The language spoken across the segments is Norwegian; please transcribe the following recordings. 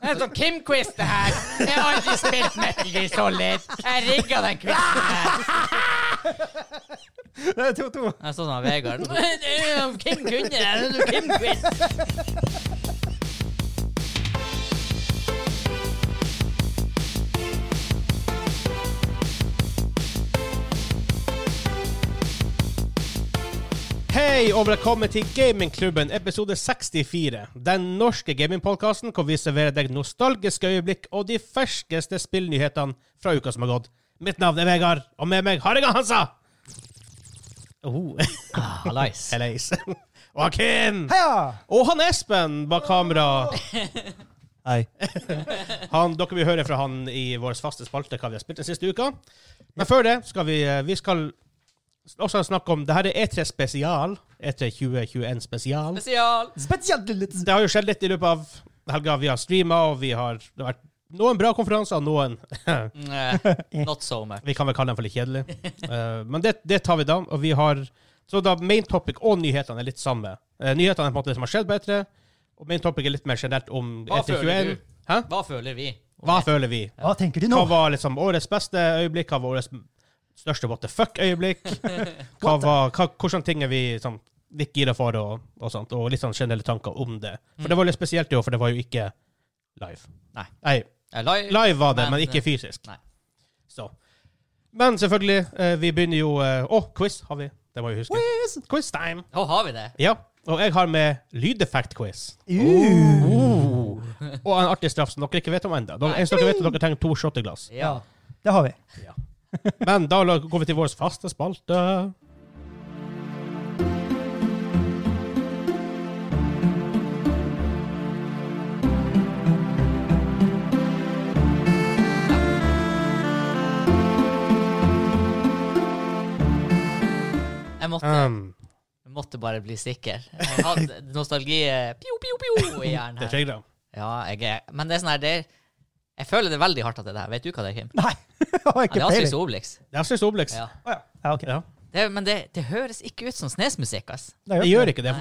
Det er en sånn Kim-quiz, det her. Jeg har aldri spilt Metal Gear Solid. Jeg rigga den quizen her. Det er 2-2. Jeg så sånn av Vegard. Kim kunne det. det er Kim-quiz. Hei og velkommen til Gamingklubben episode 64. Den norske gamingpodkasten hvor vi serverer deg nostalgiske øyeblikk og de ferskeste spillnyhetene fra uka som har gått. Mitt navn er Vegard, og med meg har jeg han Hansa. Oh, Hallais. Helleis. Og han Kim. Heia! Og han Espen bak kamera. Hei. Han, dere vil høre fra han i vår faste spalte hva vi har spilt den siste uka. Men før det skal vi, eh, vi skal også snakke om Det her er E3 spesial. E3 2021 spesial. Spesial. Spesielt litt Det har jo skjedd litt i løpet av helga. Vi har streama, og vi har det har vært noen bra konferanser, og noen Eh, Not so much. vi kan vel kalle dem for litt kjedelige. Eh, men det, det tar vi da. Og vi har Så da main topic og nyhetene er litt samme. Eh, nyhetene er på en måte det som har skjedd på E3, og main topic er litt mer generelt om Hva føler E321. du? Hæ? Hva føler vi? Eh, Hva føler vi? Hva tenker de nå? Hva var liksom årets beste øyeblikk? Hva var årets største what the fuck-øyeblikk? Hva var, hva, hvordan ting er vi sånn, litt gira for, og, og, sånt, og litt sånn generelle tanker om det? For det var litt spesielt i år, for det var jo ikke live. Mm. Nei. Nei, Eh, live- live var det, Men, eh, men, ikke fysisk. nei. Så. Men selvfølgelig, eh, vi begynner jo eh, Å, quiz har vi. Det må vi huske. Quiz, quiz time! Å, har vi det? Ja. Og jeg har med lydeffekt-quiz. Uh. Oh. Og en artig straff som dere ikke vet om ennå. Dere vet at dere trenger to shotteglass. Ja. Det har vi. Men da la- går vi til vår faste spalte. Jeg måtte, Um, måtte bare bli sikker. Jeg hadde nostalgi eh, pio, pio, pio i hjernen det her. trigger. Ja, jeg er Men det er sånn her det, Jeg føler det er veldig hardt at det er det her. Vet du hva det er, Kim? Nei. Jeg Ja, har det ikke er Asterix peiling. og Obelix. Det er Astrid Obelix. Ja. Å, ja. Ja, ok. Ja. Det, men det, det høres ikke ut som snesmusikk, ass. Det gjør ikke det.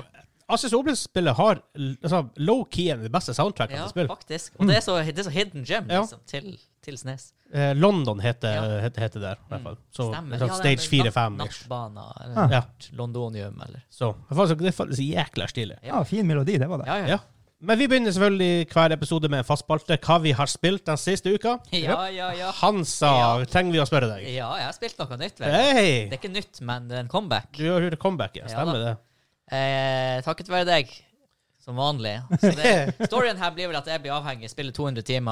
Astrid Obelix-spillet har l- altså, low-key en av de beste soundtrackene Ja, til spill. faktisk. Og det er så, det er så hidden gem Ja. liksom, til, til Snes. Eh, London heter, Ja. heter, heter det, i hvert fall. Så, Stemmer. sånn Ja, det er stage 4-5. natt- -ish. Nattbana eller Ah. Ja. Londonium eller Så det er faktisk- det er faktisk jækla stilig. Ja, fin melodi, det var det. Ja, ja. Ja. Men vi begynner selvfølgelig hver episode med en fast spalte. Hva vi har spilt den siste uka. Ja, ja, ja. Hansa, Ja. trenger vi å spørre deg. Ja, jeg har spilt noe nytt, vel. Hei! Det er ikke nytt, men det er en comeback. Du har gjort et comeback, ja. Ja Stemmer da. det. Eh, takket være deg, som vanlig. Så det, storyen her blir vel at jeg blir avhengig, spiller 200 timer,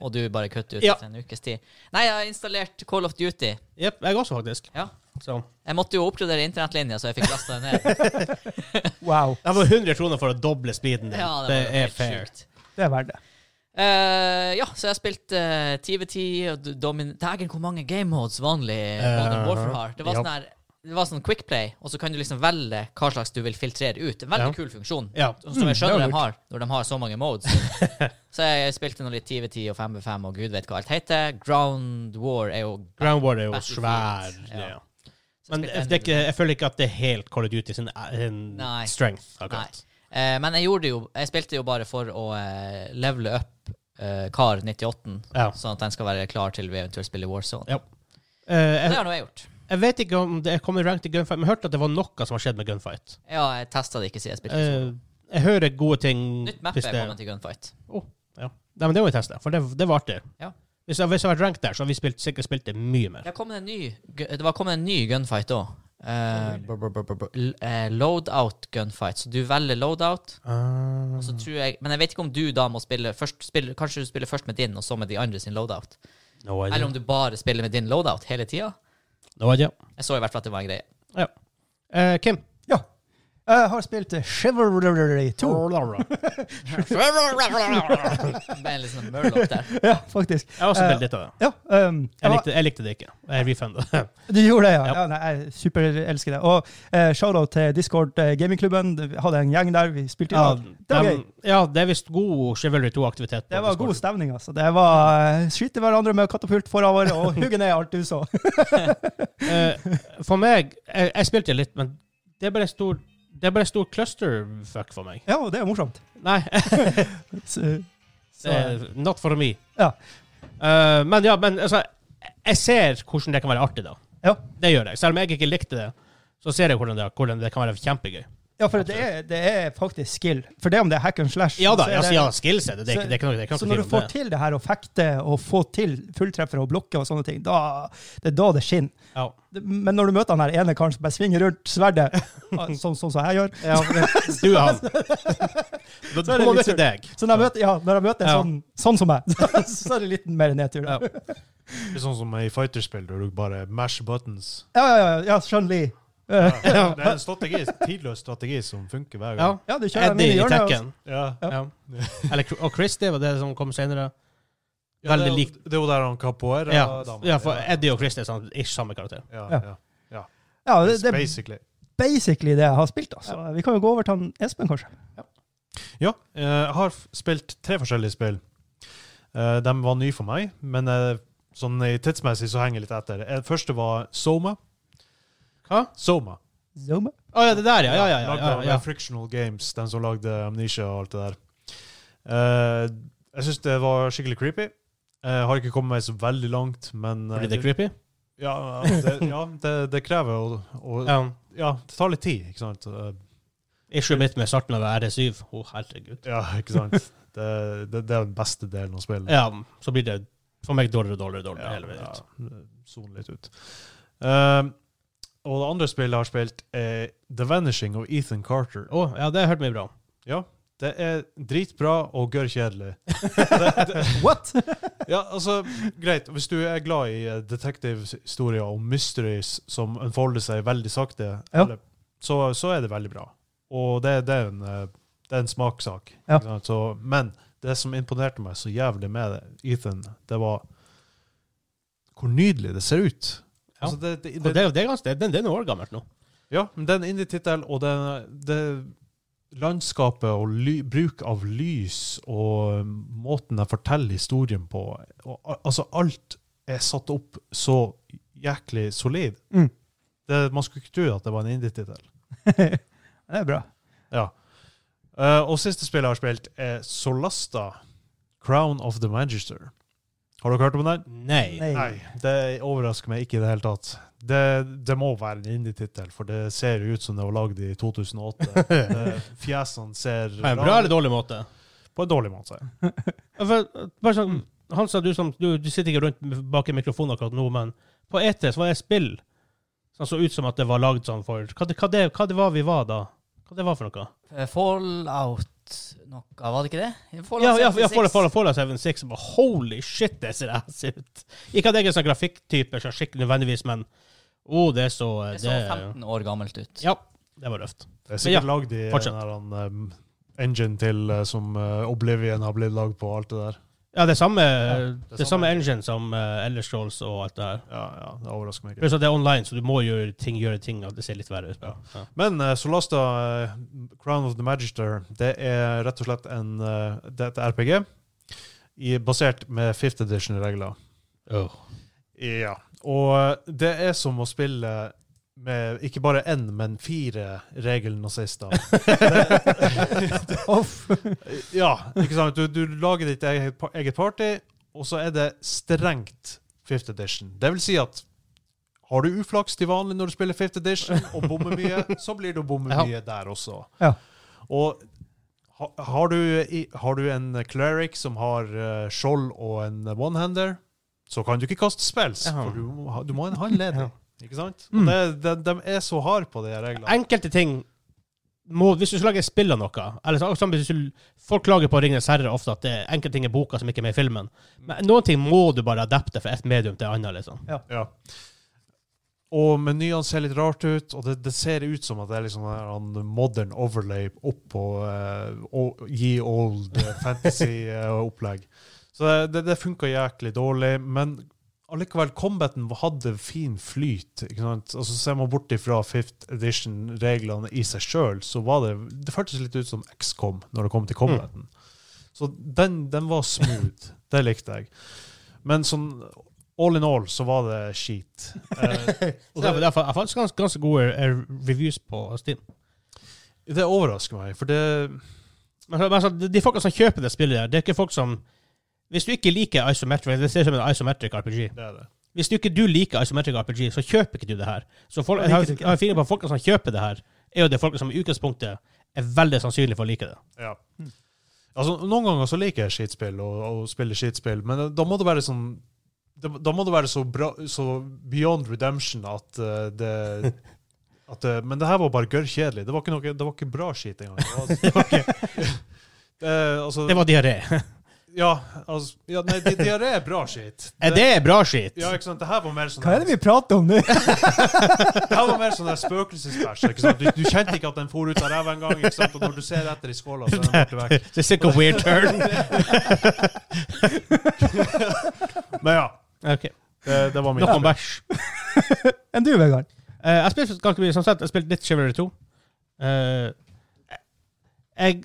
og du bare kutter ut Ja. etter en ukes tid. Nei, jeg har installert Call of Duty. Jepp, jeg også, faktisk. Ja. Så. Jeg måtte jo oppgradere internettlinja, så jeg fikk lasta den ned. Wow. Det var 100 kroner for å doble speeden din. Ja, det, det, var jo er helt fair. sjukt. Det er verdt det. Eh, ja, så jeg har spilt uh, TVT og D- Domin... Dægen, hvor mange game modes vanlig Modern Warfare har. Det var Eh, ja. sånn her det var sånn quick play, og så kan du liksom velge hva slags du vil filtrere ut. En veldig Ja. kul funksjon. Ja. Mm, Som som jeg skjønner det var de har, når de har så mange modes. så jeg spilte nå litt TVT og 5v5 og gud vet hva alt heter. Ground War er jo Ground War er jo Battlefield, svær. ja. Ja. Så spilte Men det jeg er ikke, jeg føler ikke at det er helt Call of Duty sin, sin Nei. strength. Nei. akkurat. Eh, men jeg gjorde det jo Jeg spilte jo bare for å eh, levele up eh, Kar 98, Ja. sånn at den skal være klar til vi eventuelt spiller Warzone. Ja. Eh, Det jeg, har nå jeg gjort. jeg vet ikke om det er kommet rank til gunfight, men jeg hørte at det var noe som har skjedd med gunfight. Ja, jeg testa det ikke siden jeg spilte. Eh, jeg hører gode ting Nytt map hvis er det- kommet til Gunfight. Å, ja. Nei, men det må vi teste, for det, det var artig. Ja. Hvis jeg, hvis jeg hadde vært rank der, så hadde vi spilt, sikkert spilt det mye mer. Det, har kommet en ny, gu- det var kommet en ny gunfight Eh, òg. loadout eh, gunfight. Så du velger loadout, og Ah. så tror jeg Men jeg vet ikke om du da må spille først spille, Kanskje du spiller først med din, og så med de andre sin loadout? no Eller idea. om du bare spiller med din loadout hele tida? No idea. Jeg så i hvert fall at det var en greie. Ja. Eh, Kim? Ja. Jeg har spilt eh, Chivalry 2. Jeg Det ble en litt sånn murlock der. Ja, faktisk. har også Eh, spilt litt av det. Ja, um, Jeg jeg var- likte, jeg likte det ikke. Jeg refunda det. du gjorde det, ja. Ja. ja. nei, jeg superelsker det. Og eh, shout-out til Discord eh, gamingklubben. Vi hadde en gjeng der, vi spilte i Ja, lag. Det var gøy. dem- ja, det er visst god Chivalry 2-aktivitet. Det var god stemning, altså. Det var eh, skyte hverandre med katapult foran våre og hugge ned alt du så. Eh, for meg jeg, jeg spilte litt, men det ble stor det ble stor clusterfuck for meg. Ja, det er morsomt. Nei, S- Så, Det er not for me. ja. Eh, men ja, men altså, jeg ser hvordan det kan være artig, da. Ja. Det gjør jeg. Selv om jeg ikke likte det, så ser jeg hvordan det, hvordan det kan være kjempegøy. ja, for det er, det er faktisk skill. For det om det er hack and slash Ja da, så er altså, det- ja, skills er det. Det er ikke, det er ikke noe det er ikke Så noe når du tvil om får det. til det her å fekte og få til fulltreffere og blokke og sånne ting, da, det er da det skinner. Ja. Det- Men når du møter han her ene karen som bare svinger rundt sverdet, ah, sånn sånn som jeg gjør Du er han. Da er det må litt møte surt. deg. Så når jeg møter, ja, når jeg møter en Ja. sånn, sånn som meg, så er det litt mer nedtur. Ja. Ja, Det er sånn som i fighterspill, der du bare mash buttons. ja, ja, ja, ja Chun-Li. Eh, Det er en strategi, tidløs strategi som funker hver Ja. gang. Ja, du kjører altså. den inn i Eddie i hjørnet. og- Tekken. Ja. Ja. Eller, og Christie var det som kom senere. Ja, det, Veldig er jo- lik. det er jo der han Capoeira Ja, damen. ja for Eddie og Christie er sånn, ish samme karakter. ja, Ja. ja. Ja, det, It's det er Basically. basically det jeg har spilt. Altså. Vi kan jo gå over til han Espen, kanskje. Ja, eh, jeg har f- spilt tre forskjellige spill. Eh, de var nye for meg, men eh, sånn i tidsmessig så henger jeg litt etter. Eh, første var Soma. Hva? Soma. Zoma? Å ja, det der, ja. ja, ja, ja, Lagd ja, av ja. Frictional Games, den som lagde Amnesia og alt det der. Eh, jeg syns det var skikkelig creepy. Jeg har ikke kommet meg så veldig langt, men eh, Blir det creepy? Ja, det, ja, det, det krever å, å ja. Ja. det tar litt tid, ikke sant? Eh, Issue mitt med starten av RE7. Å, herregud. Ja, ikke sant? Det, det, det er den beste delen av spillet. Ja, så blir det for meg dårligere og dårligere. og dårligere Ja, hele veien ut. ja, Zone litt ut. Ehm, og det andre spillet jeg har spilt, er The Vanishing of Ethan Carter. Å, ja, det hørte vi bra om. Ja, det er dritbra og gørr kjedelig. Det- det- What? ja, altså, greit. Hvis du er glad i eh, detektivhistorier og mysteries som unfolder seg veldig sakte, Ja. eller, så, så er det veldig bra. Og det, det, er, en, eh, det er en smakssak. Ja. ikke sant? Så, men det som imponerte meg så jævlig med det, Ethan, det var hvor nydelig det ser ut. Ja. Altså, det, det, Og det, det, det, er ganske, det, det er noen år gammelt nå. ja, men det er en indie-tittel, og det, det landskapet og ly, bruk av lys og um, måten de forteller historien på og, al- Altså, alt er satt opp så jæklig solid. Mm. Det, man skulle ikke tro at det var en indie-tittel. Det er bra. Ja. Eh, og siste spillet jeg har spilt, er Solasta, Crown of the Magister. Har dere hørt om den? Nei. Nei. Nei, det overrasker meg ikke i det hele tatt. Det, det må være en indie-tittel, for det ser jo ut som det var lagd i 2008. Det- Fjesene ser På en bra eller dårlig måte? På en dårlig måte. Ja, For, bare sånn, Hansa, du, som, du, du sitter ikke rundt bak i mikrofonen akkurat nå, men på ET så var det spill som så ut som at det var lagd sånn for Hva, det- hva, det, hva det var vi var da? Hva det var for noe? Eh, Fallout noe, var det ikke det? Fallout Ja, ja, ja 76. Fallout- Fallout- Fallout 76. Bare, holy shit, det ser ass ut! Ikke at jeg er sånn grafikktype, så skikkelig nødvendigvis, men å, det er så Det Det, så 15 år gammelt ut. Ja, det var røft. Det er sikkert Ja, lagd i fortsett. en eller annen, um, engine til uh, som uh, Oblivion har blitt lagd på, og alt det der. Ja, det er samme, det er det er samme engine som uh, Elder Scrolls og alt det her. Ja, ja, det overrasker meg ikke. Pluss at det er online, så du må gjøre ting, gjøre ting, og det ser litt verre ut. Ja. Ja. Men eh, Solasta, eh, Crown of the Magister, det er rett og slett en, eh, det er et RPG i, basert med 5th edition-regler. Åh. Ja. Og eh, det er som å spille med ikke bare én, men fire regelnazister. Off. ja, ikke sant? Du, du lager ditt eget, pa- eget party, og så er det strengt 5th edition. Det vil si at har du uflaks til vanlig når du spiller 5th edition og bommer mye, så blir du bommer Ja. mye der også. Ja. Og ha, har, du, i- har du en cleric som har eh, skjold og en one-hander, så kan du ikke kaste spells, Ja. for du, må ha- du må ha en håndleder. Ikke sant? Og Mm. Det, de, de er så harde på de her reglene. enkelte ting må, Hvis du skal lage spill av noe eller så, som hvis du, Folk klager på Ringenes herre ofte at det er enkelte ting i boka som ikke er med i filmen. Men noen ting må du bare adapte fra et medium til et annet. Liksom. Ja. Og menyene ser litt rart ut, og det, det ser ut som at det er liksom en modern overlay oppå uh, ye old eh, fantasy-opplegg. Så det, det, det funka jæklig dårlig, men allikevel, combaten hadde fin flyt. ikke sant? Altså Ser man bort ifra fifth edition-reglene i seg sjøl, så var det Det føltes litt ut som XCOM når det kom til combaten. Så den, den var smooth. Det likte jeg. Men sånn all in all så var det skit. Eh, Og derfor, derfor, jeg fant ganske, ganske gode eh, reviews på Steam. det overrasker meg, for det Men, men, altså, de- de folka som kjøper det spillet der, det er ikke folk som Hvis du ikke liker isometric Det ser ut som en isometric RPG. Det er det. Hvis du ikke du liker isometric RPG, så kjøper ikke du det her. Så folk, jeg, Jeg har, liker det ikke. jeg har en feeling på at folka som kjøper det her, er jo det folka som i utgangspunktet er veldig sannsynlig for å like det. Ja. Mm. Altså, noen ganger så liker jeg skitspill og, og spiller skitspill, men da må det være sånn da da må det være så, bra, så beyond redemption at eh, det at, eh, Men det her var bare gørrkjedelig. Det, var ikke noe- det var ikke bra skit engang. Det var, altså, det var ikke- Eh, altså, Det var diaré. ja, altså, ja, nei, di- diaré er bra skit. Er det bra skitt? ja, ikke sant? Det her var mer sånn Hva er det vi prater om nå? Det her var mer sånn der spøkelsesbæsj. ikke sant? Du, du kjente ikke at den for ut av ræva engang, ikke sant? og når du ser etter i skåla, så er den borte vekk. Så sick of weird turn. Men ja, Ok, det, det var mitt Nok om spill. bæsj. Enn du, Vegard? Eh, jeg spilte ganske mye, som sagt, jeg spilte litt Chivalry 2. Eh, jeg,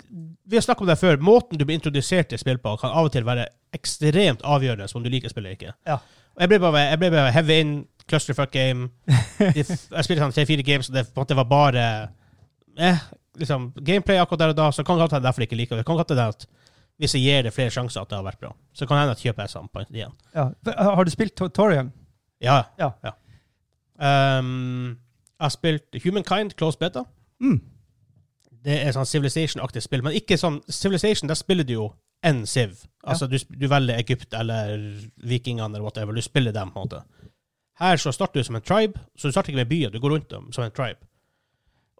vi har snakket om det før. Måten du blir introdusert til spill på, kan av og til være ekstremt avgjørende om du liker spillet eller ikke. Ja. Og Jeg ble bare, jeg ble bare heavy in, clusterfuck game. De, f- jeg spilte sånn tre-fire games, og det på en måte var bare eh, liksom, Gameplay akkurat der og da, så kan det godt hende jeg derfor ikke liker det. Kan godt hende at hvis jeg gir det flere sjanser, at det har vært bra. Så kan det hende at jeg kjøper jeg sammen igjen. Ja. Har du spilt Torian? Ja. Ja. Ehm, jeg har spilt Humankind Close Beta. Mm. Det er sånn Civilization-aktig spill, men ikke sånn Civilization, der spiller du jo en Civ. Altså, du, sp- du velger Egypt eller vikingene eller whatever, du spiller dem på en måte. Her så starter du som en tribe, så du starter ikke med byer, du går rundt dem som en tribe.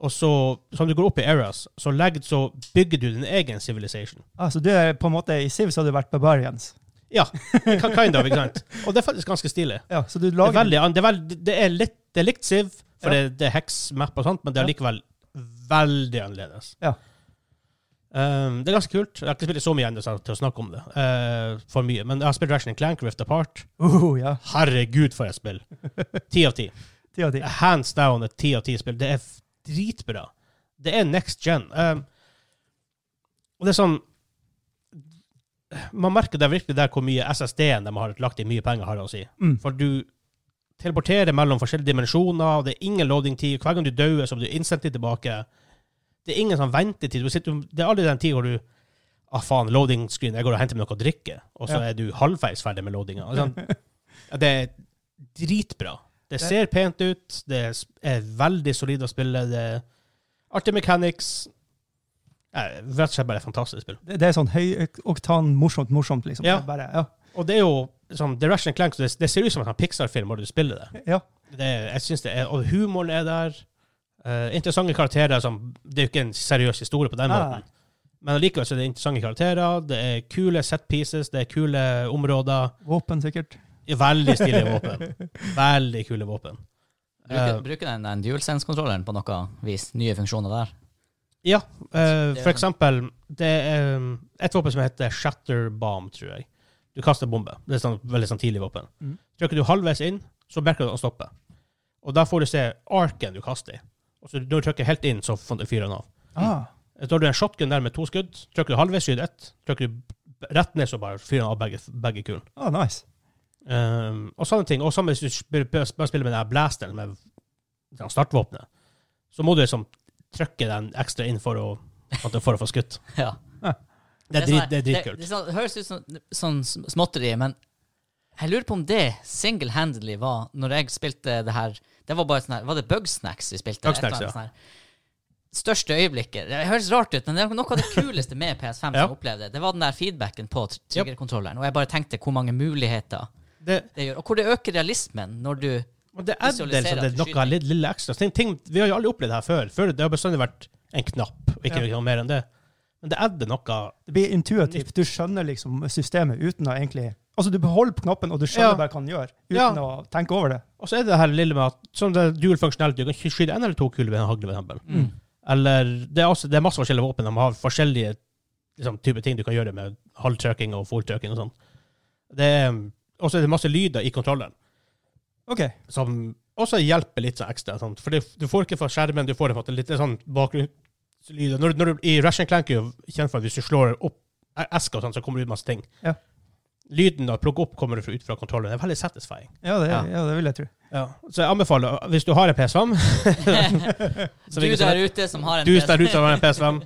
Og så, som du går opp i eras, så, legger, så bygger du din egen civilization. Altså, du er på en måte I Siv så har du vært Barbarians. Ja, kind of, ikke sant? Og det er faktisk ganske stilig. Ja, så du Det er, lager veldig, an- det er, veldig, det er, litt, det er likt Siv, for Ja. det, det er hex-map og sånt, men det er Ja. likevel veldig annerledes. Ja. Um, det er ganske kult. Jeg har ikke spilt så mye ennå så- til å snakke om det. eh, for mye. Men jeg har spilt Ration Clank Rift Apart. Oh, ja. Herregud, for et spill! Ti av ti. Ti av ti. Hands down et ti av ti spill. Det er f- dritbra. Det er next gen. Um, og det er sånn Man merker det virkelig der hvor mye SSD-en de har lagt i mye penger, har å si. Mm. For du teleporterer mellom forskjellige dimensjoner, og det er ingen loading-tid. Hver gang du dør, så blir du insentiv tilbake. Det er ingen sånn ventetid. Du sitter, det er aldri den tid hvor du Ah, faen, loading screen. Jeg går og henter meg noe å drikke, og så Ja. er du halvveis ferdig med loadinga. Altså, ja, det er dritbra. Det ser pent ut. Det er veldig solid å spille. Det er artig mechanics. Ja, Rett og slett bare et fantastisk spill. Det det er sånn høyoktan, morsomt, morsomt, liksom. Ja. Det er Bare, ja. Og det er jo sånn, The Ration Clank, så det, det ser ut som en sånn Pixar-film når du spiller det. ja. det er- jeg synes det er, og humoren er der. Eh, interessante karakterer. Som, det er jo ikke en seriøs historie på den Nei, måten. Men allikevel så er det interessante karakterer. Det er kule set pieces, det er kule områder. Våpen, sikkert. Veldig stilige våpen. Veldig kule våpen. Bruker, Eh, bruker den, den DualSense-kontrolleren på noe vis? Nye funksjoner der? Ja, eh, Det er for sånn- eksempel Det er eh, et våpen som heter Shatter Bomb, tror jeg. Du kaster bombe. Det er sånn, veldig sånn tidlig våpen. Mhm. Trykker du halvveis inn, så merker du å stoppe. Og da får du se arken du kaster i. Og så når du trykker helt inn, så f- fyrer den av. Ah. Så har du en shotgun der med to skudd. Trykker du halvveis, skyter ett. Trykker du b- rett ned, så bare fyrer den av begge, begge kulene. ah, nice. Um, og sånne ting. Og samme hvis du spiller, bare spiller med den her blasteren, med den startvåpenet, så må du liksom trykke den ekstra inn for å, at du- for å få skutt. Ja. Det er, drit, det er Det, dritkult. det, er sånn- det høres ut som sånn sm- småtteri, men jeg lurer på om det single-handedly var når jeg spilte det her Det Var bare sånn her, var det Bugsnacks vi spilte? Bugsnax, Et eller annet sånn her. Største øyeblikket. Det høres rart ut, men det er noe av det kuleste med PS5 som Ja. jeg opplevde. Det var den der feedbacken på tr- triggerkontrolleren. Og jeg bare tenkte hvor mange muligheter Det, det gjør. Og hvor det øker realismen når du og det er det, liksom, Visualisere det er noe skyting. litt, lille ekstra. Ting, ting, vi har jo aldri opplevd det her før. før. Det har bestandig vært en knapp, og ikke noe mer enn det. Men det er det noe Det blir intuitivt. Du skjønner liksom systemet uten å egentlig Altså, du beholder på knappen, og du skjønner Ja. bare hva den gjør, uten Ja. å tenke over det. Og så er det det her lille med at sånn det er dual functionality, du kan ikke skyte en eller to kuler ved en hagle, for eksempel. Mm. Eller det er, også, det er masse forskjellige våpen. De har forskjellige liksom, typer ting du kan gjøre med halvtrykking og fulltrykking og sånn. Det er- Og så er det masse lyder i kontrolleren OK. som også hjelper litt sånn ekstra. Sånn. For det, du får ikke fra skjermen, du får det på en måte litt sånn bakgrunnslyder. Når, du- når du, I Ration Clank er jo kjent for at hvis du slår opp esker og sånn, så kommer det ut masse ting. Ja. Lyden av å plukke opp kommer ut fra kontrolleren. Det er veldig satisfying. Ja det, ja. Ja. det vil jeg tro. Ja, så jeg anbefaler, hvis du har en PS5 så Du ligger det sånn- der ute som har en Du der ute som har en PS5,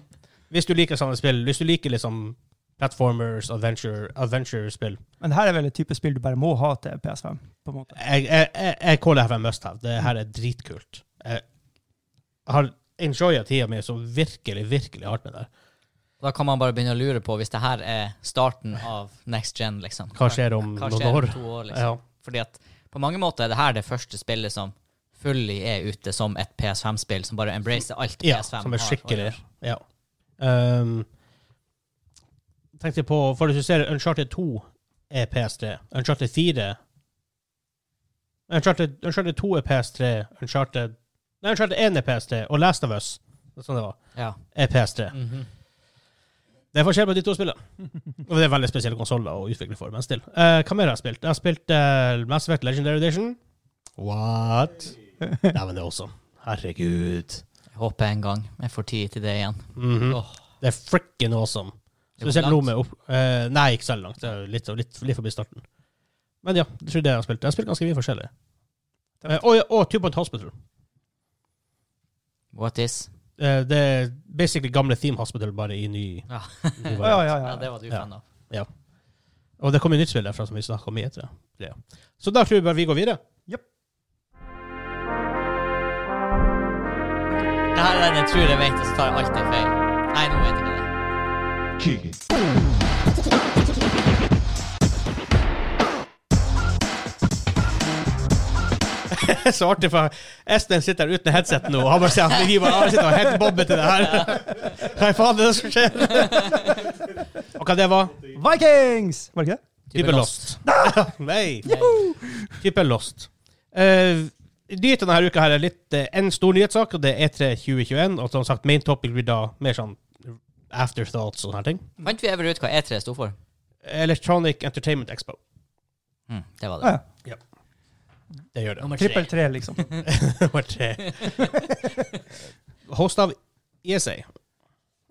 Hvis du liker sånne spill, hvis du liker liksom platformers, adventure, adventure-spill Men det her er vel et type spill du bare må ha til PS5. på en måte. Jeg, jeg, jeg, jeg caller det her en must have. Det her er dritkult. Jeg har enjoya tida mi så virkelig, virkelig hardt med det. Da kan man bare begynne å lure på hvis det her er starten av next gen, liksom. Hva skjer om Hva noen skjer om år? to år, liksom? Ja. Fordi at på mange måter er det her det første spillet som fully er ute som et PS5-spill, som bare embracer alt Ja, PS5 som er har å skikkelig. gjøre. Ja. Ehm, tenkte jeg på, for å illustrere, Uncharted 2 er PS3. Uncharted 4 Uncharted, Uncharted 2 er PS3. Uncharted Nei, Uncharted 1 er PS3, og Last of Us det er sånn det var, Ja. er PS3. Mhm. Det er forskjell på de to spillene. Og det er veldig spesielle konsoller å utvikle for, men still. Eh, hva mer har jeg spilt? Jeg har spilt eh, Mass Effect Legendary Edition. What? Nei, men det er også Herregud. Jeg håper en gang jeg får tid til det igjen. Mhm. Åh. Det er frikken awesome. Det går Spesielt nå langt. med opp... eh, nei, ikke så langt. Det er jo litt, litt, litt forbi starten. Men ja, det tror jeg det jeg har spilt. Jeg har spilt ganske mye forskjellig. Eh, og, ja, og Two Point Hospital. What is? Eh, det er basically gamle Theme Hospital, bare i ny, Ja. ny Å, ja, variant. ja, Ja, ja. det var du Ja. fan av. Og det kommer nytt spill derfra som vi snakker om i etter. Ja. Så da tror jeg bare vi går videre. Det her er den jeg tror jeg vet, og så tar jeg alltid feil. Nei, nå vet jeg ikke det. så artig, for Espen sitter her uten headset nå, og han bare sier at vi bare han sitter og headbobber til det her. Hva faen er det som skjer? og hva det var? Vikings! Var det ikke det? Type Lost. Nei! Type Lost. Uh, nyhetene denne uka her er litt eh, en stor nyhetssak, og det er E3 2021. Og som sagt, main topic blir da mer sånn afterthoughts og sånne her ting. Fant vi ever ut hva E3 sto for? Electronic Entertainment Expo. Mm, det var det. Ja, ja. Det gjør det. Nummer Trippel tre, liksom. Nummer tre. Host av ESA.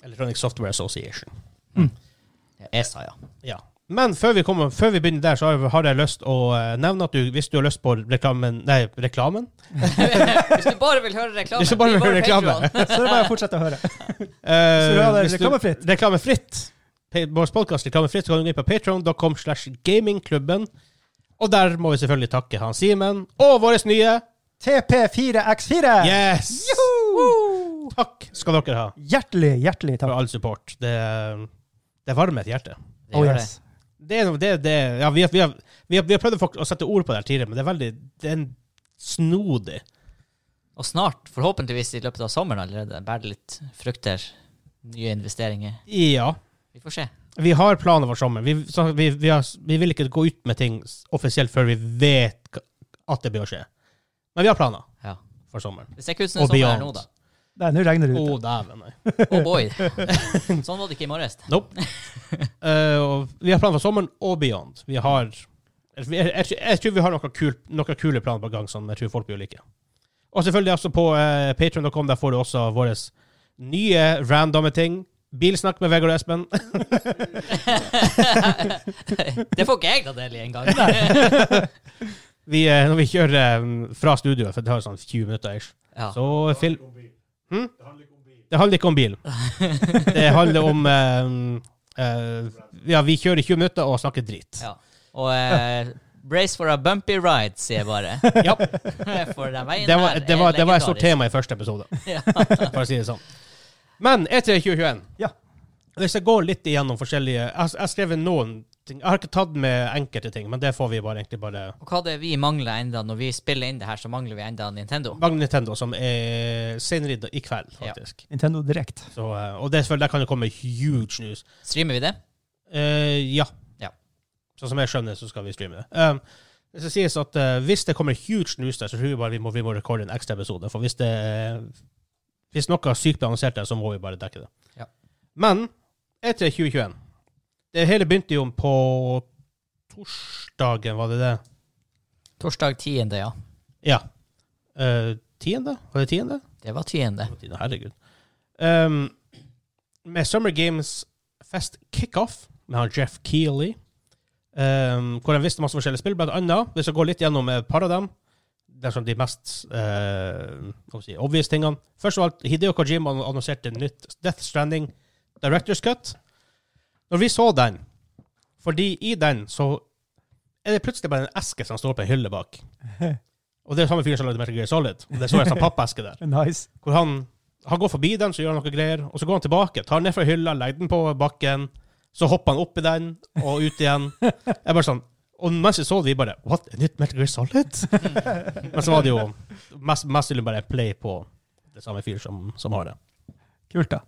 Electronic Software Association. ESA, ja. Ja. Men før vi, kommer, før vi begynner der, så har- har jeg lyst å eh, nevne at du, hvis du har lyst på reklamen Nei, reklamen? Hvis du bare vil høre reklame, Hvis du bli bare vil høre reklame. Oh, Patreon. Så det er bare å fortsette å høre. Eh, Så du har det hvis du- reklamefritt? Reklamefritt. Pa- Vår podcast reklamefritt, så kan du gå inn på patreon.com slash gamingklubben. Og der må vi selvfølgelig takke han Simen og vår nye TP4X4! Yes! Woo! Takk skal dere ha Hjertelig, hjertelig for takk. all support. Det, det varmer et hjerte. Det Oh, gjør yes. det. Det er noe, det, det, ja, vi, har, vi, har, vi, har, vi har prøvd å få- å sette ord på det her tidligere, men det er veldig det er en snodig. Og snart, forhåpentligvis i løpet av sommeren allerede, bærer det litt frukter. Nye investeringer. Ja. Vi får se. Vi har planer for sommeren. Vi, så vi, vi, har, vi vil ikke gå ut med ting offisielt før vi vet hva- at det bør skje. Men vi har planer Ja. for sommeren. Det ser ikke ut som Og det er sommer her nå, beyond. da. Nei, nå regner Å, det ute. dæven, nei. Oh boy. Sånn var det ikke i morges. Nope. Eh, og vi har planer for sommeren og beyond. Vi har jeg, jeg, jeg tror vi har noen, kul, noen kule planer på gang som jeg tror folk blir like. Og selvfølgelig også på uh, patreon.com Der får du også våre nye randomme ting. Bilsnakk med Vegard og Espen. Det får ikke jeg ta del i engang. Vi, eh, når vi kjører eh, fra studioet, for det tar sånn 20 minutter ish, Ja. så film... Det handler ikke om bil. Det handler om eh, eh, Ja, vi kjører i 20 minutter og snakker drit. ja. Og eh, brace for a bumpy ride, sier jeg bare. Ja. For den veien Det var, her det, var, er det var et stort legendarisk. tema i første episode, Ja. for å si det sånn. Men E3 2021 Ja. Hvis jeg går litt igjennom forskjellige Jeg jeg har skrevet noen ting. Jeg har ikke tatt med enkelte ting, men det får vi bare egentlig bare Og hva det er vi mangler enda når vi spiller inn det her, så mangler vi enda Nintendo. Magne Nintendo, som er senere i dag- i kveld, Ja. faktisk. Nintendo Direct. Så, eh, og det, er selvfølgelig- der kan det komme huge news. Streamer vi det? Eh, ja. Ja. Sånn som jeg skjønner, så skal vi streame det. Um, det skal sies at eh, Hvis det kommer huge news der, så tror jeg bare vi må, vi må rekorde en ekstra episode. For hvis det eh, Hvis noe sykt blir annonsert der, så må vi bare dekke det. Ja. Men E3 2021 Det hele begynte jo på torsdagen, var det det? Torsdag 10., ja. Ja. Eh, tiende? Var det tiende? Det var 10. Tiende, Herregud. Um, med Summer Games Fest kickoff med han Jeff Keeley, um, hvor han visste masse forskjellige spill, blant annet, hvis jeg går litt gjennom et par av dem, det er sånn de mest eh, hva skal jeg si, obvious tingene. Først av alt, Hideo Kojima annonserte nytt Death Stranding Directors Cut. Når vi så den Fordi i den så er det plutselig bare en eske som står på en hylle bak. Og det er samme fyr som lagde Metal Gear Solid. Og det så jeg en sånn pappeske der. Nice. Hvor han, han går forbi den, så gjør han noe greier, og så går han tilbake, tar den ned fra hylla, legger den på bakken, så hopper han opp i den, og ut igjen. Jeg bare sånn, Og mens jeg så det, vi bare What? Et nytt Metal Gear Solid? Men så var det jo mest, mest sannsynlig bare play på det samme fyr som, som har det. Kult, da.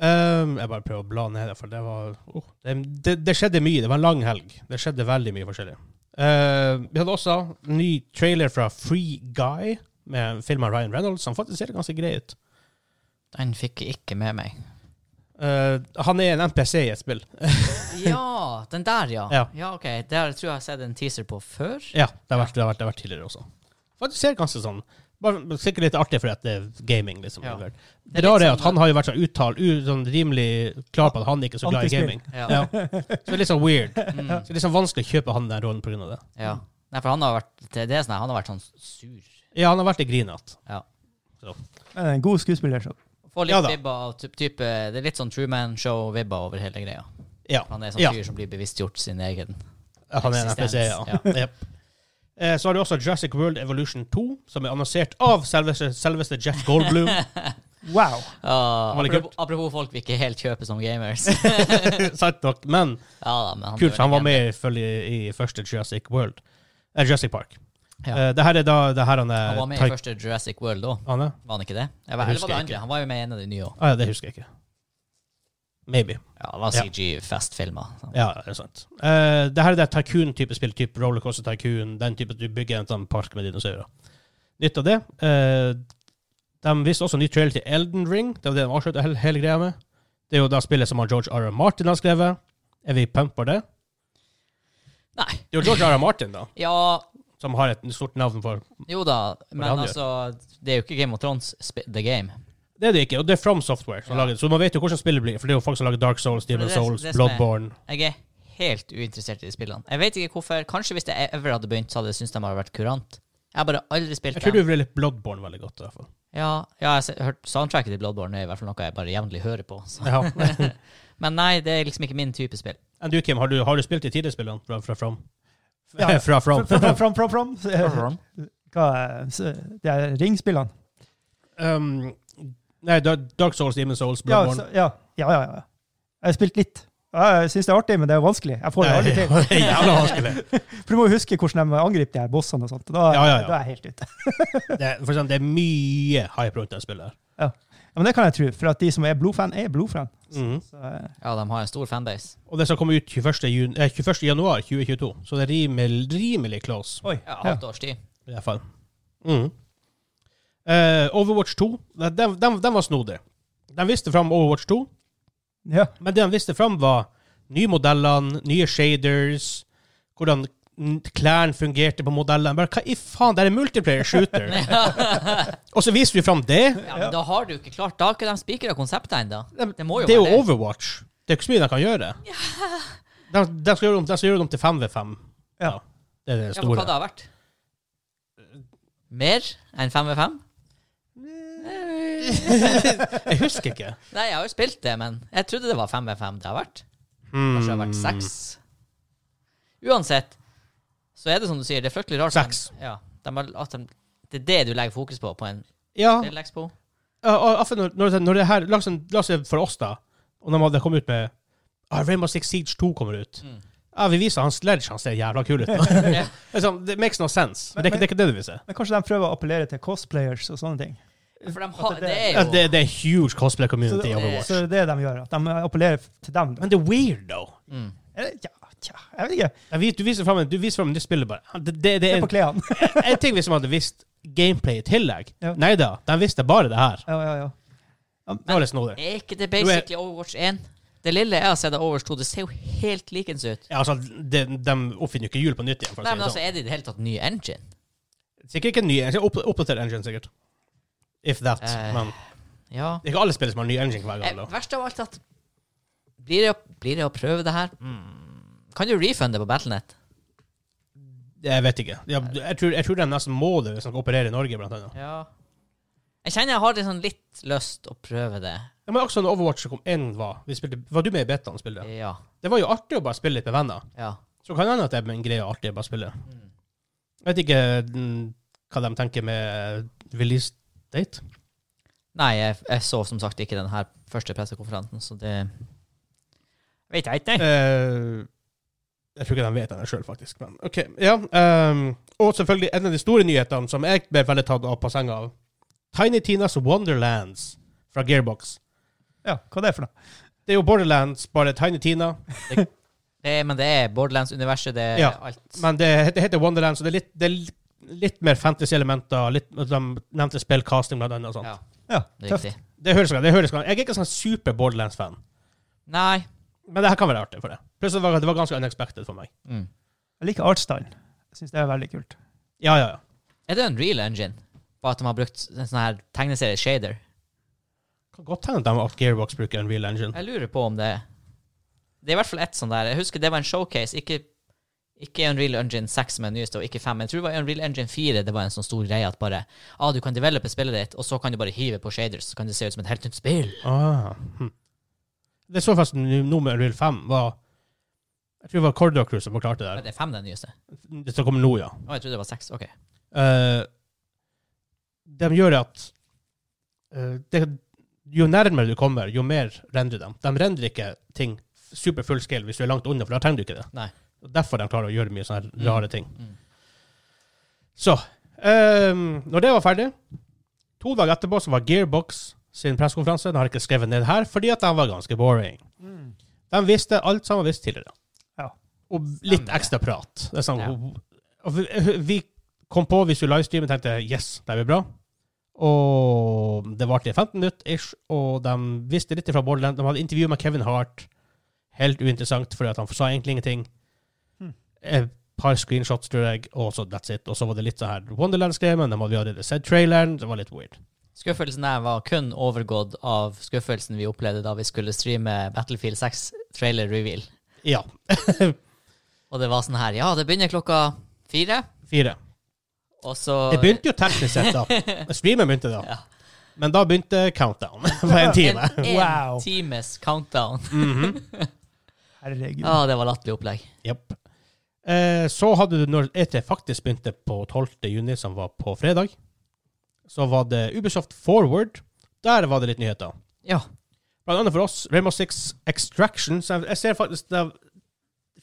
Ehm, jeg bare prøver å bla ned, for det var oh, det, det, det skjedde mye. Det var en lang helg. Det skjedde veldig mye forskjellig. Ehm, vi hadde også en ny trailer fra Free Guy, med filmen Ryan Reynolds, som faktisk ser ganske grei ut. Den fikk jeg ikke med meg. Eh, han er en NPC i et spill. Ja, den der, ja. Ja. ok. Det har jeg tror jeg har sett en teaser på før. Ja, det har vært, det har vært, det har vært tidligere også. Faktisk ser ganske sånn bare Sikkert litt artig fordi at det er gaming, liksom. Ja. Det, Det er litt rare er at sånn- han har jo vært sånn uttalt, u, sånn rimelig klar på at han ikke er så glad i Antispill. gaming. Ja. Ja. Så det er litt sånn weird. Mm, Så det er litt sånn vanskelig å kjøpe han den rollen på grunn av det. ja. Nei, for han har vært det er sånn, her, han har vært sånn sur. Ja, han har vært i grinete. Men En god skuespiller. Så. Får litt Ja da. vibba av typ, type Det er litt sånn Truman-show-vibba over hele greia. Ja. Han er sånn Ja. fyr som blir bevisstgjort sin egen Ja, Han er en Existens, NPC, ja. Jep. Eh, Så har du også Jurassic World Evolution 2, som er annonsert av selveste, selveste Jeff Goldblum. Wow. Ah, var litt apropos, apropos folk vi ikke helt kjøper som gamers. Sant nok, men ja, da, men han kult, for han var gjør det med følge, i første Jurassic World. Eh, Jurassic Park. Ja. Eh, det her er da det her han igjen. er Han var med i Ty- første Jurassic World òg, Han er? var han ikke det? Jeg var, eller husker var det ikke. andre? Han var jo med i en av de nye òg. Ah, ja, det husker jeg ikke. Maybe. Ja, det var Ja. CG-festfilmer. så. Ja, det er sant. Eh, det her er det tycoon-type spill, type rollercoaster tycoon, den type du bygger en sånn park med dinosaurer. Nytt av det. eh, de viste også en ny trailer til Elden Ring. Det var det de avslutta hele, hele greia med. Det er jo da spillet som han George R. R. Martin har skrevet. Er vi pump på det? Nei. Det er jo George R. R. Martin, da, Ja, som har et stort navn for jo da, han men gjør. altså Det er jo ikke Game of Thrones sp- The Game. Det er det ikke, og det er From Software som Ja. lager det. Så man vet jo hvordan spillet blir, for det er jo folk som lager Dark Souls, Demon det er- Souls, det som er- Bloodborne Jeg er helt uinteressert i de spillene. Jeg vet ikke hvorfor. Kanskje hvis jeg ever hadde begynt, så hadde jeg syntes de hadde vært kurant. Jeg har bare aldri spilt Jeg tror du dem. vil litt Bloodborne veldig godt, i hvert fall. Ja, ja, jeg har hørt soundtracket til Bloodborne er i hvert fall noe jeg bare jevnlig hører på. Så. Ja. Men nei, det er liksom ikke min type spill. Enn du, Kim, har du, har du spilt de tidligere spillene fra, fra From? Ja. fra From. From, from, from, from. Hva Hva er s- Det er ringspillene. Um, nei, Da- Dark Souls, Demon Souls, Ja, Bloodborne. så, ja. ja, ja, ja. Jeg har spilt litt. Ja, Jeg syns det er artig, men det er vanskelig. Jeg får det aldri til. det er jævla vanskelig. For du må jo huske hvordan de angriper de her bossene og sånt. Da, Ja, ja, ja. da er jeg helt ute. Det, er- for eksempel, det er mye hype rundt det spillet. her. Ja, men det kan jeg tro, for at de som er blodfan, er blodfan. Mm. Mhm. Så, eh, Ja, de har en stor fanbase. Og det skal komme ut 21. Jun, eh, 21. januar 2022, så det er rimelig, rimelig close. oi. Ja, Ja. halvt års tid. I hvert fall. Mhm. Eh, Overwatch 2, den, den, den, den var snodig. De viste fram Overwatch 2. Ja. Men det han viste fram, var nye modellene, nye shaders, hvordan n- klærne fungerte på modellene. Bare, hva i faen, det er en multiplayer shooter! og så viser vi fram det. Ja, men da har du ikke klart Da har ikke de spikra konseptet ennå. Det må jo Det er være det. jo Overwatch. Det er ikke så mye de kan gjøre. De, de, skal, gjøre om, de skal gjøre det om til 5v5. Ja. Det er det Ja, for hva store. det har vært? Mer enn 5v5? Jeg husker ikke. Nei, jeg har jo spilt det, men jeg trodde det var 5v5 det har vært. Kanskje det har Mm. vært seks. Uansett, så er det som du sier, det er fryktelig rart. men- Seks. Ja, de har, at de, det er det du legger fokus på på en Ja, spillexpo? Ja, og Affe, når, når det- sånn, når det her, la oss, la oss se for oss da, og når det kom ut med ah, Rainbow Six Siege 2 kommer ut. Mm. Ja, vi viser han Sledge, han ser jævla kul ut. Det er sånn, det makes no sense. Men det, er ikke- det er ikke det du vil se. Men kanskje de prøver å appellere til cosplayers og sånne ting. For de har, det- det er Ja, jo det, det er huge cosplay Så community i det, Overwatch. så det er det de gjør, at de appellerer til dem. Men det er weird, though. Eller, Ja, tja, jeg vet ikke. Jeg vet- Du viser fram du viser frem det spillet bare. Ja, Det, det, det er Se en, på klærne. en ting hvis man hadde visst gameplay i tillegg. Ja. Nei da, de visste bare det her. Ja, ja, ja. Det var litt snodig. Er ikke det basically Overwatch 1? Det lille jeg har sett av Overwatch 2, det ser jo helt likens ut. Ja, altså, de, de oppfinner jo ikke hjul på nytt igjen. For å Nei, si men det altså, sånn. er det i det hele tatt ny engine? Sikkert ikke en ny engine. opp- Oppdatert engine, sikkert. If that. Eh. Men Ja. Det er ikke alle spill som har ny engine hver gang. Eh, da. verst av alt at Blir det, å- blir det å prøve det her? Mm. Kan du refunde på Battlenet? Jeg vet ikke. Ja, jeg, tror, jeg tror de nesten må det hvis de skal operere i Norge, blant annet. Ja. Jeg kjenner jeg har liksom litt sånn lyst å prøve det. Det var også en Overwatch som kom en var. Vi spilte, var du med i betaen og spilte? Ja. Det var jo artig å bare spille litt med venner. ja. Så kan det hende at det er en greie artig å bare spille. Mm. Jeg vet ikke mm, hva de tenker med eh, release date. Nei, jeg, jeg så som sagt ikke den her første pressekonferansen, så det Vet jeg ikke. Eh, jeg tror ikke de vet det sjøl, faktisk. Men OK. Ja. ehm, og selvfølgelig en av de store nyhetene som jeg ble veldig tatt av på senga av. Tiny Tinas Wonderlands fra Gearbox. Ja, hva er det for noe? Det er jo Borderlands, bare Tiny Tina. Det, men det er Borderlands-universet, det er Ja. alt. Men det, det heter Wonderlands, og det er litt, det er litt- litt mer fantasy-elementer. Litt, de nevnte spillcasting, blant annet. Og sånt. Ja, Ja, tøft. riktig. Det høres, det høres, jeg er ikke sånn super Borderlands-fan, Nei. men det her kan være artig for det. Plutselig var det var ganske unexpected for meg. Mm. Jeg liker artstyle. Jeg syns det er veldig kult. Ja, ja, ja. Er det en real engine? Bare at de har brukt en sånn her tegneserie-shader? Kan godt hende at de- at Gearbox bruker en real engine. Jeg lurer på om det Det er i hvert fall ett sånn der. Jeg husker det var en showcase. Ikke, ikke Unreal Engine 6 som er den nyeste, og ikke 5. Men jeg tror det var Unreal Engine 4 det var en sånn stor greie at bare ah, Du kan develope spillet ditt, og så kan du bare hive på shaders, så kan det se ut som et helt nytt spill. Ah. Hm. Det så faktisk nummer Unreal 5 var Jeg tror det var Corridor Crew som forklarte Men det. det er 5 den nyeste? her. Det som kommer nå, ja. Å, jeg trodde det var 6. OK. Eh, de gjør at eh, det, Jo nærmere du kommer, jo mer rendrer de. De rendrer ikke ting super full scale hvis du er langt unna, for da trenger du ikke det. Nei. Og Derfor de klarer å gjøre mye sånne her rare ting. Mm. Så ehm, Når det var ferdig, to dager etterpå så var Gearbox sin pressekonferanse. Den har jeg ikke skrevet ned her, fordi at den var ganske boring. Mm. De visste alt som var visst tidligere. Ja. Og litt Stemmer det. ekstra prat. Det er sånn, Ja. og vi, eh, vi kom på hvis du livestreamer, tenkte yes, det blir bra. Og det varte i 15 minutter ish, og de visste litt fra Borderland. De hadde intervju med Kevin Hart. Helt uinteressant, fordi at han sa egentlig ingenting. Hmm. Et par screenshots, tror jeg, og så that's it. Og så var det litt sånn her Wonderland-skrevet, men de hadde allerede sett traileren. Det var litt weird. Skuffelsen der var kun overgått av skuffelsen vi opplevde da vi skulle streame Battlefield 6 trailer reveal. Ja. Og det var sånn her Ja, det begynner klokka fire, Fire. og så Det begynte jo teknisk sett, da. Streamen begynte da. Ja. Men da begynte countdown på en time. en, en Wow. times countdown. Herregud. Ja, det var latterlig opplegg. Yep. Eh, så hadde du, når E3 faktisk begynte på 12. juni, som var på fredag, så var det Ubisoft Forward. Der var det litt nyheter. Ja. Blant annet for oss, Rainbow Six Extraction. Så jeg- jeg ser faktisk det,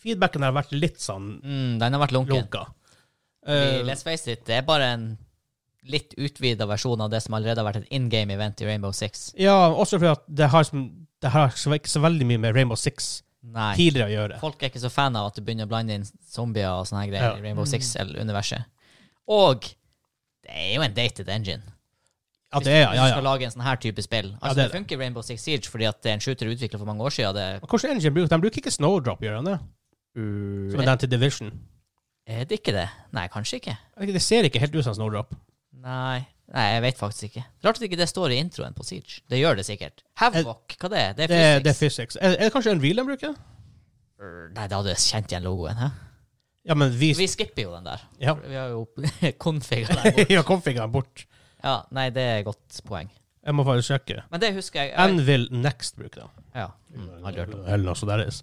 Feedbacken har vært litt sånn Mm, den har vært lunken. lunka. Fordi, Eh, Let's face it, det er bare en litt utvida versjon av det som allerede har vært et in game event i Rainbow Six. ja, også fordi at det har, som- det har så- ikke så veldig mye med Rainbow Six Nei. tidligere å gjøre. Folk er ikke så fan av at du begynner å blande inn zombier og sånne her greier Ja. i Rainbow Six-universet. Og det er jo en dated engine. At det er, ja, Hvis ja, du skal ja. lage en sånn her type spill. Altså, det det, er det. funker i Rainbow Six Siege fordi at det er en shooter utvikla for mange år siden. Det, Men Hvordan engine bruker de? bruker ikke Snowdrop, gjør de det? Som er den til Division. er det ikke det? Nei, kanskje ikke. Det ser ikke helt ut som Snowdrop. Nei. Nei, jeg vet faktisk ikke. Rart at ikke det står i introen på Siege. Det gjør det sikkert. Havok, hva det er? Det er Det, er- det er physics. physics. Er, er det kanskje en reel de bruker? Nei, da hadde jeg kjent igjen logoen. Hæ? Ja, men vi, Vi skipper jo den der. Ja. Vi har jo konfiga den. bort. ja, config den bort. Ja, nei, det er et godt poeng. Jeg må faktisk sjekke. Men det husker jeg. jeg Anvil Next bruker den. ja, mm, aldri hørt om. Eller noe sånt der is.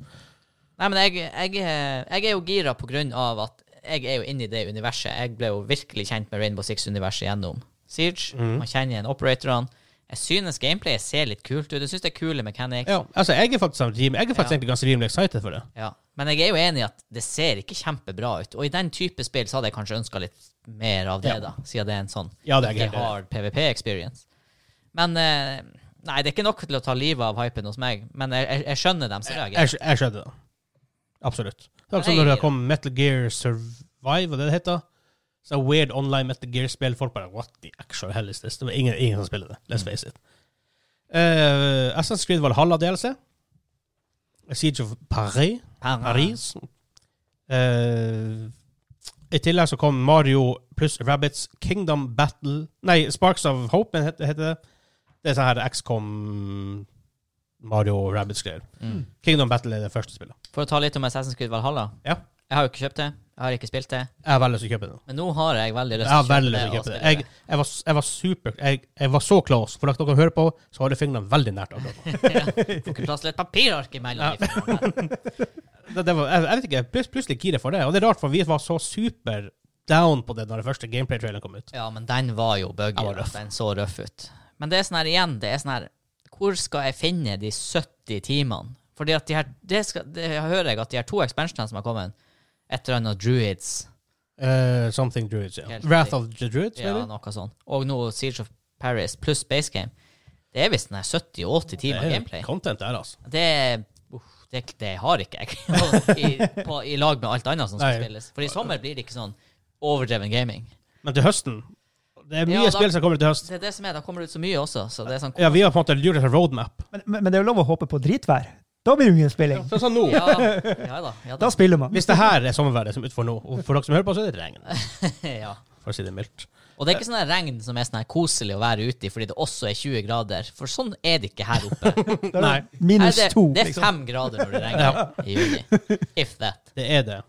Nei, men jeg, jeg, jeg er jo gira på grunn av at jeg er jo inne i det universet. Jeg ble jo virkelig kjent med Rainbow Six-universet gjennom Siege. Mhm. Man kjenner igjen operatorene. Jeg synes gameplayet ser litt kult ut. Jeg synes det er kule mechanics. Ja, altså, jeg er faktisk, jeg er faktisk egentlig ganske rimelig excited for det. Ja. Men jeg er jo enig i at det ser ikke kjempebra ut. Og i den type spill så hadde jeg kanskje ønska litt mer av det, Ja. da, siden det er en sånn Ja, det er ikke greit, det. hard PVP-experience. Men eh, Nei, det er ikke nok til å ta livet av hypen hos meg, men jeg, jeg, jeg skjønner dem som reagerer. Jeg, skj- jeg skjønner det. Absolutt. Det var Nei. som når det kom Metal Gear Survive, og det det heter. Så weird online Metal Gear-spill. Folk bare What the actual hell is this? Det var ingen, ingen som spilte det. Let's Mm. face it. Uh, Assassin's Creed Valhalla DLC. Siege of Paris. Ah. Paris. Eh, I tillegg så kom Mario pluss Rabbits Kingdom Battle Nei, Sparks of Hope men heter heter det. Det er sånn her XCOM Mario og Rabbits-greier. Mm. Kingdom Battle er det første spillet. For å ta litt om Assassin's Creed Valhalla. Ja. Jeg har jo ikke kjøpt det. Jeg har ikke spilt det. Jeg har veldig lyst til å kjøpe den. Men nå har jeg veldig lyst Jeg har til å veldig kjøpe det. lyst til å og kjøpe den. spille Jeg, jeg, var, jeg var super jeg, jeg var så close. For at dere hører på, så har jeg fingrene veldig nært. akkurat nå. det. Får ikke plass til et papirark Ja. imellom. de fingrene. Det, det var, jeg, jeg vet ikke, jeg er plutselig giret for det. Og det er rart, for vi var så super down på det når den første gameplay-traileren kom ut. Ja, men den var jo buggy. Den var da. røff. Den så røff ut. Men det er sånn her igjen, det er sånn her Hvor skal jeg finne de 70 timene? Fordi at de her Det, skal, det hører jeg at de her to expansionene som har kommet, et eller annet Druids Eh, something Druids, ja. Helt Wrath riktig. of the Druids, Ja, mener du? noe sånt. Og nå Siege of Paris pluss Base Game. Det er visst den her 70-80 Det timer er gameplay. Content der, altså. Det, uff, det, det har ikke jeg. I, på, I lag med alt annet som skal Nei. spilles. For i sommer blir det ikke sånn overdreven gaming. Men til høsten Det er mye Ja, da- spill som kommer til høsten. Det er det som er, da kommer det ut så mye også. Så det er sånn Ja, vi har på en måte lurt etter roadmap. Men, men, men det er jo lov å håpe på dritvær. Da blir det mye spilling. Sånn som nå. ja, ja da. Ja da. Da spiller man. Hvis det her er sommerværet som utfor nå, og for dere som hører på, så er det regn. Ja. For å si det mildt. Og det er ikke sånn her regn som er sånn her koselig å være ute i fordi det også er 20 grader. For sånn er det ikke her oppe. Da er det Nei. Her er Minus det, to. det er liksom. fem grader når det regner i juni. If that. Det er det.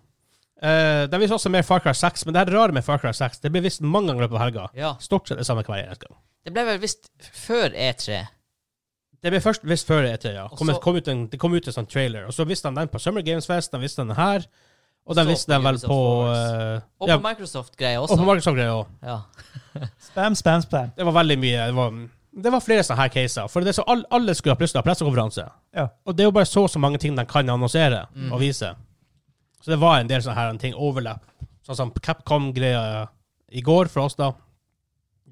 Eh, de viser også mer Far Cry 6, men det her rare med Far Cry 6 Det blir visst mange ganger i løpet av helga. Ja. Stort sett det samme hver eneste gang. Det ble vel visst før E E3. Det ble først visst før etter, ja. Kom, Og så- kom ut en, det kom ut en sånn trailer, og så visste de den på Summer Games Fest, de visste den her, og de Så visste på den vel Ubisoft på Forward. eh, Og ja, på Microsoft-greia Og på også. Microsoft-greia òg. Ja. Spam, spam, spam. Det var veldig mye. Det var, det var flere sånne her caser. For det er så alle, alle skulle ha plutselig ha pressekonferanse. Ja. Og det er jo bare så så mange ting de kan annonsere og vise. Så det var en del sånne her ting. Overlap. Sånn som Capcom-greia i går for oss, da.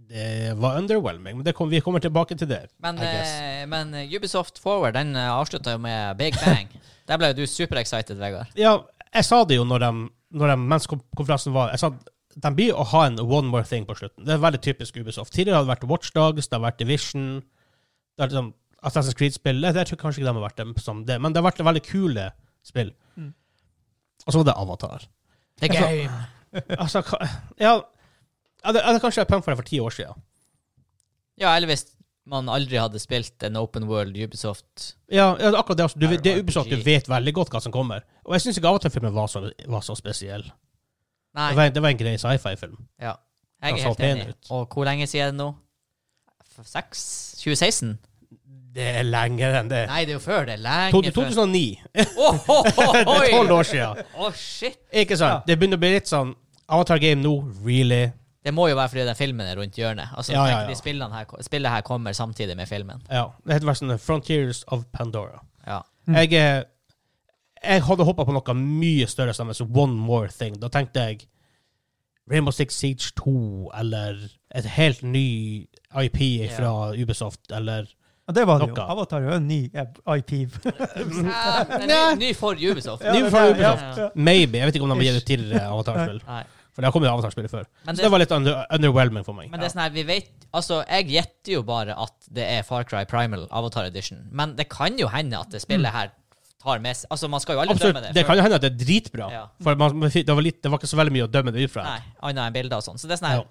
Det var underwhelming, men det kom, vi kommer tilbake til det. Men, I guess. eh, men eh, Ubisoft Forward den eh, avslutta jo med Big Bang. Der ble jo du superexcited, Vegard. Ja, jeg sa det jo når de, når de mens kon- konferansen var Jeg sa de blir å ha en one more thing på slutten. Det er veldig typisk Ubisoft. Tidligere har det vært Watchdogs, det har vært Division, det har vært sånn Assassin's Creed-spill Jeg tror kanskje ikke de har vært dem som det, men det har vært veldig kule spill. Mm. Og så var det Avatar. The game. Altså, ka- ja jeg hadde, jeg hadde kanskje vært punk for det for ti år siden. Ja, eller hvis man aldri hadde spilt en open world Ubisoft Ja, ja, det er akkurat det. Altså, du, vet- det er RPG. Ubisoft, du vet veldig godt hva som kommer. Og jeg syns ikke Avatar-filmen var, så- var så spesiell. Det Nei, var, det var en grei sci-fi-film. ja. jeg er Den så helt pen enig. ut. Og hvor lenge siden er det nå? F- Seks? 2016? Det er lenger enn det. Nei, det er jo før det. Lenge før. 2009. Oh, ho, ho, Det er sånn. tolv ho, år siden. Å, shit! Ikke sant? Det begynner å bli litt sånn Avatar Game nå, really? Det må jo være fordi den filmen er rundt hjørnet. Altså, Ja, ja, tenk, ja. De spillene her, spillet her kommer samtidig med filmen. Ja. Det heter bare sånn Frontiers of Pandora. Ja. Jeg, eh, jeg hadde håpa på noe mye større som en sånn One More Thing. Da tenkte jeg Rainbow Six Siege 2 eller et helt ny IP fra Ubisoft eller Og det var det jo. Noe. Avatar er jo en ny eh, IP. Eh, den er ny, ny for Ubisoft. Ny det fra er- Ubisoft. ja. Maybe. Jeg vet ikke om de har gitt ut tidligere Avatar-spill. Nei. For det har kommet Avatar-spill før. Men Så det- det var litt under underwhelming for meg. Men det er sånn her, vi vet Altså, jeg gjetter jo bare at det er Far Cry Primal Avatar Edition, men det kan jo hende at det spillet her tar med seg Altså, man skal jo aldri Mm. Absolutt. dømme det. Det for- kan jo hende at det er dritbra. Ja. For man, man fikk- det, var litt, det var ikke så veldig mye å dømme det ut fra. Nei, annet enn bilder og sånn. Så det er sånn her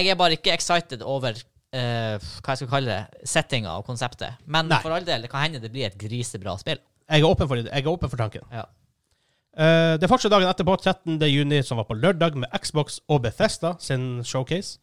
Jeg er bare ikke excited over eh, hva jeg skal kalle det, settinga og konseptet. Men Nei. for all del, det kan hende det blir et grisebra spill. Jeg er åpen for, det. Jeg er åpen for tanken. Ja. Eh, det fortsatte dagen etterpå, 13. juni, som var på lørdag, med Xbox og Bethesda sin showcase.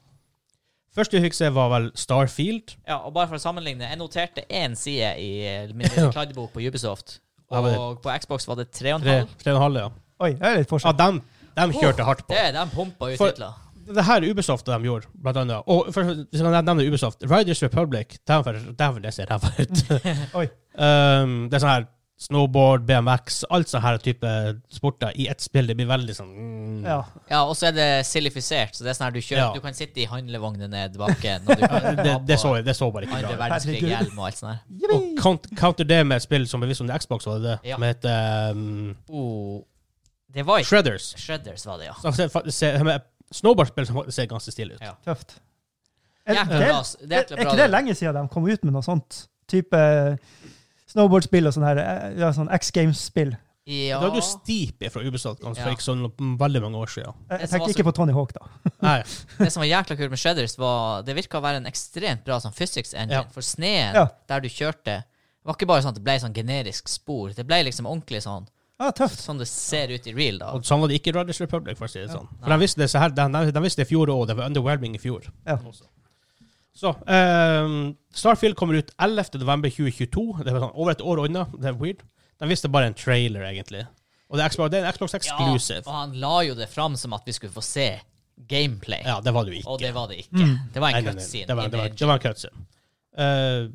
Første vi fikk se, var vel Starfield. ja, og bare for å sammenligne, jeg noterte én side i eh, min lille kladdebok på Ubisoft, Ja, men- og på Xbox var det tre og en Tre, halv. tre og en halv, ja. Oi, det er litt ja forskjell. dem, dem kjørte hardt på. Det er de pumpa ut For- titler. Det her Ubisoft de gjorde, blant annet. Og først, hvis jeg nevner Ubisoft, Riders Republic, dæven, dæven, det ser ræva ut. Ah. Oi. Um, det er sånn her snowboard, BMX, alt sånn her type sporter i ett spill. Det blir veldig sånn mm. Ja. Ja, og så er det silifisert. Så det er sånn her du kjører Ja. Du kan sitte i handlevognen ned bakken, og du kan det, ha på det, så, jeg- det så bare ikke andre bra ut. verdenskrig-hjelm og alt sånt her. Og count- counter det med et spill som er vist om det er Xbox, var det det? Ja. Som heter um, Oh, det var ikke Shredders. Shredders, var det, ja. Som ser faktisk- ser- med Snowboardspill som faktisk ser ganske stilig ut. Ja. Tøft. Er, Jækla det, bra, det er er, jækla er bra, ikke det det. lenge siden de kom ut med noe sånt? Type eh, snowboardspill og sånn her, eh, ja, sånn X Games-spill. ja. Da er du steep fra Ubisoft ganske Ja. for ikke så veldig mange år siden. Jeg, Det jeg som var tenker så- ikke på Tony Hawk, da. Nei. Det som var jækla kult med Shredders, var det virka å være en ekstremt bra sånn physics engine. Ja. For sneen Ja. der du kjørte, var ikke bare sånn at det ble sånn generisk spor. Det ble liksom ordentlig sånn Ja, Ah, tøft. Sånn det ser ut i real, da. Og sånn var det ikke i Riders Republic, for å si det sånn. For de visste det, så her, de, de visste det i fjor òg. Det var underwhelming i fjor. Sånn- Ja. Så ehm, Starfield kommer ut 11. november 2022. Det var sånn over et år unna. Det er weird. De visste bare en trailer, egentlig. Og det er, Xbox, det er en Xbox Exclusive. og han la jo det fram som at vi skulle få se gameplay, Ja, det var det jo ikke. og det var det ikke. Det var Nei, en nei, nei, cutscene. Det var, det var, image. det var en cutscene. Eh,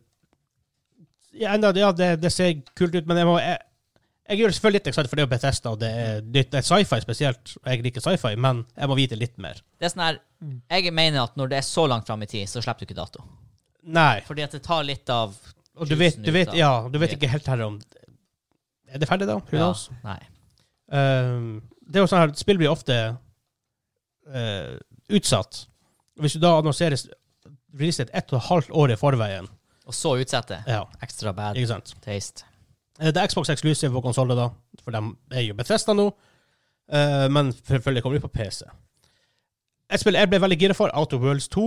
ja, enda, ja det, det ser kult ut, men jeg må jeg, jeg gjør det selvfølgelig litt eksakt, for det er jo Bethesda, og det er, nytt- det er sci-fi spesielt. og Jeg liker sci-fi, men jeg må vite litt mer. Det er sånn her Jeg mener at når det er så langt fram i tid, så slipper du ikke dato. Nei. Fordi at det tar litt av Og du vet, juicen du ut vet, av- ja, du vet ikke helt her om Er det ferdig, da? Who Ja, knows? Nei. Ehm, det er jo sånn her, Spill blir ofte eh, utsatt. Hvis du da annonseres releaset ett og et halvt år i forveien Og så utsette. ja, Ekstra bad ikke sant? taste. Eh, Det er Xbox Exclusive på konsoller, da. For de er jo Bethesda nå. Eh, men selvfølgelig kommer de på PC. Et spill jeg ble veldig gira for, Out of Worlds 2.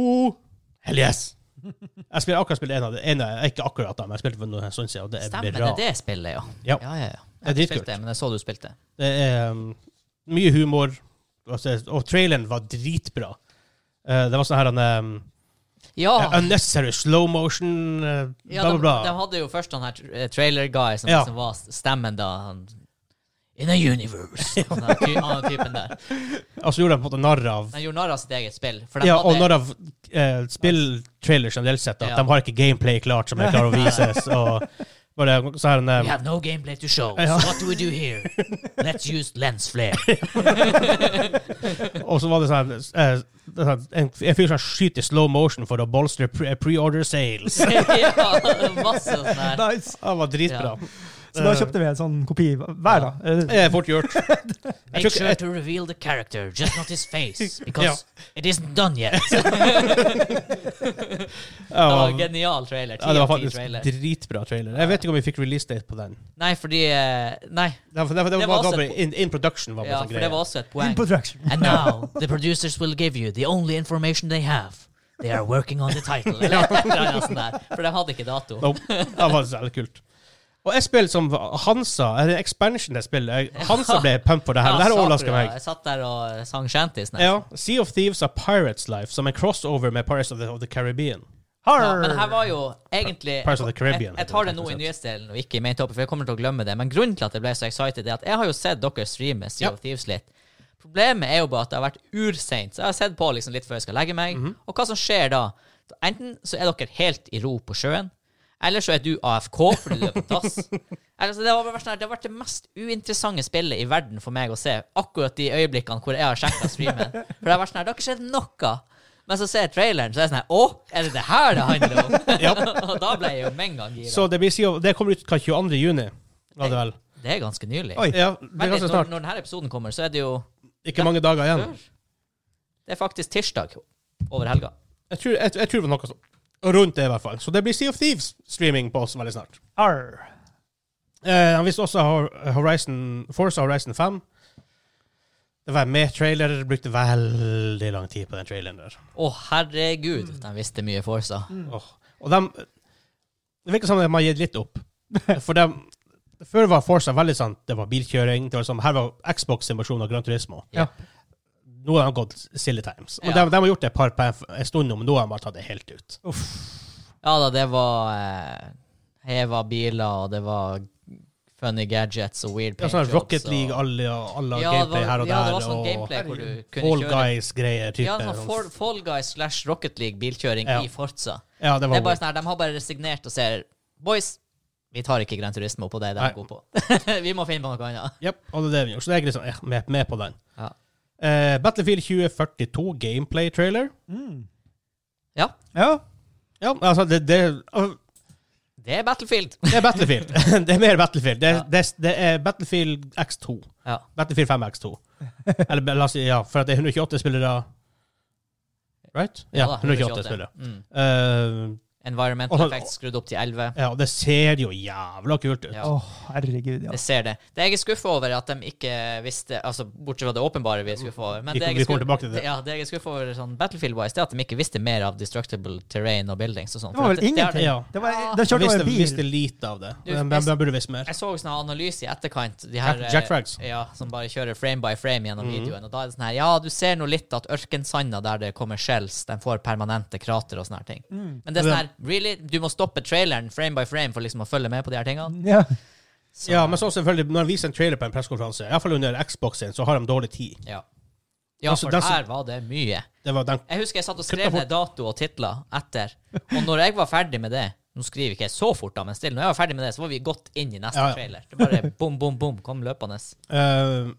Hell yes! Jeg spiller akkurat spill en av det ene. Ikke akkurat, da, men jeg spilte for noen stunder siden, og det er Stemmer, det bra. er det spillet, ja. Ja. ja, ja, ja. Det er Jeg har ikke dritkult. spilt det, men jeg så du spilte. Det er um, mye humor, altså, og traileren var dritbra. Eh, det var sånn her han um, Ja! Unnecessary slow motion, eh, Ah. Ja, bla, de, bla, bla. de hadde jo først han her tr- eh, trailer guy som Ja. liksom var s- stemmen da han In a universe. Den der ty han typen der. Og så gjorde de på en måte narr av De gjorde narr av sitt eget spill. For de ja, og hadde, når av eh, spilltrailers generelt sett, at Ja. de har ikke gameplay klart som er klar å vises, og bare så her en We eh, have no gameplay to show. Ja. So what do we do here? Let's use lens flare. Og så var det sånn eh, det er sånn, en, en fyr som skyter i slow motion for å bolstre pre- pre-order sales. ja, masse sånn her. Nice. Det var dritbra. Så da kjøpte vi en sånn kopi hver, da. Eh, Eh, fort gjort. Make sure to reveal the character, just not his face, because it isn't done yet. Ja, Det var en det var- genial trailer. ja, det var 10 av 10 faktisk trailer. dritbra trailer. Jeg vet ikke om vi fikk release date på den. Nei, fordi eh, Nei, Det var, det var, det Det var, var også bare et- in, in production var bare ja, sånn for det greie. var også et poeng. In production. And now the producers will give you the only information they have. They are working on the title. Eller et eller annet sånt der. For de hadde ikke dato. Nope. Det var særlig kult. Og et spill som Hansa Er det expansion jeg spiller? Hansa ble pumped for det her. Det her sa du overrasker da? meg. Jeg satt der og sang shanties. nesten. Ja. Sea of Thieves er Pirates Life, som en crossover med Pirates of the, of the Caribbean. Ja, men her var jo egentlig Pirates of the Caribbean, Jeg, jeg tar det nå i heter det, nyhetsdelen og ikke i main topic, for jeg kommer til å glemme det. Men grunnen til at jeg ble så excited, er at jeg har jo sett dere streame Sea Ja. of Thieves litt. Problemet er jo bare at det har vært urseint. Så jeg har sett på liksom litt før jeg skal legge meg. Mhm. Og hva som skjer da? Enten så er dere helt i ro på sjøen, eller så er du AFK fordi du er på dass. Eller så det, har bare vært sånn her, det har vært det mest uinteressante spillet i verden for meg å se. Akkurat de øyeblikkene hvor jeg har sjekka streamen. For det har vært sånn her, det har ikke skjedd noe. Men så ser jeg traileren, så er jeg sånn her Å, er det det her det handler om? og da ble jeg jo med en gang gira. Så det, blir sea of, det kommer ut hva, 22. juni. Var det vel? Det er ganske nylig. Oi. Ja, det Men er litt, ganske når, snart. når denne episoden kommer, så er det jo Ikke mange dager igjen. før. Det er faktisk tirsdag over helga. Jeg tror, jeg, jeg tror det var noe sånt rundt det, i hvert fall. Så det blir Sea of Thieves-streaming på oss veldig snart. Arr. Eh, han visste også Hor- Horizon, Forza Horizon 5. Det var med trailer. Brukte veldig lang tid på den traileren der. Å, herregud, Mm. de visste mye Forsa. Åh. Og dem Det virker som de har gitt litt opp. For dem Før var Forza veldig sånn Det var bilkjøring. Det var sånn, her var Xbox sin versjon av Gran Turismo. Ja. Nå har de gått silly times. Og Ja. de, de har gjort det et par par en stund nå, men nå har de bare tatt det helt ut. Ja da, det var eh, heva biler, og det var funny gadgets og weird Det var paint sånn jobs, Rocket og- League, alle, alle Ja, det var- gameplay her og der. Ja, det var sånn og gameplay hvor du kunne Fall kjøre Guys-greier. type. Ja, sånn Fall, Fall Guys slash Rocket League bilkjøring Ja. i Forza. Ja, det Det var er bare sånn her, De har bare resignert og ser Boys, vi tar ikke Gran Turismo på det de Nei. er gode på. vi må finne på noe annet. Jep, og det er det vi gjør. Så jeg er liksom eh, med, med på den. Ja. Eh, Battlefield 2042 gameplay-trailer. Ja, Mm. Ja. Ja, altså, det, det, eh, det er Battlefield. det er Battlefield. det er mer Battlefield. Det, Ja. det, det er Battlefield X2. Ja. Battlefield 5 X2. Eller la oss si, ja, for at det er 128 spillere Right? Ja, da, 128 spillere. Mm. Eh, Environmental Og- effects skrudd opp til 11. Ja, og det ser jo jævla kult ut. Ja. Å, herregud, ja. Jeg ser det. Det jeg er skuffa over, er at de ikke visste altså Bortsett fra det åpenbare vi er skuffa over. Men Vi det jeg kommer- vi er skuff- kommer tilbake til det. Ja, det jeg er skuffa over sånn Battlefield-wise, det er at de ikke visste mer av destructible terrain og buildings og sånn. Det var For vel at det- det er- ingenting. ja. Det var, de Jeg kjørte over visste, en visste bil. lite av det. Du, Men jeg- de burde visst mer. Jeg så sånn her analyse i etterkant. De her, Jack- Jack Mhm. Frags. eh, Ja, som bare kjører frame by frame gjennom videoen. Og da er det sånn her Ja, du ser nå litt at ørkensanda der det kommer shells, den får permanente krater og sånne her ting. Mm. Men det er sånn her Really? Du må stoppe traileren frame by frame for liksom å følge med på de her tingene? Ja. Ja, men så selvfølgelig, når de viser en trailer på en pressekonferanse, iallfall under Xbox sin, så har de dårlig tid. Ja. Ja, Altså, for det er så- her var det mye. Det var den Jeg husker jeg satt og Kutta skrev fort. ned dato og titler etter. Og når jeg var ferdig med det Nå skriver ikke jeg så fort, da, men still, når jeg var ferdig med det, så var vi godt inn i neste Ja, ja. trailer. Det bare bom, bom, bom, kom løpende. Eh,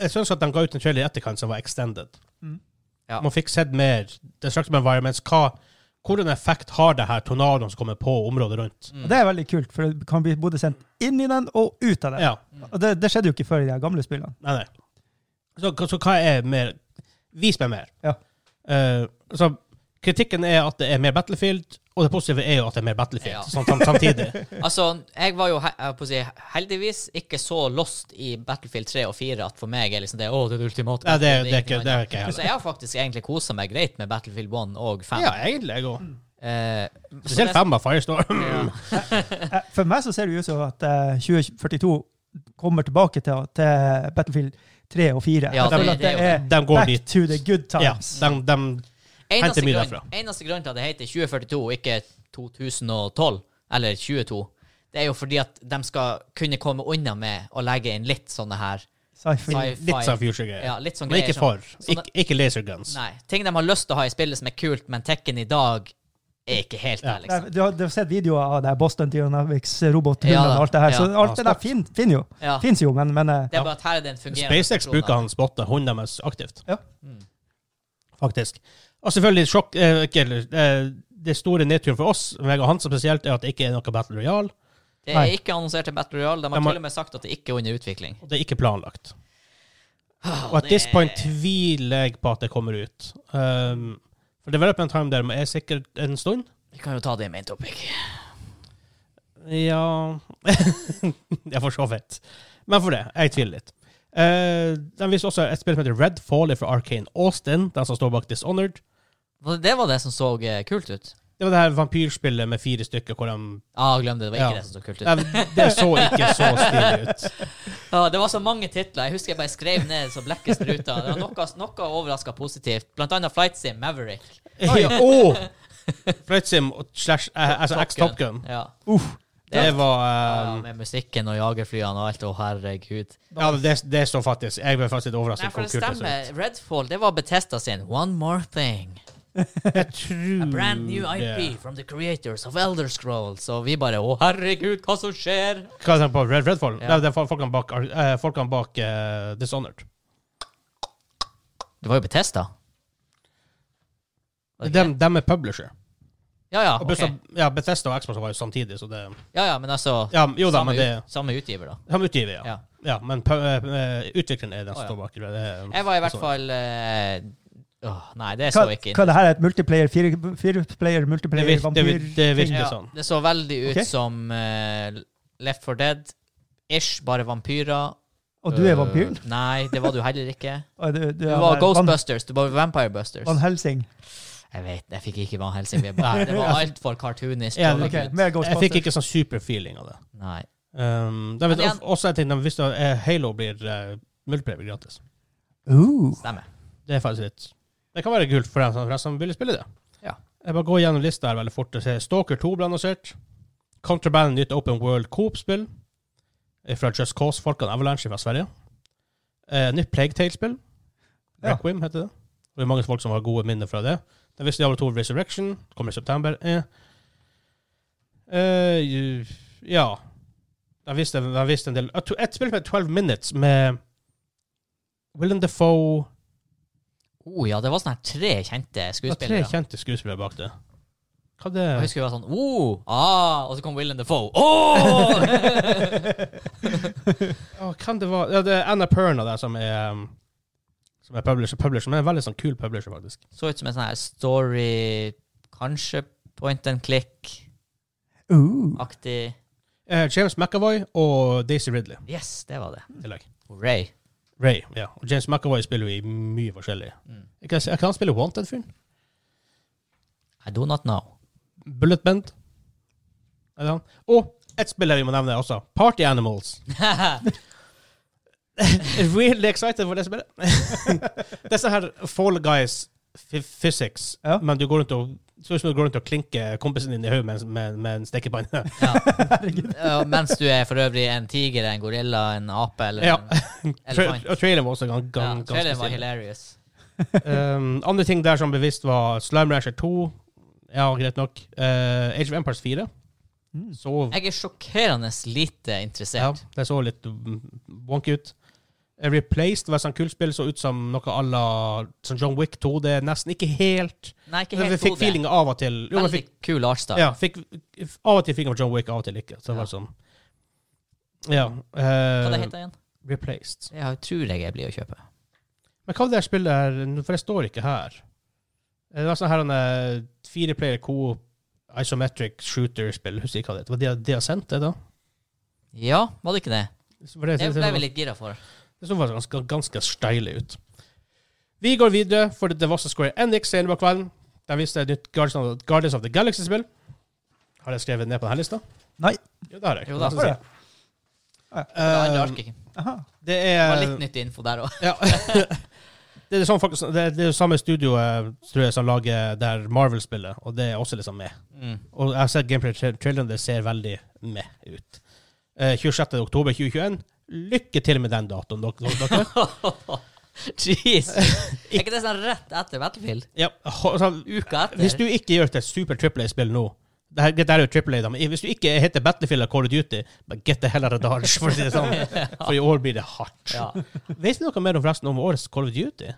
jeg syns at de ga ut en trailer i etterkant som var extended. Mm. Ja. Man fikk sett mer destructive environments. Hva, hvordan effekt har det her tornadoen som kommer på området rundt? Og Det er veldig kult, for det kan bli både sendt inn i den og ut av den. Ja, Og det, det skjedde jo ikke før i de her gamle spillene. nei, nei. Så, så hva er mer Vis meg mer. Ja. Eh, så kritikken er at det er mer Battlefield, og det positive er jo at det er mer Battlefield Ja. sam- sam- samtidig. Altså, jeg var jo he jeg holdt på å si, heldigvis ikke så lost i Battlefield 3 og 4 at for meg er liksom det Å, det er det ultimate. Nei, det, Battlefield, det, er ikke, ingenting det er annet. ikke jeg Så heller. jeg har faktisk egentlig kosa meg greit med Battlefield 1 og 5. Ja, egentlig. Jeg Mm. òg. Eh, så Spesielt det- sånn- fem av Firestorm. Eh, For meg så ser det jo ut som at eh, 2042 kommer tilbake til, til Battlefield 3 og 4. Ja, Jeg føler det- at det er jo det. De går back dit. to the good Ja, times. de, de, Eneste Henter mye grunn, derfra. eneste grunn til at det heter 2042 og ikke 2012, eller 22, det er jo fordi at de skal kunne komme unna med å legge inn litt sånne her Sci-fi. sci-fi. litt sånn future-greier. Ja, litt sånn Men ikke greier for. sånn- Ikke, ikke laser guns. Nei. Ting de har lyst til å ha i spillet som er kult, men tekken i dag er ikke helt der, Nei, liksom. Du, har, du har sett videoer av det her Boston Dynamics, robothundene Ja da, og alt det her. Så ja. alt det Ja, der fin, finner jo. Ja. Finnes jo, men, men eh, Det er bare at her er Mm. det en fungerende SpaceX funksjon, bruker da. han spotta hunden deres aktivt. Ja. Faktisk. Og selvfølgelig sjokk eh, ikke, eller, eh, Det store nedturen for oss, meg og Hansa spesielt, er at det ikke er noe Battle Royale. Det Nei. er ikke annonsert til Battle Royale. De har De har- til og med sagt at det ikke er under utvikling. Ah, Og det er ikke planlagt. Og at det- this point tviler jeg på at det kommer ut. Um, for development time der er sikkert en stund. Vi kan jo ta det i main topic. Ja Det er for så vidt. Men for det, jeg tviler litt. Eh, de viser også et spill som heter Red Fall fra Arcane Austin, den som står bak Dishonored. Det var det som så eh, kult ut. Det var det her vampyrspillet med fire stykker hvor de Ah, glem det. Det var ikke Ja. det som så kult ut. Nei, Det så ikke så stilig ut. Ja, det var så mange titler. Jeg husker jeg bare skrev ned så blekket spruta. Det var noe, noe overraska positivt. Blant annet Flight Sim Maverick. Ja, oh! Flight Sim og slash eh, altså Top X Top Gun. Ja. Det var ja, eh, Med musikken og jagerflyene og alt. Å, herregud. Ja, det, det så faktisk Jeg ble faktisk litt Nei, overrasket. for hvor det kult det så stemmer. Redfall, det var Betesta sin One More Thing. ut. Jeg tror A brand new IP from the creators of Elder Scrolls. Og vi bare Å, herregud, hva som skjer? Hva er det på Red Redfall? Ja. Nei, Det er fol- folkene bak, Ar- eh, folkene bak eh, Dishonored. Det var jo Betesta. De, de er publisher. Ja ja, Ah, Og ok. Bethesda- ja, Bethesda og Xbox var jo samtidig, så det ja, ja, men altså Ja, jo da, samme, men ut- det samme utgiver, da. Han utgiver, ja. Ja. ja men pu- eh, utvikleren er den Å, som ja. står bak. eh, Jeg var i hvert Dishonored. fall eh, åh, Nei, det så hva, ikke inn. hva det her er et multiplayer, fire, fire player, multiplayer, Det vir- det vir- det virker vampyr- Ja, sånn. Det så veldig ut Ok. som eh, Left for Dead. Ish, bare vampyrer. Og du Eh, er vampyren? nei, det var du heller ikke. Og du, du Du er var der- Van, Ghostbusters. Du var Vampire Busters. Van Helsing. Jeg vet, jeg fikk ikke Van Helsing. vi bare- Det var altfor cartoonisk. Ja, jolly Ok, good. mer Jeg Ghostbusters. fikk ikke sånn superfeeling av det. Nei. Um, de vet, Men igjen- også en ting de visste at eh, Halo blir uh, multiplayer gratis. Uh, Stemmer. Det er faktisk litt Det kan være kult for dem som, for dem som ville spille det. Ja. Jeg bare går gjennom lista her veldig fort og ser Stalker 2 ble annonsert. Contraband nytt Open World Coop-spill eh, fra Just Cause-folkene Avalanche fra Sverige. Eh, nytt Plague Tale-spill. Ja. Requiem heter det. Og det er mange folk som har gode minner fra det. Den visste Diablo 2 Resurrection kommer i september. Eh. Eh, ju- ja Jeg visste, jeg visste en del Eh, to- Et spill med 12 Minutes med Willem Defoe Oh, ja, det var sånn her tre kjente Det var tre skuespillere. kjente skuespillere bak det. Hva det Jeg husker det var sånn oh, ah, Og så kom Willem Defoe. Oh! Å, Hvem det var? Ja, det er Anna Perna der som er um, Som er publisher. publisher men en veldig sånn kul publisher, faktisk. så ut som en sånn her story Kanskje Point and click-aktig. Uh, Eh, James McAvoy og Daisy Ridley. Yes, det var det. i tillegg. Hooray. Ray, ja. Og James McAvoy spiller jo i mye forskjellig. Mm. Jeg Kan, jeg kan han spille Wanted-fyren? I do not know. Bullet Bend? Er det han? Og ett spill jeg må nevne også. Party Animals. Really excited for det spillet. det er sånn her Fall Guys phy- physics, Ja. men du går rundt og ser ut som du går rundt og klinker kompisen din i hodet med, en- med, med en stekepanne. Ja. Ja, mens du er for øvrig en tiger, en gorilla, en ape eller Ja. en elefant. Tra- Og traileren var også gan, gan, Ja, ganske traileren var stilig. hilarious. Um, andre ting der som bevisst var Slime Rancher 2. Ja, greit nok. Eh, Age of Empires 4. mm. Så Jeg er sjokkerende lite Ja, interessert. det så litt mm, wonky ut. Eh, Replaced var et sånt kult spill, så ut som noe à la sånn John Wick 2. Det er nesten ikke helt Nei, ikke Men Vi helt fikk god. feeling av og til. Jo, men Veldig fikk, kul artstyle. ja, fikk, av og til fikk jeg John Wick, av og til ikke. Så det var Ja. sånn. Ja. Hva det Eh, heter det igjen? replaced. Jeg tror jeg jeg blir å kjøpe. Men hva er det her spillet her For det står ikke her. Det var sånn her en eh, fireplayer co isometric shooter-spill. Husker ikke hva det heter. Var det det jeg sendte, da? Ja, var det ikke det? Var Eh, det- Det ble vi litt gira for. Det så faktisk ganske, ganske steilig ut. Vi går videre, for det var også Square Enix senere på kvelden. Der viste et nytt Guardians of, Guardians of the Galaxy-spill. Har jeg skrevet ned på denne lista? Nei. Jo, det har jeg. Jo da. Var det? Det Eh, var, ikke. Aha. det Det er var litt nyttig info der òg. ja. Det er det, samme faktisk, det, er det samme studioet tror jeg, som lager der Marvel spiller, og det er også liksom med. Mm. Og jeg har sett gameplay-traileren, det ser veldig med ut. Eh, 26. oktober 2021. Lykke til med den datoen, dere. dere. Jeez. Er ikke det sånn rett etter Battlefield? Ja, altså, Uka etter? Hvis du ikke gjør et super triple A-spill nå det her, det her er jo triple A, da, men Hvis du ikke heter Battlefield eller Call of Duty, but get the hell out of Dodge, for å si det sånn. For i år blir det hardt. ja. Vet du noe mer om forresten om årets Call of Duty?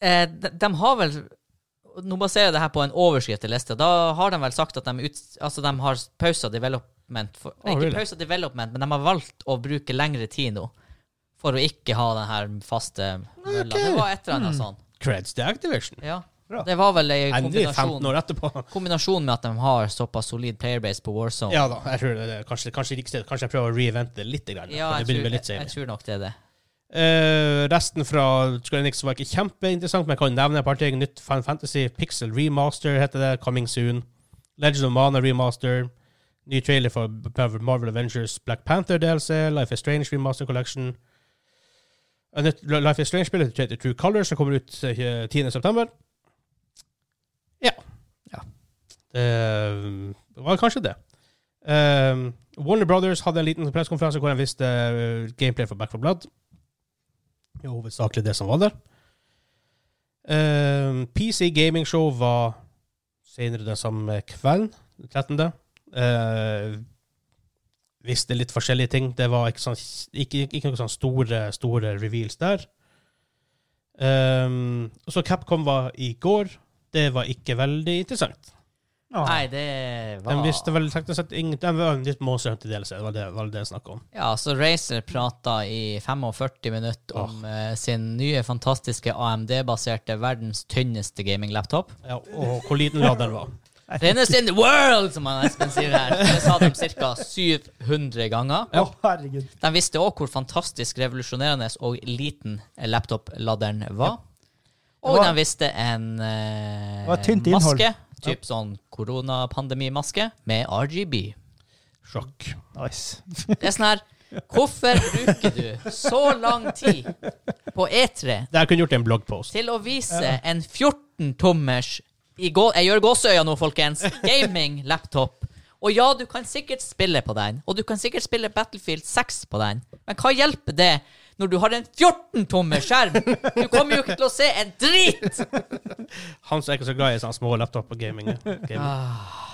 eh, de, de har vel Nå baserer jeg det her på en overskrift i lista. Da har de vel sagt at de, ut, altså de har pausa development for, Oh, Ikke really? pausa development, men de har valgt å bruke lengre tid nå. For å ikke ha den her faste mølla. Det var et eller annet Hmm. sånn. Creds til Activision. Ja. Bra. Det var vel en Endelig 15 kombinasjon, år etterpå. kombinasjon med at de har såpass solid playerbase på Warzone. Ja da, jeg tror det er kanskje, kanskje riktig. Kanskje jeg prøver å reinvente det litt. Grann, da, Ja, for jeg, det begynner å tror, bli litt jeg, seint. jeg tror nok det er det. Eh, resten fra Square Enix var ikke kjempeinteressant, men jeg kan nevne et par ting. Nytt Fan Fantasy Pixel Remaster heter det. Coming soon. Legend of Mana Remaster. Ny trailer for B- B- Marvel Avengers Black Panther DLC. Life is Strange Remaster Collection. Et nytt L- Life is Strange-spill heter True Colors, som kommer ut eh, 10. september. Ja. Ja. Det var kanskje det. Eh, Warner Brothers hadde en liten pressekonferanse hvor de viste eh, gameplay for Back for Blood. Det er hovedsakelig det som var der. Ehm, PC Gaming Show var senere den samme kvelden, den 13. Uh, visste litt forskjellige ting. Det var ikke, sånn, ikke, ikke noen sånne store, store reveals der. Ehm, så Capcom var i går. Det var ikke veldig interessant. Ja. Nei, det De var Ah. visste vel teknisk sett ingen, de var litt Monster Hunter-delelse. Det var det, var det jeg snakket om. Ja, så Razer prata i 45 minutter om eh, sin nye fantastiske AMD-baserte verdens tynneste gaming-laptop. Ja, og hvor liten laderen var. Thinnest in the world, som han Espen sier her. Det sa de ca. 700 ganger. Å, herregud. De visste òg hvor fantastisk revolusjonerende og liten laptop-ladderen var. Og Det var- de visste en eh, Det var tynt innhold. maske, typ sånn koronapandemimaske, med RGB. Sjokk. Nice. Det er sånn her Hvorfor bruker du så lang tid på E3 Det her kunne gjort en bloggpost. til å vise en 14-tommers i gå- Jeg gjør gåseøya nå, folkens. Gaming-laptop. Og ja, du kan sikkert spille på den, og du kan sikkert spille Battlefield 6 på den, men hva hjelper det når du har en 14-tommer skjerm? Du kommer jo ikke til å se en drit! Han som er ikke så glad i sånne små laptop og gaming. gaming.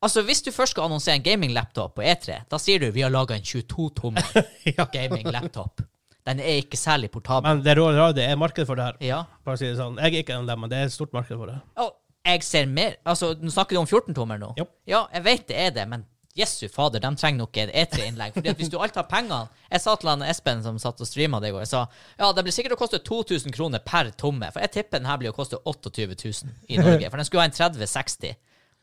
Altså, Hvis du først skal annonsere en gaming-laptop på E3, da sier du vi har laga en 22-tommer Ja. gaming-laptop. Den er ikke særlig portabel. Men det er rare, det er marked for det her. Ja. Bare å si det sånn. Jeg er ikke en av dem, men det er et stort marked for det. Og jeg ser mer Altså, nå snakker du om 14-tommer nå. Jo. Ja, jeg vet det er det, men jesu fader, de trenger nok et E3-innlegg. Fordi at hvis du alt har pengene Jeg sa til han Espen som satt og streama det i går, jeg sa ja, det blir sikkert å koste 2000 kroner per tomme. For jeg tipper den her blir å koste 28 000 i Norge. For den skulle ha en 3060.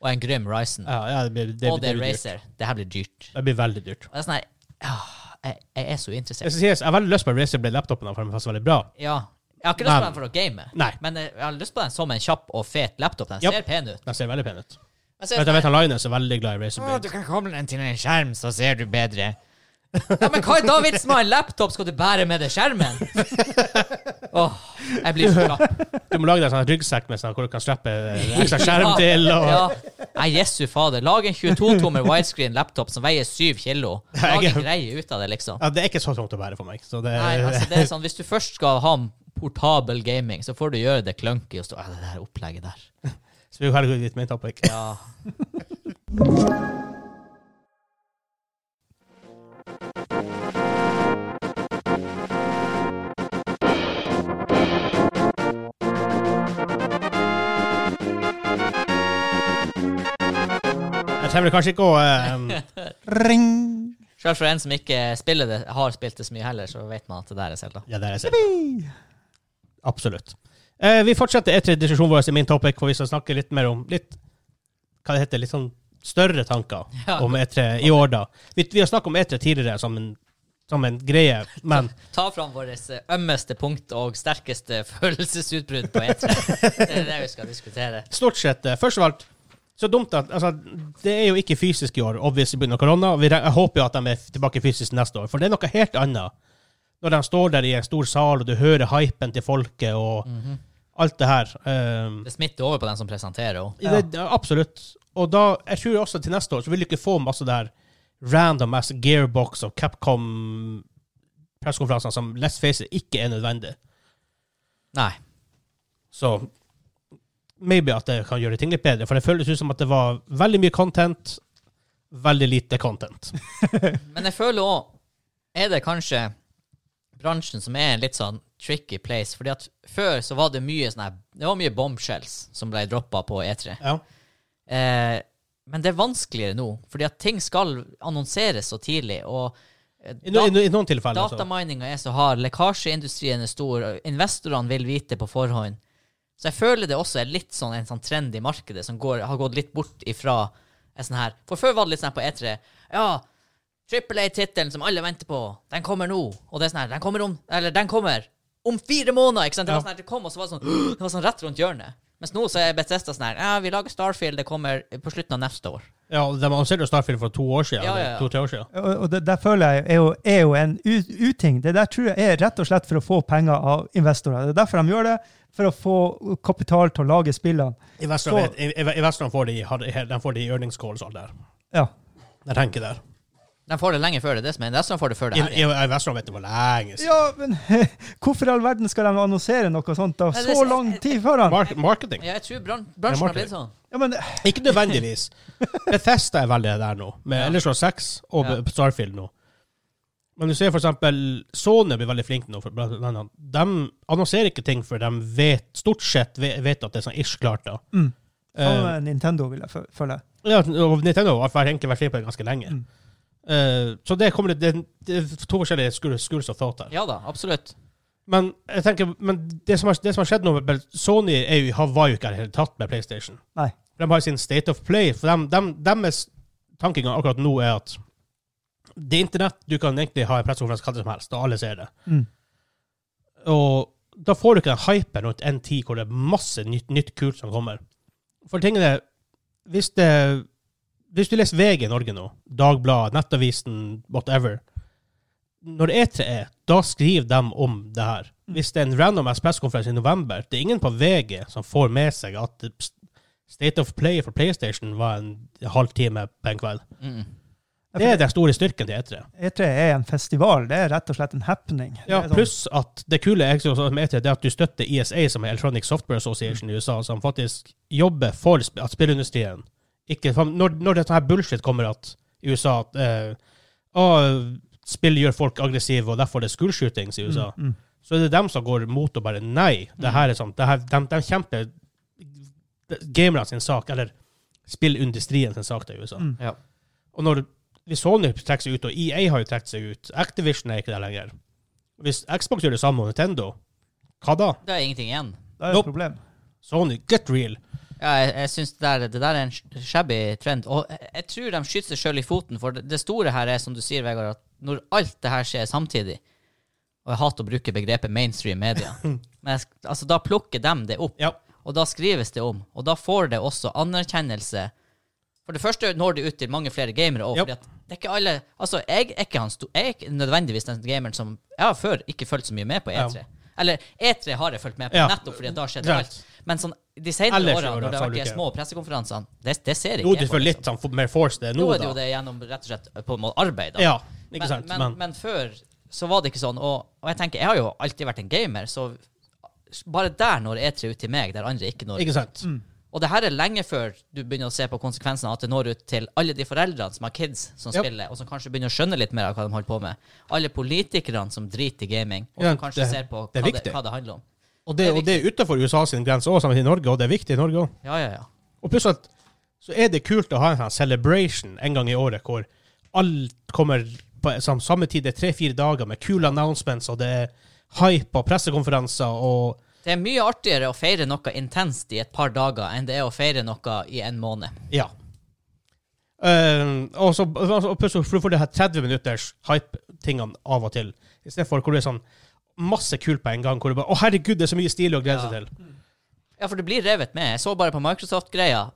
og en Grym Ryzen Ja, ja, det blir, det, og det blir er dyrt. Racer. Det her blir dyrt. Det blir veldig dyrt. Og det er sånn her ah, jeg, jeg er så Jeg, interessert. skal si, jeg har veldig lyst på en Razer Blade laptopen, for den er faktisk veldig bra. Ja. Jeg har ikke lyst på den for å game, Nei. men jeg jeg har lyst på den som en kjapp og fet laptop. Den Japp. ser pen ut. Den ser veldig pen ut. Jeg Jeg ser vet, jeg vet han Linus er veldig glad i Razer Blade. kan koble den til en skjerm, så ser du bedre. Ja, Men hva er da vitsen med en laptop? Skal du bære med deg skjermen? Åh, jeg blir så klapp. Du må lage deg en sånn ryggsekk med sånn, hvor du kan slippe eh, ekstra skjerm til. Og, Ja. Nei, jesu fader. Lag en 22-tommer widescreen laptop som veier 7 kilo. Lag en greie ut av det, liksom. ja, det er ikke så tungt å bære for meg. Så det, Nei, altså det er sånn, Hvis du først skal ha en portabel gaming, så får du gjøre det clunky og stå «Ah, Det der opplegget der. så vi har litt mer topic. Ja. Jeg trenger kanskje ikke å eh, Ring! Selv for en som ikke spiller det, har spilt det så mye heller, så vet man at det der er Zelda. Ja, det er Zelda. Absolutt. Eh, vi fortsetter etter diskusjonen vår i min topic, hvor vi skal snakke litt mer om litt hva det heter, litt sånn større tanker Ja. om E3 i år, da. Vi, vi har snakket om E3 tidligere som en, som en greie, men Ta fram vårt ømmeste punkt og sterkeste følelsesutbrudd på E3. Det er det vi skal diskutere. stort sett eh, Først av alt, så dumt at altså, Det er jo ikke fysisk i år, obviously pga. korona. Vi, re- jeg håper jo at de er tilbake fysisk neste år, for det er noe helt annet når de står der i en stor sal, og du hører hypen til folket og alt det her. Um, Det smitter over på den som presenterer henne. Ja. Det, det- absolutt. Og da, jeg tror også til neste år så vil du ikke få masse det her random ass gearbox og Capcom pressekonferanser som let's face it ikke er nødvendig. Nei. Så maybe at det kan gjøre ting litt bedre, for det føles ut som at det var veldig mye content, veldig lite content. Men jeg føler òg Er det kanskje bransjen som er en litt sånn tricky place? Fordi at før så var det mye sånn her Det var mye bombshells som ble droppa på E3. Ja. Eh, men det er vanskeligere nå, fordi at ting skal annonseres så tidlig. og eh, I, no, i, da- no, I noen tilfeller. altså. Datamininga er så hard, lekkasjeindustrien er stor, og investorene vil vite på forhånd. Så jeg føler det også er litt sånn en sånn trend i markedet som går, har gått litt bort ifra en sånn her For før var det litt sånn her på E3 Ja, Triple A-tittelen som alle venter på, den kommer nå. Og det er sånn her Den kommer om Eller, den kommer om fire måneder! Ikke sant? Det var Ja. sånn her, det kom, og så var det sånn Det var sånn rett rundt hjørnet. Mens nå så er Bethesda sånn her Ja, vi lager Starfield, det kommer på slutten av neste år. Ja, og de annonserte jo Starfield for to år siden. Ja, ja, ja. eller To-tre år siden. Og, og det der føler jeg er jo, er jo en u- uting. Det der tror jeg er rett og slett for å få penger av investorer. Det er derfor de gjør det, for å få kapital til å lage spillene. I Vestland, vet- i, i, i Vestland får de, har de- de får de earnings calls og alt det der. Ja. Jeg tenker der. De får det lenge før det, er det som er Nesten får det før I, det her. i, i Vestland vet du hvor lenge siden. ja, men hvorfor i all verden skal de annonsere noe sånt da Nei, det- så lang tid foran? Mark marketing. Ja, jeg tror bran bransjen har blitt sånn. Ja, men Ikke nødvendigvis. Bethesda er veldig der nå, med Ja. Ellers var Sex og Ja. Starfield nå. Men du ser for eksempel Sony blir veldig flink nå. For blant annet. De annonserer ikke ting før de vet, stort sett ve- vet at det er sånn ish klart. da. Mm. Eh, Samme Nintendo vil jeg fø- føle. eh. ja, og Nintendo har vært- egentlig vært flink på det ganske lenge. Mm. Eh, så det kommer litt, det, det er to forskjellige schools schools of thought her. Ja da, absolutt. Men jeg tenker, men det som har, det som har skjedd nå med Sony, er jo, har- var jo ikke i det hele tatt med PlayStation. Nei. De har sin state of play. For dem, dem, deres tankegang akkurat nå er at det er internett, du kan egentlig ha en pressekonferanse hva som helst, og alle ser det. Mm. Og da får du ikke den hypen rundt en tid hvor det er masse nytt, nytt kult som kommer. For tingene hvis, det, hvis du leser VG i Norge nå, Dagbladet, Nettavisen, whatever Når E3 er, da skriver de om det her. Hvis det er en random ass pressekonferanse i november, det er ingen på VG som får med seg at State of Play for PlayStation var en halvtime på en kveld. Mm. Det er den store styrken til E E3. E3 E er en festival. Det er rett og slett en happening. Det Ja, er sånn- pluss at det kule er, også med E3, det er at du støtter ESA, som er Electronic Software Association i USA, som faktisk jobber for sp- at spillindustrien ikke, for når, når dette her bullshit kommer at i USA at eh, «Å, spill gjør folk aggressive, og derfor er det school shootings i USA, Mm, mm. så er det dem som går mot og bare nei, det her er sånn, det her, de, de kjemper gamerne sin sak, eller spillindustrien sin sak til USA. Mm. Ja. Og når hvis Sony trekker seg ut, og EA har jo trukket seg ut, Activision er ikke der lenger. Hvis Xbox gjør det samme og Nintendo, hva da? Det er ingenting igjen. Det er Nope. et problem. Sony, get real. Ja, jeg, jeg syns det, der- det der er en sh- shabby trend. Og jeg, jeg tror de skyter seg sjøl i foten, for det, det store her er, som du sier, Vegard, at når alt det her skjer samtidig Og jeg hater å bruke begrepet mainstream media, men jeg, sk- altså, da plukker de det opp. Ja. Og da skrives det om. Og da får det også anerkjennelse. For det første når det ut til mange flere gamere. Og Ja. fordi at det er ikke alle Altså, jeg er ikke, han sto, jeg er ikke nødvendigvis den gameren som Jeg har før ikke fulgt så mye med på Ja. E3. Eller E3 har jeg fulgt med på, Ja. nettopp fordi at da skjedde Greit. alt. Men sånn, de senere Ellers i årene, år, da, når det har så har du vært de ikke- små pressekonferansene, det, det ser ikke Nå er jeg det på, for litt liksom. sånn, for mer force det er nå, Nå er det jo da. det gjennom rett og slett på en måte arbeid. Da. Ja, ikke men, sant. men, men, Men før så var det ikke sånn. Og, og jeg tenker, jeg har jo alltid vært en gamer, så bare der når E3 ut til meg, der andre ikke når ut. Ikke sant. Og det her er lenge før du begynner å se på konsekvensene at det når ut til alle de foreldrene som har kids som Yep. spiller, og som kanskje begynner å skjønne litt mer av hva de holder på med. Alle politikerne som driter i gaming, og Ja, som kanskje det- ser på det hva er det, viktig. hva det handler om. Og det, og det er utenfor USA sin grense også, sammen med Norge, og det er viktig i Norge òg. Ja, ja, ja. Og pluss at så er det kult å ha en sånn celebration en gang i året hvor alt kommer på sam- samme tid. Det er tre-fire dager med kule announcements, og det er hype og pressekonferanser og Det er mye artigere å feire noe intenst i et par dager enn det er å feire noe i en måned. Ja. Ehm, og så og plutselig får du det her 30 minutters hype-tingene av og til, i stedet for hvor det er sånn masse kult på en gang, hvor du bare Å, herregud, det er så mye stilig å glede seg Ja. til. Ja, for det blir revet med. Jeg så bare på Microsoft-greia.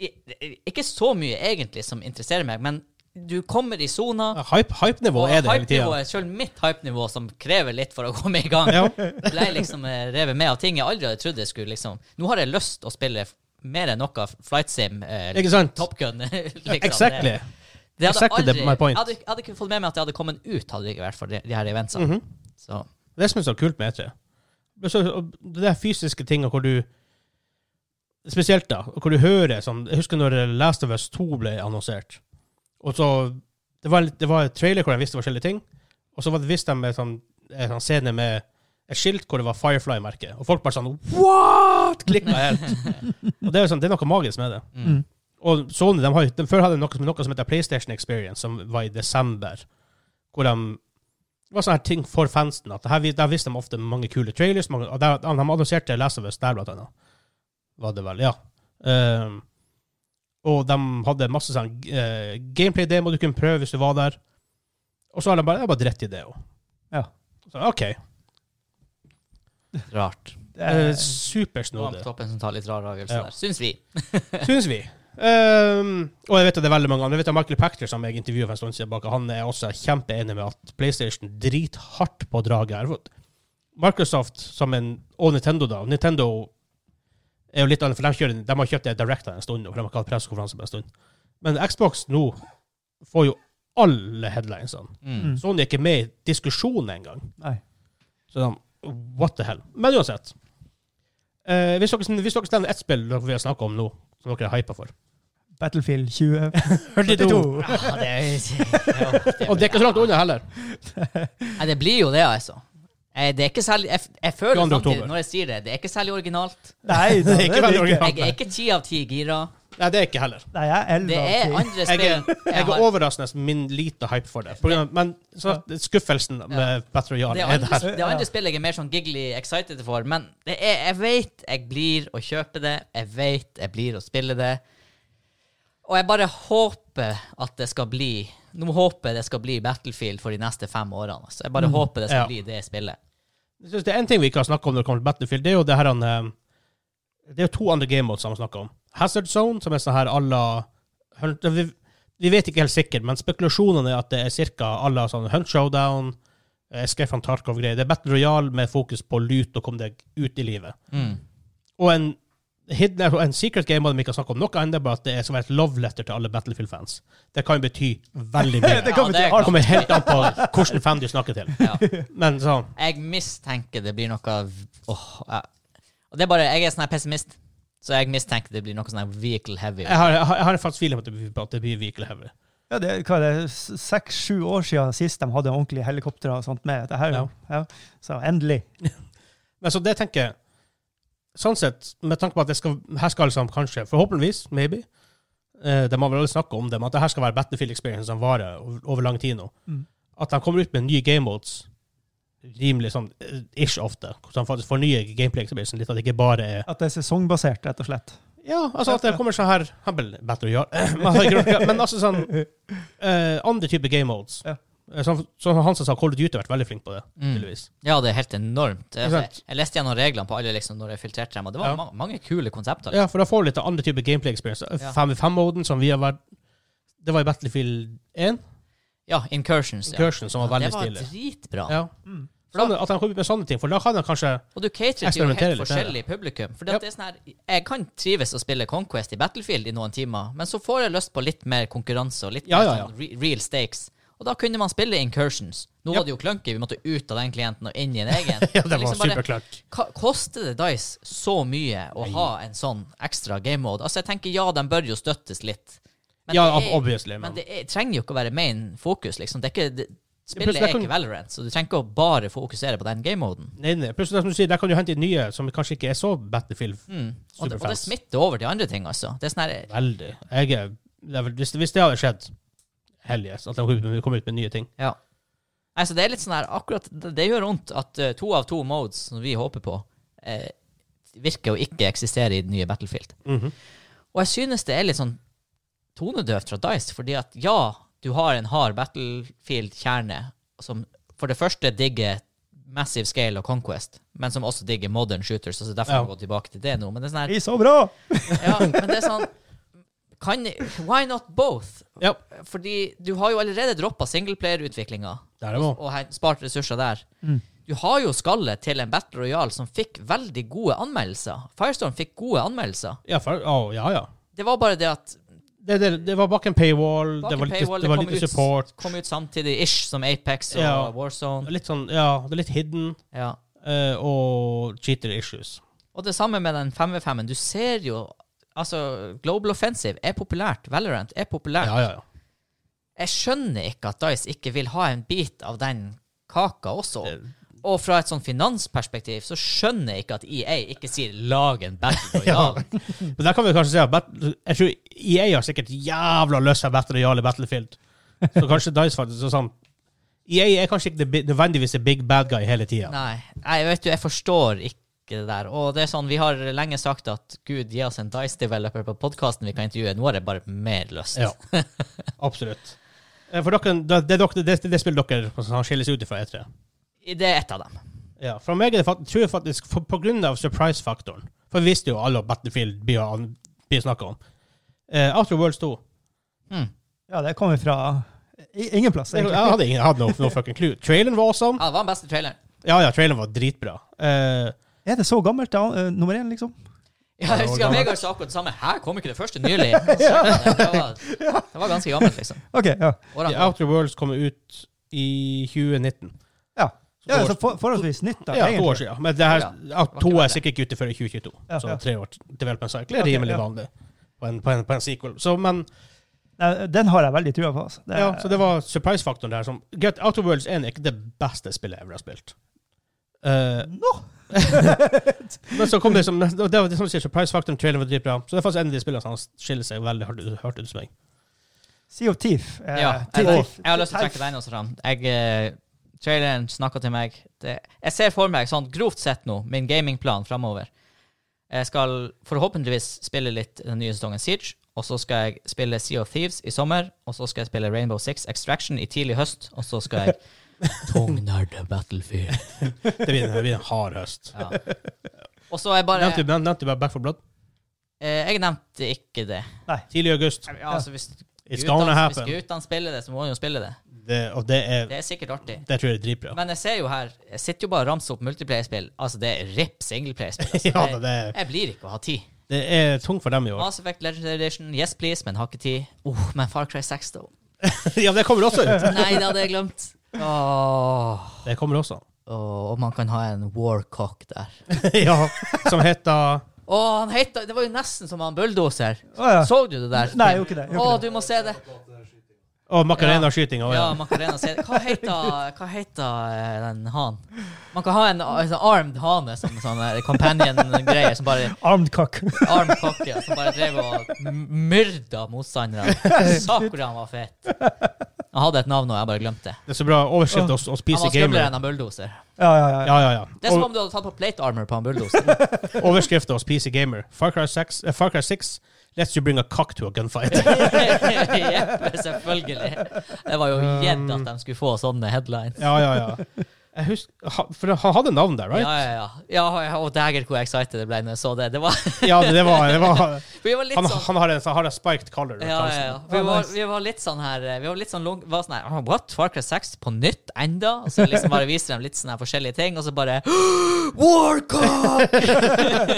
I- i- Ikke så mye egentlig som interesserer meg, men du kommer i sona. Ja, hype- Hype-nivå er det hele tida. Hypenivået, selv mitt hypenivå som krever litt for å komme i gang, Ja. ble liksom eh, revet med av ting jeg aldri hadde trodd jeg skulle liksom Nå har jeg lyst å spille f- mer enn noe Flight Sim, eh, Ikke sant? Top Gun. liksom. Exactly. Det, det hadde exactly aldri, my point. Jeg hadde, jeg hadde ikke fått med meg at det hadde kommet ut, hadde det ikke vært for de, de her eventsene. Mhm. Så Det som er så kult med E3. Men så- og Det er fysiske tinga hvor du Spesielt, da. Hvor du hører sånn Jeg husker når Last of Us 2 ble annonsert. Og så Det var, litt- det var et trailer hvor de visste forskjellige ting. Og så var det visst de med sånn, en sånn scene med et skilt hvor det var Firefly-merket. Og folk bare sånn What?! Klikka helt. og det er jo sånn, det er noe magisk med det. Mm. Og Sony de har, jo- de før hadde noe, som- noe som heter PlayStation Experience, som var i desember. Hvor de det var sånne her ting for fansen. at det her, vi- Der viste de ofte mange kule trailers. Mange, og der, de annonserte Last of Us der, blant annet. Var det vel, ja. Ehm, og de hadde masse sånn eh, gameplay-demo du kunne prøve hvis du var der. Og så har de bare, de har bare dritt i det òg. Ja. Så OK. rart. Det Eh, er, Noen på Supersnodig, toppen som tar litt rar avgjørelse Ja. der, syns vi. syns vi. Ehm, og jeg vet at det er veldig mange andre. Jeg vet at Michael Pachter, som jeg intervjuet for en stund siden bak, han er også kjempeenig med at PlayStation drithardt på draget her. Microsoft som en, og Nintendo, da. Nintendo er jo litt annet, for de, kjører, de har kjøpt det direkte en stund, nå, for de har ikke hatt pressekonferanse på en stund. Men Xbox nå får jo alle headlinesene. Mm. Mm. Sony er ikke med i diskusjonen engang. nei. Så de, what the hell. Men uansett. Eh, hvis, dere, hvis dere nevner ett spill dere vil snakke om nå, som dere er hypa for Battlefield 20. 42. Ja, det, er- ja, det, Og det er ikke så langt unna heller. Nei, det blir jo det, altså. Jeg, det er ikke særlig, jeg, jeg føler 22. samtidig, oktober. når jeg sier det, det er ikke særlig originalt. Nei, da, Det er ikke veldig originalt. Jeg er ikke ti av ti gira. Nei, det er ikke heller. Nei, jeg er 11 Det er av 10. andre Jeg spill er, jeg er overraskende min lite hype for det. På grunn av, men så, skuffelsen med Battle Det Royale er er andre, der. det er andre spill jeg er mer sånn giggly excited for, men det er, jeg vet jeg blir å kjøpe det. Jeg vet jeg blir å spille det. Og jeg bare håper at det skal bli Nå håper jeg det skal bli Battlefield for de neste fem årene. Altså. Jeg bare håper det skal Ja. bli det spillet. Jeg synes det er en ting vi ikke har snakket om når det kommer til Battlefield, det er jo det her han eh, Det er jo to andre game modes han snakker om. Hazard Zone, som er sånn her à la Hunt- vi, vi vet ikke helt sikkert, men spekulasjonene er at det er ca. à la sånn Hunt Showdown, eh, Escape from Tarkov-greier. Det er Battle Royale med fokus på lut og komme deg ut i livet. Mm. Og en, hidden, og en secret game mode vi ikke har snakket om noe ennå, bare at det er som et love letter til alle Battlefield-fans. Det kan jo bety veldig mye. Det kommer Ja, det er til klart. Det kommer helt an på hvilken fan du snakker til. Ja. Men sånn Jeg mistenker det blir noe Åh, jeg, Og det er bare Jeg er sånn her pessimist, så jeg mistenker det blir noe sånn her vehicle heavy. Jeg har, jeg har, jeg har en fast feeling om at det blir- at det blir vehicle heavy. Ja, det, er- hva er det, seks-sju år siden sist de hadde ordentlige helikoptre og sånt med. Det her, Ja. ja. Så endelig. Men så det tenker jeg Sånn sett, med tanke på at det skal, her skal liksom kanskje, forhåpentligvis, maybe eh, De har vel alle snakket om det, men at det her skal være Battlefield Experience som varer over, over lang tid nå. Mm. At de kommer ut med nye game modes rimelig sånn eh, ish ofte. Så de faktisk fornyer gameplay-experiencen litt, at det ikke bare er At det er sesongbasert, rett og slett. Ja, altså at det kommer sånn her Humble Battle Royale. Men altså, ikke noe- men altså sånn eh, Andre typer game modes. Ja. Eh, Som, som han som sa, Call of Duty har vært veldig flink på det. tydeligvis. Ja, det er helt enormt. Ikke Jeg, sant? jeg leste gjennom reglene på alle liksom, når jeg filtrerte dem, og det var Ja. ma mange kule konsepter. Ja, for da får du litt av andre typer gameplay experience. Ja. 5v5-moden som vi har vært Det var i Battlefield 1, Ja, Incursions. Ja. Incursion, som var det veldig var Mm. stilig. dritbra. Ja. Sånn, at han kommer med sånne ting, for da kan han kanskje Og du caterer til jo Eksperimentere helt litt, forskjellig publikum. For Ja. det er sånn her, jeg kan trives å spille Conquest i Battlefield i noen timer, men så får jeg lyst på litt mer konkurranse og litt Ja, mer ja, ja. Sånn re real stakes. Og da kunne man spille Incursions. Nå Ja. var det jo clunky, vi måtte ut av den klienten og inn i en egen. Ja, det var Liksom bare, superklart. Ka- Koster det Dice så mye å ha en sånn ekstra game mode? Altså, jeg tenker ja, den bør jo støttes litt. Ja, det er- obviously. men Men det er, trenger jo ikke å være main fokus, liksom. Det er ikke, det, Plutselig, spillet det er kan- ikke Valorant, så du trenger ikke å bare fokusere på den game-moden. Nei, nei. Plutselig, som du sier, der kan du hente inn nye som kanskje ikke er så Battlefield. Mm. Og, det- og det Superfans. smitter over til andre ting, altså. Det er sånn her Veldig. Jeg er, det er vel- hvis, hvis det hadde skjedd, hell yes, at de kom ut med- kom ut med nye ting. Ja. Nei, så det er litt sånn her Akkurat det, det gjør vondt at eh, to av to modes som vi håper på, eh, virker å ikke eksistere i det nye Battlefield. Og jeg synes det er litt sånn tonedøvt fra Dice, fordi at ja, du har en hard Battlefield-kjerne som for det første digger Massive Scale og Conquest, men som også digger Modern Shooters, altså derfor Ja. må vi gå tilbake til det nå. Men det er sånn her Det er så bra! Ja, men det er sånn kan, Why not both? Ja, Fordi du har jo allerede droppa singleplayerutviklinga der er det Mm. også. og he- spart ressurser der. Du har jo skallet til en Battle Royale som fikk veldig gode anmeldelser. Firestorm fikk gode anmeldelser. Ja, for, å, ja, ja. Det var bare det at Det, det, det var bak en paywall, bak det var i lite, paywall, det var kom lite ut- support. Kom ut samtidig ish som Apex og Ja. Warzone. Litt sånn, ja, det er litt hidden, Ja. eh, og cheater issues. Og det samme med den 5v5-en. Du ser jo Altså, Global Offensive er populært. Valorant er populært. Ja, ja, ja. jeg skjønner ikke at Dice ikke vil ha en bit av den kaka også. Det- Og fra et sånn finansperspektiv så skjønner jeg ikke at EA ikke sier 'lag en battle royale'. Men der kan vi kanskje si at Bat- jeg tror EA har sikkert jævla lyst til Battle Royale i Battlefield. Så kanskje Dice faktisk er sånn EA er kanskje ikke det bi- nødvendigvis the big bad guy hele tida. Nei, jeg vet jo, jeg forstår ikke det der. Og det er sånn, vi har lenge sagt at gud, gi oss en Dice-developer på podkasten vi kan intervjue. Nå har jeg bare mer lyst. Ja, absolutt. Eh, For dere, det, det, dere- det, det spiller dere som skilles ut fra E3. Det er ett av dem. Ja, for meg er det fakt- tror jeg faktisk for, på grunn av surprise-faktoren. For vi visste jo alle at Battlefield blir, an- blir snakka om. Eh, After Worlds 2 Ja, det kommer fra i- ingen plass, Jeg, jeg egentlig. hadde, ingen, jeg hadde no, no fucking clue. Traileren var awesome. Ja, det var den beste traileren. Ja, ja, traileren var dritbra. Eh, Er det så gammelt, da, eh, nummer én, liksom? Ja, jeg husker Vegard sa akkurat det samme. Her kom ikke det første nylig. Det var, det var ganske gammelt, liksom. OK, ja. Årene The Outer Worlds kom ut i 2019. Ja, ja år- så for, forholdsvis nytt, da. Ja, to år egentlig. siden. Men det her, Ja, ja, ikke to er verre. sikkert ikke ute før i 2022. Ja, så ja. tre år development cycle er Ok, rimelig ja. vanlig på en, på, en, på en sequel. Så, men, Nei, Den har jeg veldig trua på. Altså. Det, ja, så det var surprise-faktoren der som Get Outer Worlds 1 er ikke det beste spillet jeg har spilt. Eh, men så kom det som Det var det som du sier, surprise-faktoren, traileren var dritbra. Så det er faktisk en av de spillene som skiller seg veldig hardt, ut- hardt ut som meg. Sea of Thief. Ja, eh, jeg, Thief- jeg, Thief- har lyst til å trekke den også fram. Jeg, eh, traileren snakka til meg. Det, jeg ser for meg, sånn grovt sett nå, min gamingplan framover. Jeg skal forhåpentligvis spille litt den nye sesongen Siege, og så skal jeg spille Sea of Thieves i sommer, og så skal jeg spille Rainbow Six Extraction i tidlig høst, og så skal jeg Tungnerde Battlefield. Det blir, det blir en hard høst. Ja. Og så er jeg bare Nevnte nevnte bare Back for Blood? eh, Jeg nevnte ikke det. Tidlig i august. Ja, altså, hvis It's gonna guttene- hvis happen. guttene spiller det, så må de jo spille det. Det, og det er Det er sikkert artig. Det tror jeg er dritbra. Men jeg ser jo her Jeg sitter jo bare og ramser opp multiplayerspill. Altså, det er rip singleplayerspill. Altså, ja, jeg, det, er, jeg blir ikke å ha tid. det er tungt for dem i år. Mass Effect Legendary Edition, yes please, men har ikke tid. Oh, men Far Cry 6, da. ja, det kommer også ut. Nei, det hadde jeg glemt. Åh. Det kommer også. Åh, og man kan ha en warcock der. ja, som heter Å, han heter Det var jo nesten som han bulldoser. Å, ja. Så du det der? Nei, jeg gjorde ikke det, jeg Å, gjorde ikke du må se det. Å, Macarena-skytinga. Ja, Ja. man kan rene og se det. Hva heter, hva heter eh, den han? Man kan ha en, en armed hane som sånn eh, companion-greier som bare Armed cock. arm cocky, som bare drev og m- myrda motstanderne. Sakura han var fet. Han hadde et navn og jeg bare glemte det. Det er så bra overskrift å, å Han spise var gamer. skumlere enn han bulldoser. Ja, ja, ja. Ja, ja, ja. Det er som om du hadde tatt på plate armor på han bulldoseren. Overskrifta hos PC Gamer. Far Cry 6, eh, Far Cry 6 lets you bring a cock to a gunfight. Jepp, selvfølgelig. Det var jo gjedd at de skulle få sånne headlines. ja, ja, ja. Jeg husker, ha- for han hadde navn der, right? Ja, ja, ja. ja, ja og dæger hvor excited jeg ble når jeg så det. det var, Ja, det, det var, det var vi var litt han, sånn han, har en, han har en spiked collar. rundt ja, ja, halsen. ja. Vi, Ah, var, nice. vi var litt sånn her eh, Vi var litt sånn lung, var sånn her «Ah, What? Far Cry 6 på nytt enda? Og så liksom bare viser de litt sånne her forskjellige ting, og så bare Warcock!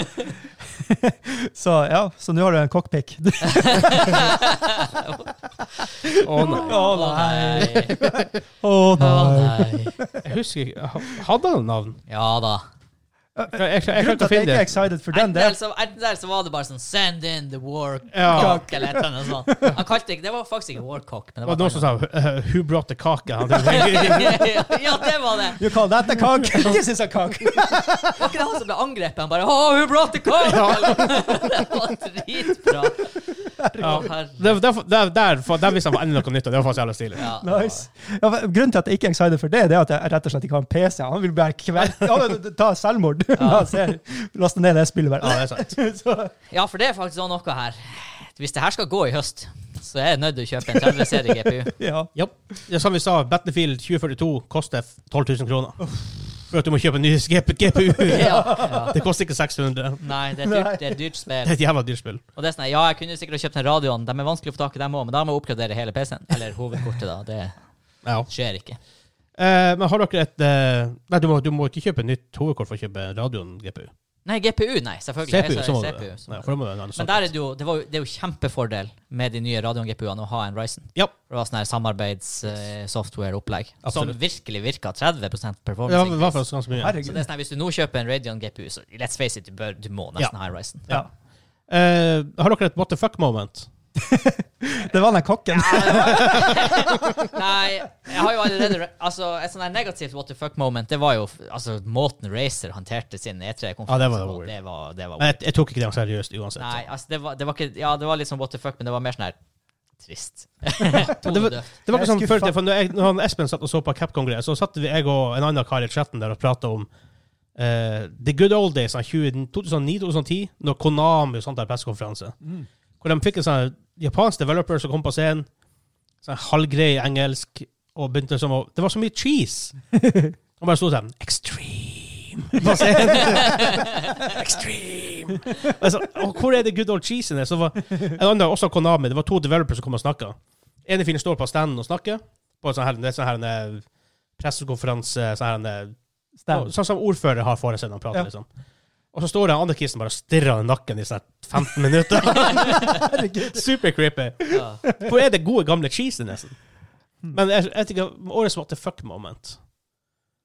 Så ja, så nå har du en cockpick. Å, nei. Å nei. Å Å nei. nei. Jeg husker ikke ha- Hadde han navn? Ja da. Jeg, jeg, jeg, jeg Grunnen til klarte å at jeg finne ikke er det. excited for den, Enten det der, er så, enten der så var det bare sånn Send in the warcock, Ja. eller et eller annet sånt. Han kalte ikke Det var faktisk ikke warcock, men Det det var var noen som sa eh, 'Who brought the cock?' Han tenkte, Ja, det var det. You call that a cock? This is a cock. Var ikke det han som ble angrepet? Han bare oh, who brought the cock? det var dritbra. Å, herre. det, det, der, der, der visste han enda noe nytt, og det var faktisk jævla stilig. Ja. Nice. Ja, men grunnen til at jeg ikke er excited for det, det er at jeg rett og slett ikke har en PC. Han vil bare kver- Ja, ta selvmord når han ser laste ned det spillet. Ja, Bare. det er sant. Så, ja, for det er faktisk også noe her. Hvis det her skal gå i høst, så er jeg nødt til å kjøpe en 30-serie GPU. ja. Ja. Det er som vi sa, Battlefield 2042 koster 12 000 kroner. For at du må kjøpe en ny GPU. Ja, ja. Det koster ikke 600. Nei, det er et dyrt, det er et dyrt Det er spill. et jævla dyrt spill. Og det er sånn, Ja, jeg kunne sikkert ha kjøpt den radioen. De er vanskelig å få tak i, dem òg, men da må jeg oppgradere hele PC-en. Eller hovedkortet, da. Det Ja. skjer ikke. Eh, men har dere et eh, Nei, du må, du må ikke kjøpe nytt hovedkort for å kjøpe radioen GPU. Nei, GPU, nei. Selvfølgelig. CPU, Jeg sa så må du CPU, så må Ja, du. for da må du ha en annen Men sak. der er det, jo, det, var, jo- det er jo kjempefordel med de nye radioen GPU-ene å ha en Ryzen. Ja. Det var sånn her samarbeidssoftware-opplegg som Absolutt. virkelig virka 30 performance. Ja, i hvert increase. fall ganske mye. så Herregud. det er sånn her, Hvis du nå kjøper en Radion GPU, så let's face it, du, bør, du må nesten Ja. ha en Ryzen. Ja. Eh, har dere et what the fuck moment? Det var den kokken. Nei, jeg har jo allerede Altså, Et sånn her negativt what the fuck moment, det var jo altså, måten Racer håndterte sin Ja, det E3-konferanse var jo på. weird. det var, det var Men Jeg, jeg tok ikke den seriøst uansett. Nei, altså, det var, det var ikke Ja, det var litt sånn what the fuck, men det var mer sånn her trist. det var, det var ikke sånn Jeg før, skulle fa- for når, jeg, når han Espen satt og så på Capcom-greier, så satt vi, jeg og en annen kar i chatten der og prata om eh, the good old days av 20 2009-2010, når Konami og sånt hadde pressekonferanse. Mm. Hvor de fikk en sånn japansk developer som kom på scenen, sånn halvgrei engelsk, og begynte liksom å Det var så mye cheese! Han bare sto sånn Extreme! På scenen. Extreme! Altså, og hvor er det good old cheesen? er? Så var, en annen, også Konami. Det var to developers som kom og snakka. Ene fyren står på standen og snakker. På en sånn her, det er sånn her en eh, pressekonferanse sånn, her, en, eh, Stem. sånn som ordfører har foran seg når han prater, Ja. liksom. Og så står den andre kisen bare og stirrer i nakken i sånn her 15 minutter. Super creepy. Ja. Hvor er det gode, gamle cheesen, nesten? Men jeg, jeg tenker, årets what the fuck moment.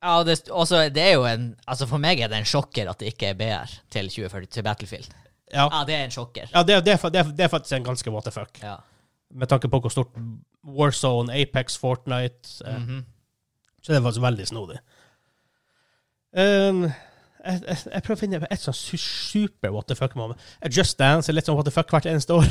Ja, og det, også, det er jo en Altså For meg er det en sjokker at det ikke er BR til 2040 til Battlefield. Ja, Ja, det er en sjokker. ja det, det, er fa- det, er- det er faktisk en ganske what the fuck. Ja. Med tanke på hvor stort Warzone, Apex, Fortnite eh, Mhm. Så det var faktisk veldig snodig. Um, jeg, jeg, jeg prøver å finne et sånn su- super what the fuck-moment. Just Dance er litt sånn what the fuck hvert eneste år.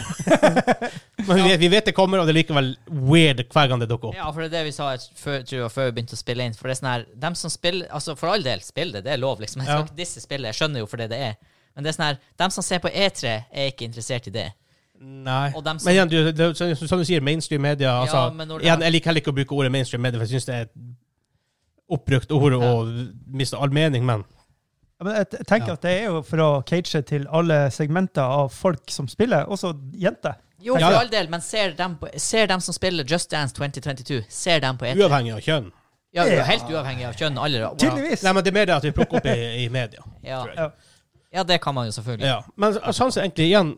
Men vi vet, vi vet det kommer, og det er likevel weird hver gang det dukker opp. ja, for det er det vi sa et- før, tror jeg, før vi begynte å spille inn. For det er sånn her Dem som spiller Altså, for all del, spill det, det er lov, liksom. Jeg skal Ja. ikke disse spillene, jeg skjønner jo for det det er. Men det er sånn her Dem som ser på E3, er ikke interessert i det. Nei. Og dem som- Men igjen, du, det, som, som du sier, mainstream media Ja, altså, men når det igjen, er- Jeg liker heller ikke å bruke ordet mainstream media, for jeg syns det er et oppbrukt ord og mister all mening, men Ja, Men jeg t- tenker at det er jo for å cage til alle segmenter av folk som spiller, også jenter. Jo, for Ja, ja. all del, men ser dem, på, ser dem som spiller Just Dance 2022, ser dem på E3? uavhengig av kjønn. Ja, ja. Helt uavhengig av kjønn, alder og Tydeligvis. Nei, men det er mer det at vi plukker opp i, i media. ja. tror jeg. ja, det kan man jo selvfølgelig. Ja, men så- sånn sett egentlig igjen,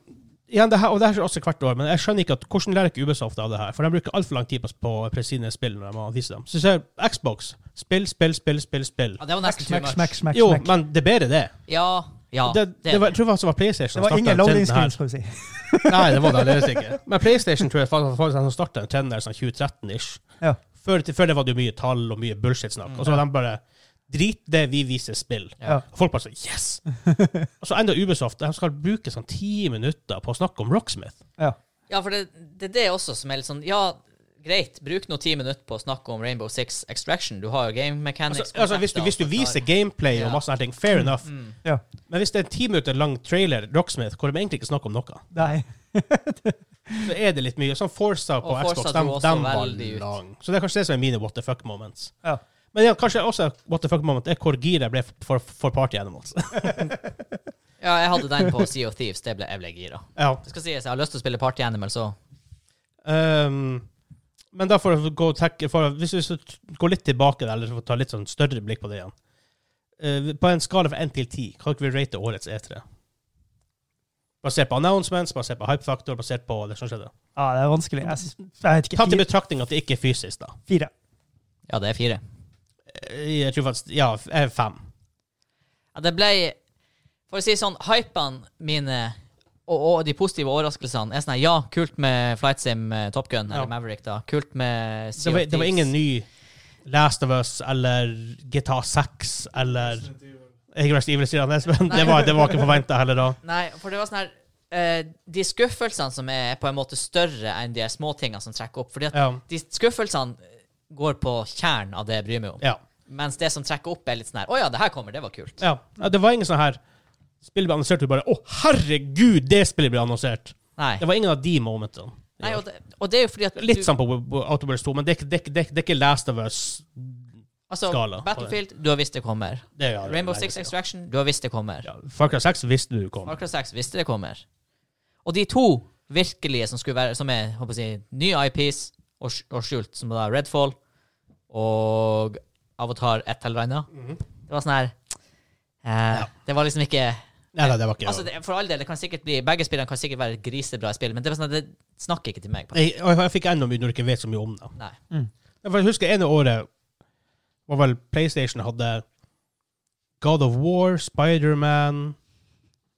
igjen det her, Og det her skjer også hvert år, men jeg skjønner ikke at, hvordan lærer ikke Ubisoft av det her? For de bruker altfor lang tid på, på på sine spill når de må vise dem. Så ser Xbox spill, spill, spill, spill. spill. Ja, det var nesten too Smack, much. smack, smack, Jo, smack. men det er bedre, det. Ja, ja. det, det var, jeg tror faktisk det var PlayStation Det som var startet ingen den loading trenden screen, her. skal vi si. Nei, det var det aldeles ikke. Men PlayStation tror jeg faktisk var den som starta en trend der sånn 2013-ish. Ja. Før, til- før det var det jo mye tall og mye bullshit-snakk. Og så var de bare Drit det, vi viser spill. Ja. Og folk bare sånn Yes! og så enda Ubisoft. De skal bruke sånn ti minutter på å snakke om Rocksmith. Ja. Ja, for det, det, det er også som er litt sånn Ja, greit, bruk nå ti minutter på å snakke om Rainbow Six Extraction. Du har jo game mechanics. Altså, altså, hvis, du, konsepter, hvis du alt viser det gameplay og Ja. Mm, masse sånne ting, fair enough. Ja. Men hvis det er en ti minutter lang trailer, Rocksmith, hvor de egentlig ikke snakker om noe, Nei. så er det litt mye. Sånn Forza på Og Forza dro Xbox, de, også de var veldig ut. lang. Så det er kanskje det som er mine what the fuck moments. Ja. Men ja, kanskje også what the fuck moment er hvor gira jeg ble for, for Party Animals. der. Ja, jeg hadde den på Sea of Thieves. Det ble jeg ble gira. ja. Det skal sies, jeg har lyst til å spille Party Animal, så Ehm, men da for å gå og tenke- for, Hvis vi så t- går litt tilbake der, eller så får vi ta litt sånn større blikk på det igjen Eh, På en skala fra 1 til 10, kan ikke vi rate årets E3? Basert på announcements, basert på hypefaktor, basert på det som skjedde. ja, det er vanskelig. Jeg, syns- jeg vet ikke. Tatt i Fire. betraktning at det ikke er fysisk, da. fire. ja, det er fire. Eh, Jeg tror faktisk Ja, f- eh, fem. Ja, det ble For å si sånn, hypene mine og, og de positive overraskelsene er sånn her, ja, kult med Flight Sim eh, Top Gun, eller Ja. Maverick, da. Kult med Det Sea of var, det var Thieves. ingen ny Last of Us eller GTA 6 eller Jeg Rest Evil sier han, men det var, det var ikke forventa heller da. Nei, for det var sånn her eh, De skuffelsene som er på en måte større enn de småtingene som trekker opp. Fordi at Ja. de skuffelsene går på kjernen av det jeg bryr meg om. ja. Mens det som trekker opp, er litt sånn her Å ja, det her kommer, det var kult. Ja, ja, det var ingen sånn her Spillet ble annonsert, og du bare Å, herregud, det spillet ble annonsert! Nei. Det var ingen av de momentene. i Nei år. og, det, og det er jo fordi at Litt du- sånn på Autobirds 2, men det er, ikke- det, er ikke- det, er- det er ikke Last of Us. altså, skala. Battlefield, du har visst det kommer. Det er, ja, det er Rainbow lenge Six siden. Extraction, du har visst det kommer. ja, Far Cry 6 visste du kom. Far Cry 6 visste det kommer. Og de to virkelige som skulle være Som er håper jeg, å si, nye IPs og, sk- og skjult, som da er Redfall og Avatar et eller annet. Mhm. Det var sånn her eh, Det var liksom ikke Nei, nei, det var ikke Altså, det, For all del, det kan sikkert bli begge spillene kan sikkert være grisebra spill, men det var sånn at det snakker ikke til meg. på jeg, og jeg fikk enda mye når du ikke vet så mye om det. Nei. Ja, For jeg husker ene året var vel PlayStation hadde God of War, Spiderman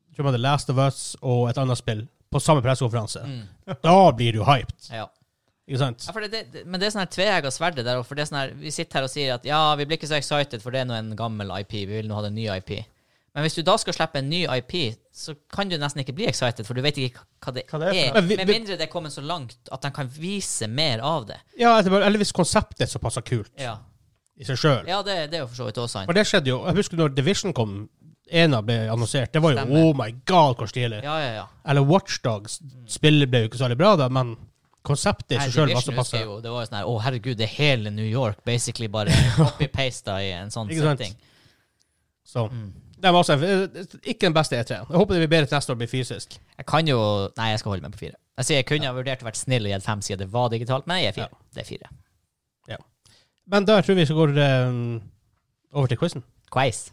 jeg tror de hadde Last of Us og et annet spill på samme pressekonferanse. Mm. Da blir du hyped, Ja. ikke sant? Ja, for det, det- det, men det er sånn her tveegga sverd der og for det er sånn her, Vi sitter her og sier at ja, vi blir ikke så excited, for det er nå en gammel IP. Vi vil nå ha en ny IP. Men hvis du da skal slippe en ny IP, så kan du nesten ikke bli excited, for du vet ikke hva det, Hva det er for er. noe. Men vi- Med vi- mindre det er kommet så langt at de kan vise mer av det. Ja, eller eller hvis konseptet er såpass kult Ja, i seg sjøl. ja det, det er jo for så vidt også sant. For det skjedde jo. Jeg husker når Division kom, ena ble annonsert. Det var jo Stemmer. oh my god, hvor stilig. Ja, ja, ja. Eller Watchdogs. Spillet ble jo ikke særlig bra, da, men konseptet i Nei, seg sjøl var Division såpass husker jeg jo, det var jo sånn her Å, herregud, det er hele New York basically bare copy-pasta i en sånn Ikke sant? setting. Så Mm. det var også, eh, ikke den beste E3. Jeg håper det blir bedre til neste år, blir fysisk. Jeg kan jo Nei, jeg skal holde meg på fire. Jeg sier jeg kunne ha vurdert å være snill og gitt fem siden det var digitalt, men jeg gir fire. Det er fire. Men da tror jeg vi skal gå eh, over til quizen. Quais.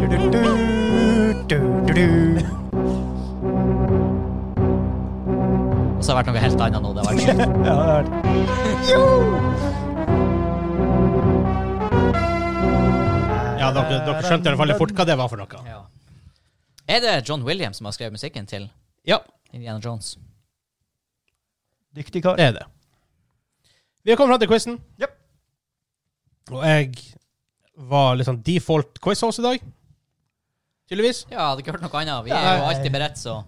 Du, du, du, du, du, du. Og så har det vært noe helt annet nå. Det har vært sjukt. Ja, det er det. Ja, dere, dere skjønte i hvert fall litt fort hva det var for noe. ja. Er det John Williams som har skrevet musikken til Ja, Indiana Jones? Dyktig kar. det er det. Vi har kommet fram til quizen. Japp. Og jeg var litt sånn default quiz host i dag. Tydeligvis. Ja, jeg hadde ikke hørt noe annet. Vi er jo Nei. alltid beredt, så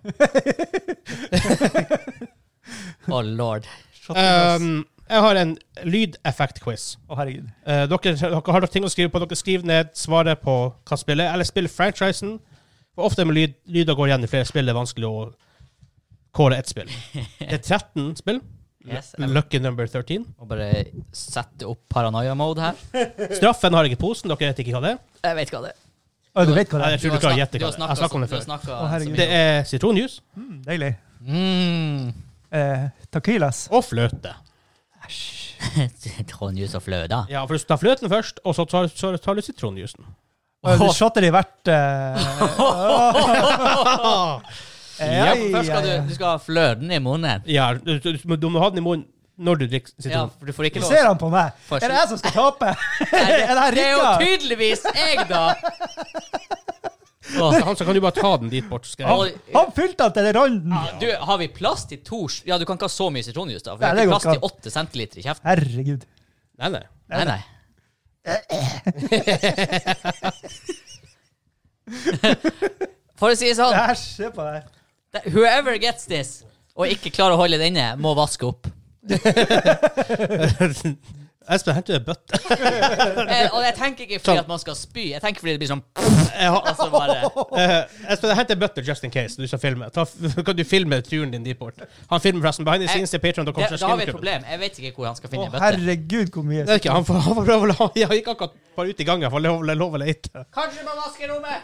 Oh lord. Um, jeg har en lydeffekt-quiz. Å, herregud. Eh, dere, dere har dere ting å skrive på. Dere skriver ned svaret på hva spillet er, eller spill franchisen. For ofte med lyd, lyder går igjen i flere spill. Det er vanskelig å kåre ett spill. Det er 13 spill. Yes, jeg må- Lucky number 13. må bare sette opp paranoia-mode her. Straffen har jeg ikke i posen. Dere vet ikke hva det er. Jeg vet hva det er. Å, du vet hva det Nei, er? jeg tror du klarer å gjette hva det er. Jeg snakket om det før. før. Du har snakket Å, herregud. så mye Det er sitronjuice Mm, deilig. om- Mm. Eh, Takilas. og fløte. Mm. Sitronjuice og fløte. Ja, for du tar fløten først, og så tar, så tar du sitronjuicen. Å, Du shotter i hvert eh, Ja, ei, først skal ei, ei. du, du skal ha fløten i munnen. Ja, du, du, du, du må ha den i munnen når du drikker Ja, sitron. for du får ikke Du lov ser han på meg. Får Er det jeg som skal tape? Nei, Er det her det er jo Rikard? tydeligvis jeg, da! Åh, Så han så kan du bare ta den dit bort. så Skal jeg. og- Han fylte han til randen. du, har vi plass til to s- Ja, du kan ikke ha så mye sitronjuice, da. For vi Nei, har det ikke går plass ikke til åtte centiliter i kjeften. Herregud. Nei, nei. Nei, nei. For å si det sånn, Æsj, se på det her. whoever gets this, og ikke klarer å holde det inne, må vaske opp. Espen, henter du en bøtte? Eh, og jeg tenker ikke Sånn. fordi at man skal spy, jeg tenker fordi det blir sånn Jeg har- altså bare, Eh, Espen, hent en bøtte just in case, du som filmer. Ta, kan du filme turen din dit bort? Han filmer forresten behind the scenes til patreon.com. det, Da har vi et problem. Jeg vet ikke hvor han skal Å, finne en bøtte. herregud, hvor mye Det er ikke, han får, han får prøve å la Jeg gikk akkurat bare ut i gangen, for lov, lov å lete. Kanskje man vasker rommet!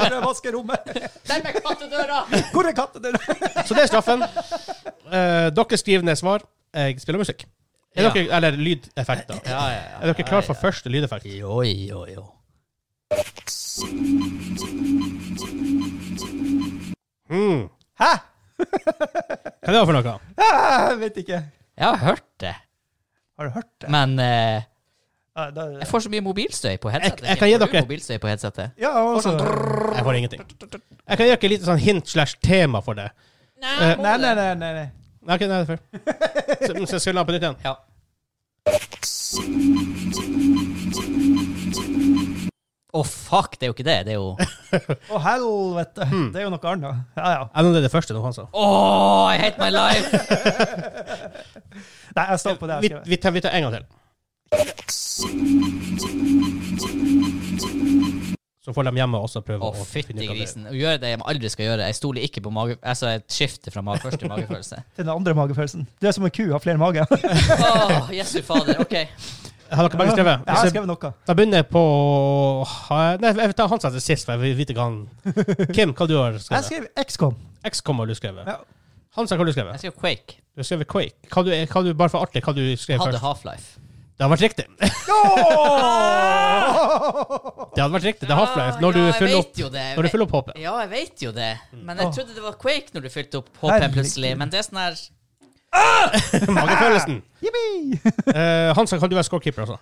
Hvor er vaskerommet? Der med kattedøra! Hvor er kattedøra? Så det er straffen. Eh, dere skriver ned svar. Jeg spiller musikk. Er Ja. dere, eller lydeffekter. Ja, ja, ja. Er dere klare for første lydeffekt? Jo, jo, jo. Mm. Hæ? Hva er det for noe? Ah, Jeg vet ikke. Jeg har hørt det, Har du hørt det? men eh, Ja, da, jeg får så mye mobilstøy på headsetet. Jeg- jeg kan gi Får du dere- mobilstøy på headsetet. ja, altså. også. Jeg får ingenting. Jeg kan gi dere et lite sånn hint slash tema for det. Eh, Nei, nei, nei. nei, nei. Nei, ok, nei, det er før. Så, så skal vi la den på nytt igjen? Ja. Å, fuck, det er jo ikke det. Det er jo Å, Å, helvete. Det er jo noe annet. Ja, ja. Jeg det er det første altså. noe han sa. I hate my life! Nei, jeg står på det. Vi, Jeg skriver. vi, tar, vi tar en gang til. Så får de hjemme også prøve Å, å fytti finne ut av det. grisen. Å gjøre det jeg aldri skal gjøre. Jeg stoler ikke på mage... Altså, jeg skifter fra mage, første magefølelse. Til den andre magefølelsen. Du er som en ku, har flere mager. Å, jesu fader. OK. Har dere begge Jeg skrevet? har Hvis jeg- skrevet noe. Da begynner jeg på ha- Nei, jeg vil ta han som heter sist, for jeg vil vite hva han Kim, hva du har Jeg skrevet? skrev XCOM. XCOM har du skrevet. Ja. Hansa, hva har du Jeg skrevet? skrev Quake. Du har skrevet Quake. Hva du, hva du, bare for artig, hva du skrev Hadde først? Half-Life. Det hadde vært riktig. Det Åh! hadde vært riktig. Det er Half-Life. Når, ja, du fyller jeg opp- vet jo det. når du fyller opp Mm. håpet. Ja, jeg vet jo det. Men jeg trodde det var Quake når du fylte opp Herregud. HP plutselig. Men det er sånn her Magefølelsen. Jippi! Eh, Hansa, kan du være scorekeeper også?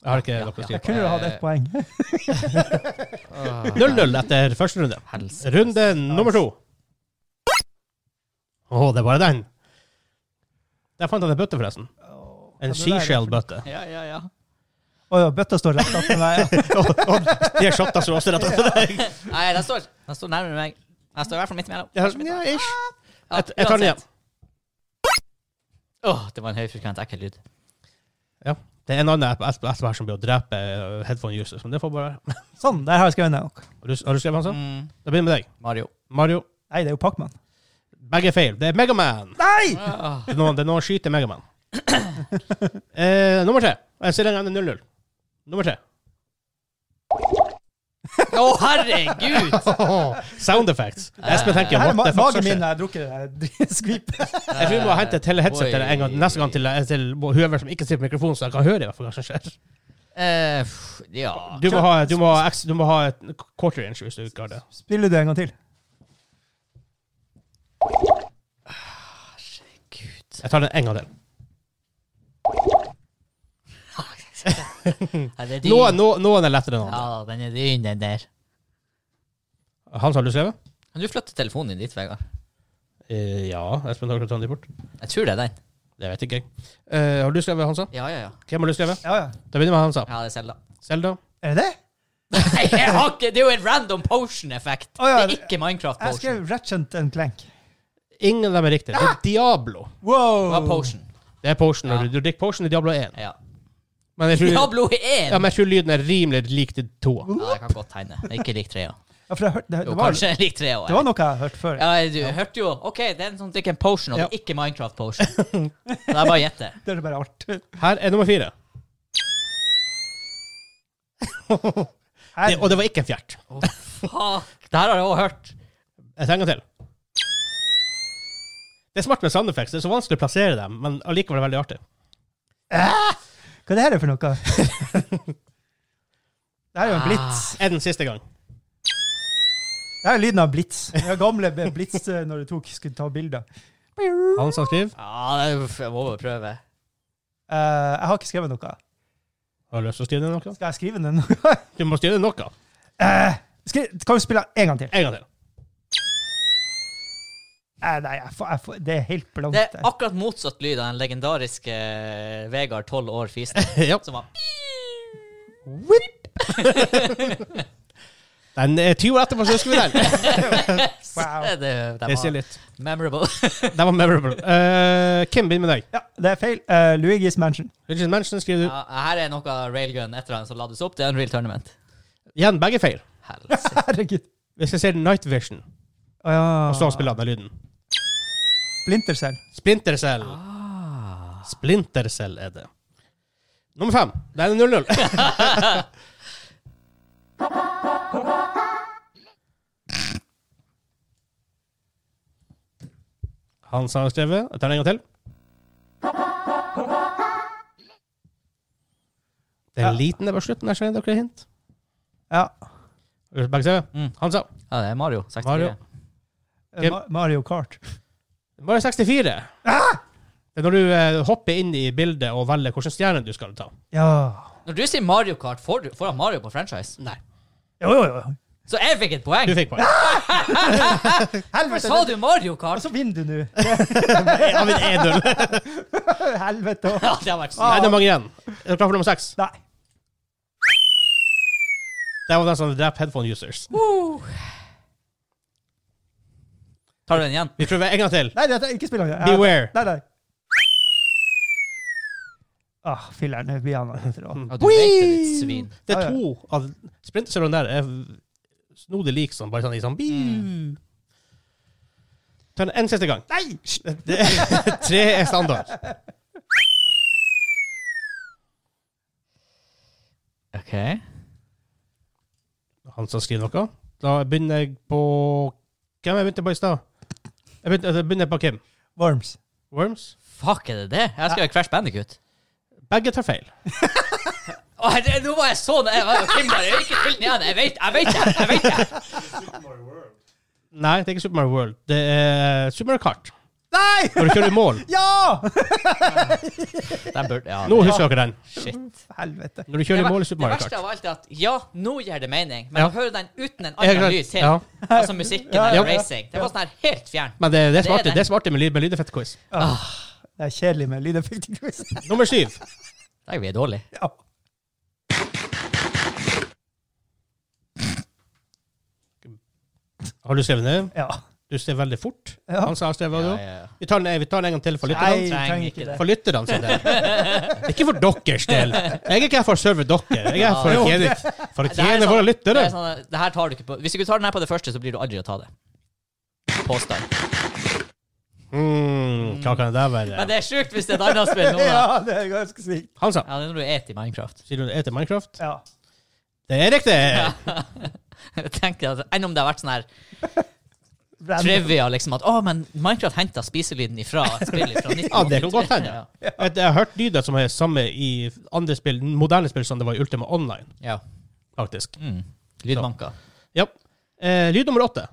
Jeg har ikke Ja, noe å ja, si Jeg kunne jo hatt ett poeng. på. 0-0 etter første runde. Helse. Runde nummer to. Å, det er bare den. Der fant han en bøtte, forresten. En seashell-bøtte. Ja, ja, ja. Å ja, bøtta står rett opp for meg. ja. Og- og De er shotta så også rett etter deg. Nei, den står, den står nærmere meg. Den står i hvert fall midt imellom. Ja, ja, ish. Ja, Jeg, jeg tar den igjen. uansett. Åh, det var en høyfrekvent, ekkel lyd. Ja. Det er en annen app app- app her som blir å drepe eh, headphone users, men det får bare være. Sånn, der har jeg skrevet noe. Har du, har du skrevet han sånn? Mm, Da begynner vi med deg. Mario. Mario. Nei, det er jo Pacman. Begge er feil. Det er Megaman. Nei! Åh. Det er noen, det er noen skyter Megaman. eh, nummer tre. Jeg ser den ender 0-0. Nummer tre. Å, herregud! Sound effects. Espen Det tenker her er what ma the fuck magen som min skjer. når jeg har drukket det her skvipet. Jeg tror vi må hente et hele headset til deg en gang, neste gang til, eh, til whoever som ikke sitter på mikrofonen, så jeg kan høre i hvert fall hva som skjer. Eh, pff, ja. Ah, Du må ha, du må ha, ex- du må ha et quarter inch hvis du ikke har det. Spiller du en gang til? Herregud. Jeg tar den en gang til. Ja, det er din. Noen, noen, noen er lettere enn andre. Ja, den er din, den der. Hans, har du skrevet? Kan du flytte telefonen din dit, Vegard? Eh, ja. Espen Høgland Trandi bort. Jeg tror det er den. Det vet ikke jeg. Eh, har du skrevet, Hansa? Ja, ja, ja. Hvem har du skrevet? Ja, ja. Da begynner vi med Hansa. Ja, det er Selda. Selda. Er det det? Nei, jeg har ikke Det er jo en random potion-effekt. Å, ja, Det er ikke Jeg Minecraft-potion. skrev Ratchet and Clank. Ingen av dem er riktig. Det er Diablo. Det var potion. Det er potion. Ja. Du, du drikker potion i Diablo 1. Ja. Men jeg tror, Diablo 1! ja, men jeg tror lyden er rimelig lik til toa. Ja, jeg kan godt tegne. Det er ikke lik trea. Ja, for jeg hørte, det, Jo, det, var, kanskje lik trea det òg. var noe jeg har hørt før. Ja, du hørte jo OK, det er en som drikker en potion, og det Ja. er ikke Minecraft-potion. Så jeg bare gjetter. Det er bare art. Her er nummer fire. Her, Det, og det var ikke en fjert. Fuck! Det her har jeg òg hørt. Jeg trenger en til. Det er smart med sound effects. Det er så vanskelig å plassere dem, men allikevel veldig artig. hva er det her for noe? Det her er jo en blits. Ah. Er den siste gang. Det her er lyden av blits. Den gamle blits eh, når du tok, skulle ta bilder. Hansa skriver. Ja, det er- uff, jeg må bare prøve. Eh, jeg har ikke skrevet noe. Har du lyst til å skrive ned noe? Skal jeg skrive den? Eh, Du må skrive ned noe. skri, kan du spille den en gang til? En gang til. Eh, nei, jeg får, jeg får, det er helt blankt. Det er der. akkurat motsatt lyd av den legendariske eh, Vegard 12 år fisen, Ja. som var Den er 20 år etterpå, så husker vi den. Wow. Det, det Det sier var litt. memorable. Den var memorable. Eh, Kim, begynn med deg. Ja, det er feil. Eh, Luigi's Mansion. Richard Manchin skriver du. Ja, her er noe railgun etter han som lades opp til Unreal Tournament. Igjen, begge feil. Helsike. Herregud. Hvis jeg ser Night Vision, Å ja. og så spiller han den lyden. Splinter Cell. Splinter Cell. Splinter Cell er det. Nummer fem. Det er 0-0. Hans har skrevet. Jeg tar den en gang til. Det er en liten der på slutten. Der ser dere hint. Ja. Begge ser vi. Mm. Hansa. Ja, det er Mario. 64. Mario. Eh, Kim. Ma- Mario Kart. Mario 64. Det er når du eh, hopper inn i bildet og velger hvilken stjerne du skal ta. Ja. Når du sier Mario Kart, får, du, får han Mario på franchise? Nei. Jo, jo, jo. Så jeg fikk et poeng! Du fikk poeng. Hvorfor sa du Mario Og Kart? Altså, så vinner du nå. Ja, men 1-0. Helvete. Ja, det har vært sykt. Nei, det er mange igjen. Er dere klar for nummer seks? Nei. Det var den som dreper headphone users. Tar du den igjen? Vi prøver en gang til. Nei, det er ikke spiller han. Beware. Nei, nei. Ah, filleren. Nå blir han etter da. Ja, du vet det, ditt svin. Det Ja, er ja. to av sprinterserveren der er snodig lik som bare sånn i sånn biu. Ta den en siste gang. Nei! Det er, tre er standard. OK. Han som skriver noe. Da begynner jeg på Hvem jeg begynte på i stad? Jeg begynte- jeg begynner på Kim. Worms. Worms. Fuck, er det det? Jeg skal gjøre Crash Bandicoot. Begge tar feil. Åh, det, nå var jeg så jeg var Kim bare, jeg Ikke fyll den igjen. Jeg vet, jeg vet det! jeg vet det. Nei, det er ikke Super Mario World. Det er Super Mario Kart. Nei! Når du kjører i mål. Ja! Den burde, ja, Nå husker dere den. shit. Helvete. Når du Det, kjører i ver- mål i det Super Mario verste Kart. av alt er at ja, nå gir det mening, men Ja. å høre den uten en Jeg er annen glad- lyd til, ja. altså musikken Ja, eller ja. racing, det var sånn her helt fjernt. Men det, det, er Det er smart, det, den. er smart med, lyd- med lydeffektquiz. Det er kjedelig med lydeffektquiz. Nummer syv. Der vi er dårlige. Ja. Har du skrevet ned? ja. Du ser veldig fort. Ja. Han sa skrevet Ja, ja, ja, ja. Vi, tar den, vi tar den en gang til for Nei, lytterne. trenger trenger ikke ikke det. For lytterne sin del. Det er ikke for deres del. Jeg er ikke her for å serve dere. Jeg er her for å tjene, for å Det her er tjene våre lyttere. Det, er sånn, det her tar du ikke på Hvis du ikke tar den her på det første, så blir du aldri å ta det. Påstand. Mm, hva kan det der Men være? det er sjukt hvis det er et annet spill nå, da. ja, det er ganske sykt. Han sa Ja, det er når du et i Minecraft. Sier du det heter Minecraft? Ja. Det er riktig! Jeg tenkte at Enn om det har vært sånn her Random. trivia, liksom, at å, men Minecraft henta spiselyden ifra et spill fra 1983. Ja, det kan godt hende. Ja. Jeg jeg har hørt lyder som er samme i andre spill, moderne spill som det var i Ultima Online, ja. faktisk. Mm. Lydmanker. Ja. Eh, lyd nummer åtte.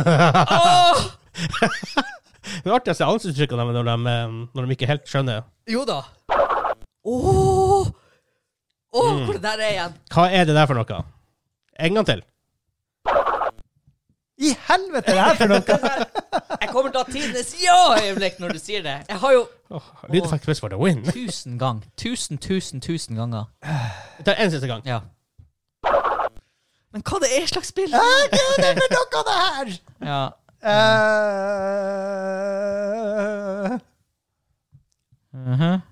Åh! Det er artig å se ansiktsuttrykkene når, de, eh, når de ikke helt skjønner. Jo da. Åh! Åh, Mm. hvor det der er igjen. Hva er det der for noe? En gang til. I helvete, det her for noe! Jeg kommer til å ha tidenes ja-øyeblikk når du sier det. Jeg har jo Oh, Lydeffekt quiz for the win. tusen gang. Tusen, tusen, tusen ganger. Vi tar en siste gang. Ja. Men hva det er slags spill? Det er noe av det her! Ja. Eh, Mhm.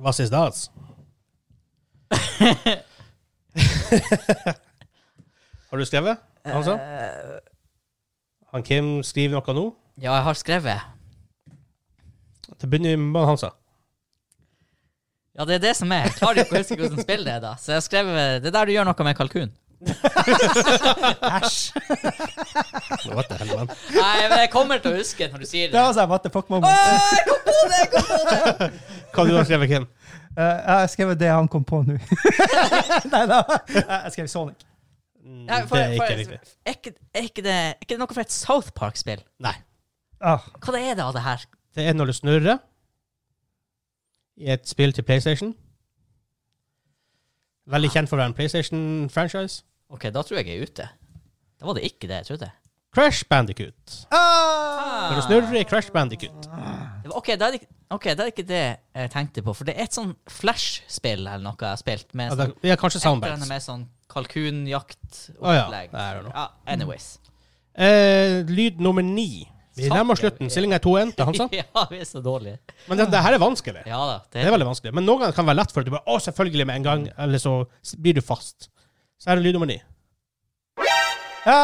Hva is that? Har du skrevet? Han sa? Eh. Han Kim skriver noe nå. ja, jeg har skrevet. Det begynner med han sa. Ja, det er det som er. Jeg klarer ikke å huske hvordan spill det er, da. Så jeg har skrevet Det er der du gjør noe med kalkun. Æsj. Hva til helvete? Nei, men jeg kommer til å huske når du sier Det det. var sånn what the fuck Ah! moment. Hva du har skrevet, Kim? Eh, jeg har skrevet det han kom på nå. Nei da. Eh, Jeg skrev Sonic. Nei, for- det er ikke for- riktig. Er ikke, er ikke, det, er ikke det noe fra et South Park-spill? Nei. Ah, Hva det er det av det her? Det er når du snurrer i et spill til PlayStation. Veldig kjent for å være en PlayStation-franchise. Ok, da tror jeg jeg er ute. Da var det ikke det jeg trodde. Crash Bandicoot. Ah, Når du snurrer i Crash Bandicoot. det Det var, ok, da er det, ikke- ok, da er det ikke det jeg tenkte på. For det er et sånn Flash-spill eller noe jeg har spilt. Med Ja, sånn, det, ja, kanskje et eller annet soundbags. med sånn kalkunjaktopplegg. Å ja, det er det nå. Ja, anyways. Eh, lyd nummer ni. Vi nærmer oss slutten. Stillinga er 2-1 til Hansa. ja, vi er så dårlige. Men det, det her er vanskelig. Ja da. Det, Sånn. Det er veldig vanskelig. Men noen ganger kan det være lett for at du bare Å, selvfølgelig, med en gang. Mm. Eller så s- blir du fast. Så er det lyd nummer ni. Ja!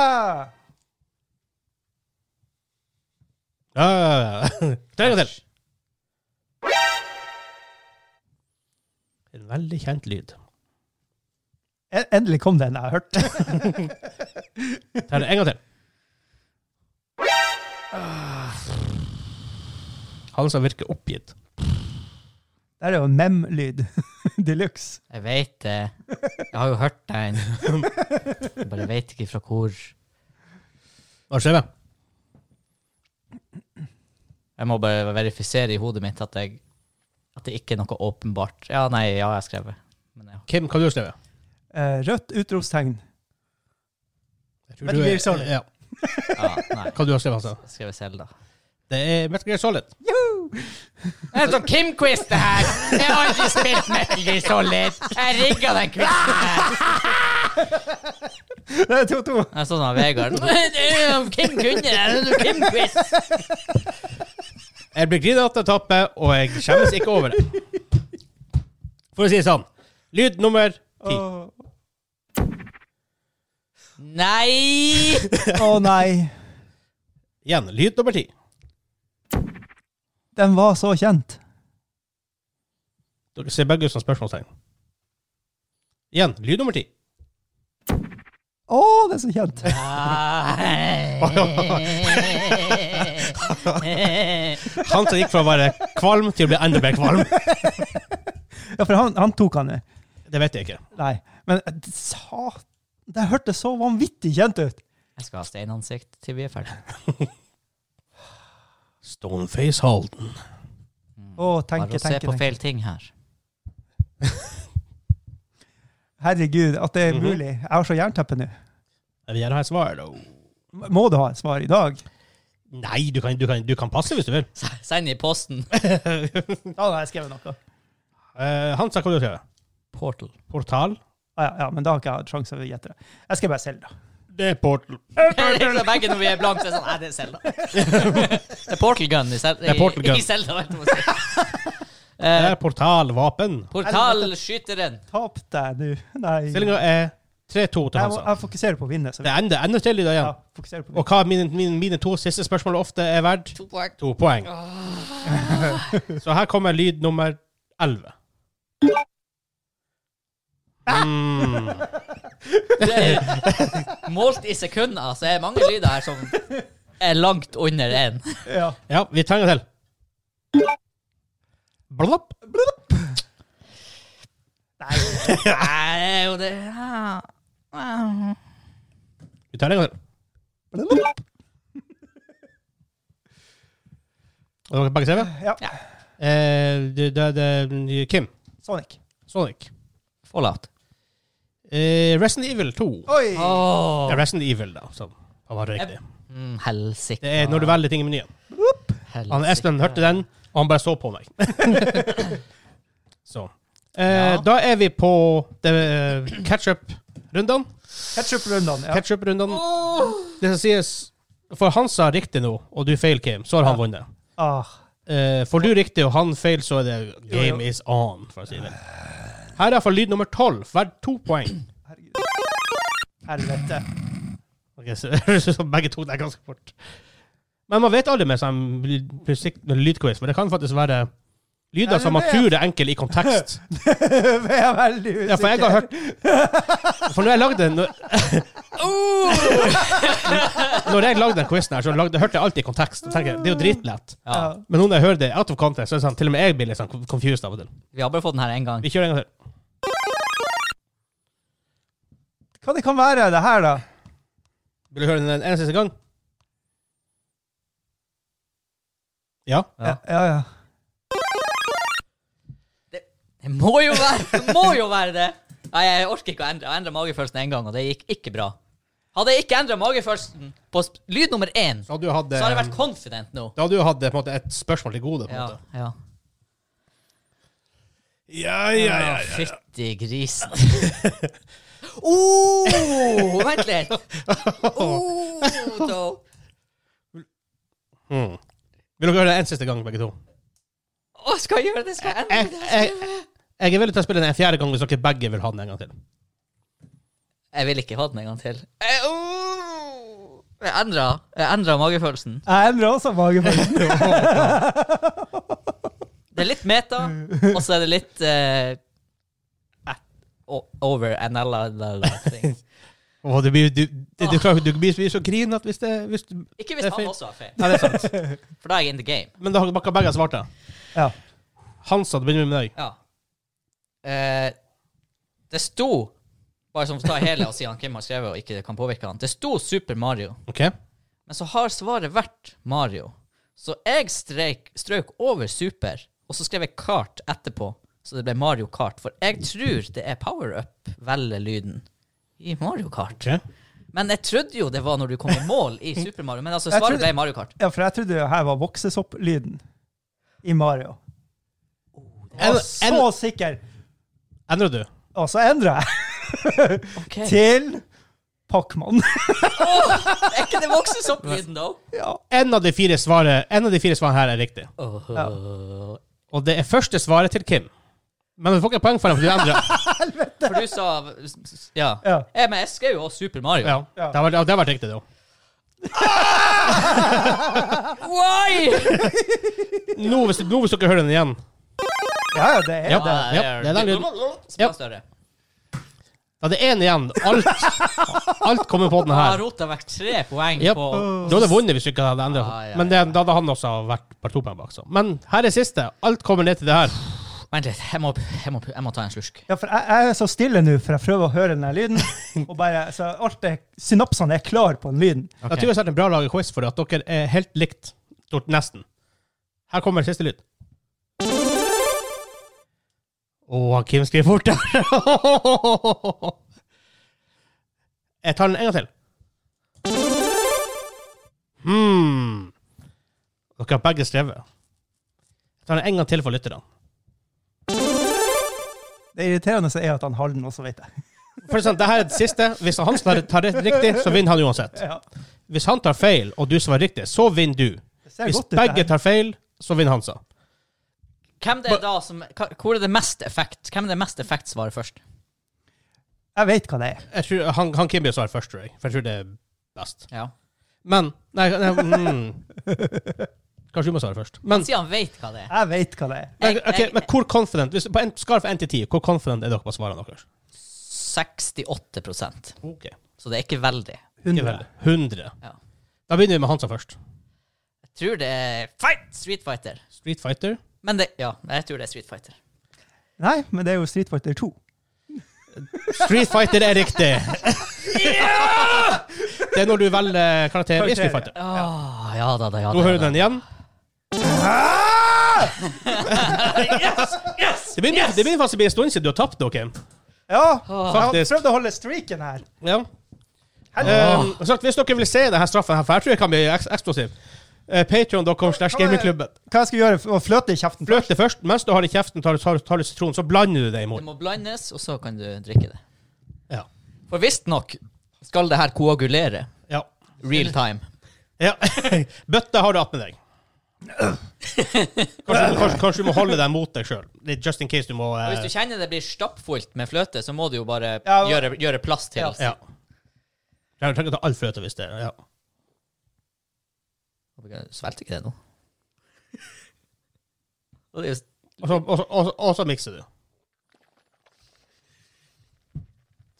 Ja, ja, ja. Tre ganger til. En veldig kjent lyd. En- Endelig kom den jeg har hørt. Ta det en gang til. Ah. Han som virker oppgitt. Det er jo mem-lyd. De luxe. Jeg vet det. Jeg har jo hørt den. Jeg bare vet ikke fra hvor. Hva skjer med? Jeg må bare verifisere i hodet mitt at, jeg, at det ikke er noe åpenbart. Ja, nei, ja, jeg skrev det. Men ja. Kim, hva har du skrevet? Eh, Rødt utropstegn. Jeg tror Metal du er- Gear Solid. Ja. ja nei. Hva du har skrevet, altså? Jeg skrev Selda. Det er Metal Gear Solid. Det er en sånn Kim-quiz, det her! Jeg har aldri spilt Metal Gear Solid! Jeg rigga den quizen her! Det er 2-2. Jeg så sånn Vegard Kim kunne det! Kim-quiz! Jeg blir grina at jeg tapper, og jeg skjemmes ikke over det. For å si det sånn. Lyd nummer Å ti. Nei! å nei. Igjen, lyd nummer ti. Den var så kjent. Dere ser begge ut som spørsmålstegn. Igjen, lyd nummer ti. Å, det er så kjent. Han som gikk fra å være kvalm til å bli enda mer kvalm. Ja, for han, han tok han det. Det vet jeg ikke. Nei. Men eh, sa Det hørtes så vanvittig kjent ut. Jeg skal ha steinansikt til vi er ferdige. Stoneface Halden. Å, tenke, Bare å se tenke, på tenke. feil ting her. Herregud, at det er Mhm. mulig. Jeg har så jernteppe nå. Jeg vil gjerne ha et svar, da. M- Må du ha et svar i dag? Nei, du kan, du kan, du kan passe hvis du vil. Se- Send i posten. Ja, da har jeg skrevet noe. Eh, Hansa, hva har du skrevet? Portal. Portal? Ah, ja, ja, men da har ikke jeg hatt sjanse til å gjette det. Jeg skrev bare Selda. Det er Portal. Regler begge når vi er blanke, så er det sånn Nei, det er Zelda. det er Portal Gun i, Zel- er Portal Gun. i Zelda. vet du hva jeg sier. Det Eh, er Portalvapen. Portalskyteren. Tap deg nå. Nei. Stillinga er 3-2 til Jeg, må, Hansa. jeg fokuserer på å vinne. Så Det er enda, enda tre lyder ah, ja, igjen. fokuserer på å vinne. Og hva mine, mine, mine to siste spørsmål ofte er verdt? To poeng. To poeng. Så her kommer lyd nummer 11. Mm. Målt i sekunder, så er det mange lyder her som er langt under én. Ja. Ja, vi trenger til. Blapp. Nei, det er jo det ja. Vi tar en gang til. Og dere begge ser det? Ja. Eh, det, det, det Kim. Sonic. Sonic. Fallout. Eh, Resident Evil 2. Oi! Ah. Oh. Ja, Resident Evil, da. Så han var riktig. Mm, Helsike. Det er når du velger ting i menyen. Han Espen hørte den, og han bare så på meg. så. Eh, Ja. Da er vi på eh, ketchup-rundene. Ketchup-rundene. Ja. Ketchup-rundene. Det som sies For Hans har riktig nå, og du feil, Kim, så har han vunnet. Ah. Eh, får du riktig og han feil, så er det game Jo, jo. is on. For å si det. Her er iallfall lyd nummer tolv, verdt to poeng. Herregud. Helvete. Ok, så det høres ut som begge tok det ganske fort. Men man vet aldri med sånn lyd- musikk- med lydquiz, for det kan faktisk være Nei, lyder som men man det- tror er enkle i kontekst. Jeg er veldig usikker. Ja, for jeg har hørt For når jeg lagde den Når, når jeg lagde den quizen her, så lagde, hørte jeg alt i kontekst. Og tenker, jeg, det er jo dritlett. Ja. Men nå når jeg hører det out of context, så er det sånn, til og med jeg blir litt sånn confused av og til. Vi har bare fått den her én gang. Vi kjører en gang til. Hva det kan være, det her, da? Vil du høre den en, en siste gang? Ja. Ja, ja. ja. Det må jo være det! Må jo være det. Nei, jeg orker ikke å endre. Jeg endra magefølelsen én gang, og det gikk ikke bra. Hadde jeg ikke endra magefølelsen på sp- lyd nummer én, Så hadde du hatt, så hadde jeg eh, vært confident nå. da hadde du hatt eh, på en måte, et spørsmål til gode. på en Ja, måte. ja. Ja, ja, ja. Å, Fytti grisen. oh, vent litt. Oh, da. Mm. Vil dere høre det en siste gang, begge to? Å, skal jeg gjøre det? Skal jeg Jeg, endre det? jeg, jeg er villig til å spille den en fjerde gang hvis dere begge vil ha den en gang til. Jeg vil ikke ha den en gang til. Jeg, oh, jeg endra jeg endra magefølelsen. Jeg endrer også magefølelsen. Det er litt meta, og så er det litt eh, at- o- over and alla- alla- alla thing. Åh, du, blir, du, du, Ah. du, klarer- du blir blir så grinete hvis det hvis du, Ikke Det hvis er han feil. også har feil, Ja, det er sant. for da er jeg in the game. Men da har dere begge svart det. Ja. Hansa, da begynner vi med deg. Ja. Eh, det sto Bare som ta hele og si han Kim har skrevet og ikke kan påvirke han. Det sto Super Mario, Ok? men så har svaret vært Mario. Så jeg streik, strøk over Super, og så skrev jeg Kart etterpå, så det ble Mario Kart. For jeg tror det er power-up-velgelyden i Mario Kart. Ok. Men jeg trodde jo det var når du kom i mål i Super Mario. Men altså, Jeg svaret trodde- ble Mario Kart. ja, for jeg trodde det her var voksesopp-lyden i Mario. Jeg En- var så en- sikker. Endrer du? Og så endrer jeg Okay. til Pacman. Er ikke det voksesopplyden, da? Ja. En av de fire svarene, en av de fire svarene her er riktig. Åh. Og det er første svaret til Kim. Men du får ikke poeng for det, for du endrer. For du sa Ja. Ja. Jeg, men jeg skrev jo også Super Mario. Ja, det har vært, det har vært riktig, da. Why? Nå hvis, nå hvis dere hører den igjen. ja, ja, det er Ja. det. ja, det er den lyden. Som Ja. er større. Da er det én igjen. Alt, alt kommer på den Jeg har her. rota vekk tre poeng Yep. på Du hadde vunnet hvis du ikke hadde endret. Ja, ja, ja. Men det, da hadde han også vært bare to poeng bak. Så. Men her er siste. Alt kommer ned til det her. Vent litt, jeg må, jeg, må, jeg må ta en slurk. Ja, for jeg, jeg er så stille nå, for jeg prøver å høre den der lyden. Og bare, så alt er, Synapsene er klar på den lyden. Jeg tror jeg setter en bra laget quiz for at dere er helt likt. Stort nesten. Her kommer siste lyd. Å, han Kim skriver fort der. jeg tar den en gang til. Hmm. Dere har begge skrevet. Jeg tar den en gang til for lytterne. Det irriterende så er at han har den også, vet jeg. For sånn, det her er det siste. Hvis han tar tar rett riktig, så vinner han uansett. Ja. Hvis han tar feil, og du svarer riktig, så vinner du. Det ser Hvis godt ut, det begge her. tar feil, så vinner Hansa. Hvem det er da som hva- Hvor er det mest effekt? Hvem er det mest effekt svarer først? Jeg vet hva det er. Jeg tror han, han Kimby svarer først, tror jeg. For jeg tror det er best. Ja. Men Nei, nei mm. Kanskje du må svare først. Men, Si han vet hva det er. Jeg vet hva det er. men, jeg- jeg- ok, men hvor confident hvis, På en skala fra 1 til 10, hvor confident er dere på svarene deres? 68 Ok. Så det er ikke veldig. 100. 100. Ja. Da begynner vi med Hansa først. Jeg tror det er Fight! Street Fighter. Street Fighter. Men det Ja, jeg tror det er Street Fighter. Nei, men det er jo Street Fighter 2. Street Fighter er riktig! Det er når du velger karakter i Street Fighter. Åh, ja da, da, ja da. Ah, Nå hører ja du da. den igjen. Det begynner, det begynner faktisk å bli en stund siden du har tapt noe. Ja, jeg Faktisk. prøvde å holde streaken her. Ja. Um, sagt, hvis dere vil se denne straffen, her, for jeg tror jeg kan bli eks eksplosiv uh, Patreon.com slash gamingklubben. Hva jeg skal gjøre? Å fløte i kjeften? Fløt det først. Mens du har det i kjeften, tar, du- tar, tar du sitron, så blander du det Det imot. må blandes, og så kan du drikke det. Ja. For visstnok skal det her koagulere ja. real time. ja. Bøtta har du attmed deg. Kanskje, kanskje, kanskje du må holde deg mot deg sjøl. Just in case du må Og eh, hvis du kjenner det blir stappfullt med fløte, så må du jo bare Ja, og- gjøre, gjøre plass til. Ja. Jeg trenger ikke ta all fløte hvis det ja. Svelter ikke det nå? Og det er jo s- Og så, og, så- og, så- og så mikser du.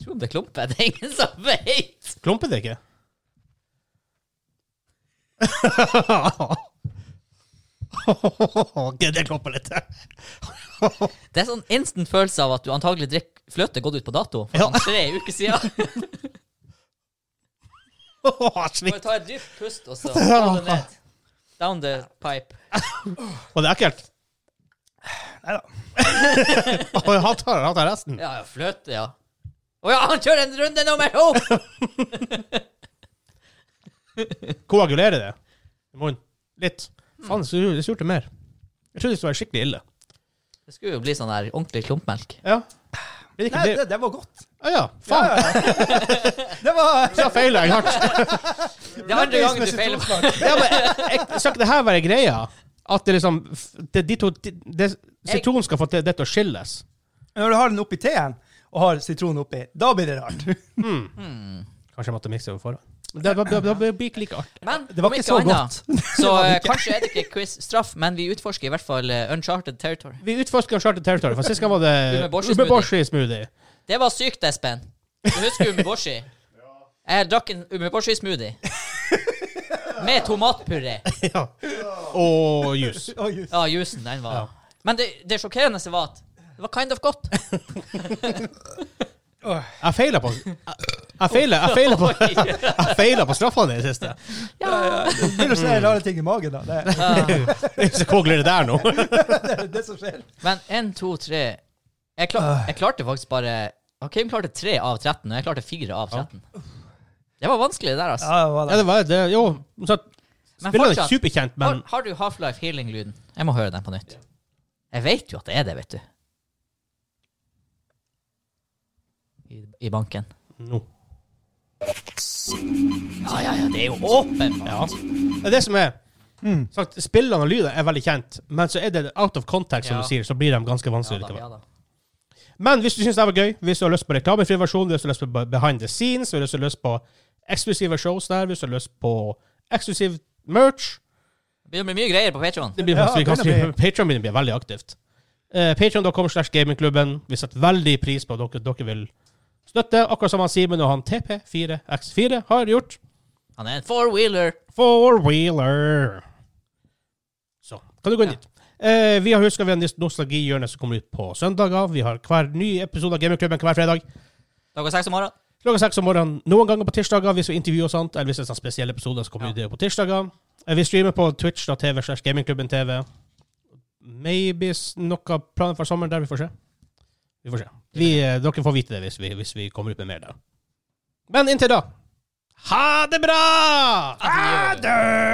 Tro om det klumper, det er ingen som vet! Klumper det ikke? ok, det klumper litt. Det er sånn instant følelse av at du antagelig drikker fløte gått ut på dato for Ja. sånn tre uker siden. Slik. Bare ta et dypt pust, og så ta det ned. Down the pipe. Og det er ekkelt. Neida. Og han tar, han tar resten. Ja, ja, fløte, ja. Å ja, han kjører en runde nummer to! Koagulere det i munnen. Litt. Faen, det sur- det surte mer. Jeg trodde det skulle være skikkelig ille. Det skulle jo bli sånn der ordentlig klumpmelk. Ja. Blir det ikke Nei, det? det, det var godt. Å ja. Faen, Det var så feiler jeg hardt. Det er andre gangen du feiler. Ja, men jeg, skal ikke det her være greia? At det liksom f- det, de to, de, det, Sitron skal få det, det til å skilles. Når du har den oppi teen, og har sitronen oppi, da blir det rart. Kanskje jeg måtte mikse over forhånd. Men Det, det, det, det blir ikke like artig. Men Det var om ikke så annet, godt. Så eh, kanskje er det ikke quiz-straff, men vi utforsker i hvert fall eh, uncharted territory. Vi utforsker Charted Territory, for sist gang var det Umeboshi-smoothie. Umeboshi-smoothie. Det var sykt, Espen. Du husker Umeboshi? Jeg drakk en Umeboshi-smoothie. Med tomatpuré. Ja. Og juice. Å, just. Ja, jusen, den var Men det, det sjokkerende var at det var kind of godt. Jeg feiler på Jeg feiler, jeg feiler på Jeg feiler på straffa di i siste. Det er jo sånne rare ting i magen, da. Det Det er så kogler det der nå. det er det som skjer. Men én, to, tre jeg, klar, jeg klarte faktisk bare og Kim klarte tre av 13, og jeg klarte fire av 13. Det var vanskelig, det der, altså. Ja, det var Ja, det. det var det Jo, så Men spiller det fortsatt- superkjent, Har, men har du Half-Life Healing-lyden? Jeg må høre den på nytt. Jeg vet jo at det er det, vet du. I, i banken. nå. Ja, ja, ja, det er jo åpenbart. Ja. Det er det som er Mm. sagt, Spillene og lyden er veldig kjent, men så er det out of contact, som Ja. du sier, så blir de ganske Ja vanskelige da, ja likevel. da. Men hvis du syns det var gøy, hvis du har lyst på reklamefri versjon, hvis du har lyst på be- behind the scenes, hvis du har lyst på eksklusive shows der, hvis du har lyst på eksklusiv merch Det begynner å bli mye greier på Patreon det blir Ja, faktisk, vi kan det blir- skrive- Patreon blir- blir veldig aktivt. Uh, Patreon.com slash gamingklubben. Vi setter veldig pris på at dere, dere vil støtte, akkurat som han Simen og han TP4X4 har gjort. Han er en four-wheeler. Four-wheeler. Så kan du gå inn dit. Eh, vi har huska vi har nost- nostalgihjørnet som kommer ut på søndager. Vi har hver ny episode av Gamingklubben hver fredag. Klokka seks om morgenen. Klokka seks om morgenen. Noen ganger på tirsdager hvis vi intervjuer og sånt, eller hvis det er sånne spesielle episoder, så kommer Ja. det på tirsdager. Eh, Vi streamer på Twitch da, TV slash Gamingklubben TV. Maybe s- noe planer for sommeren der, vi får se. Vi får se. Vi, eh, dere får vite det hvis vi, hvis vi kommer ut med mer der. Men inntil da, ha det bra! Ha det!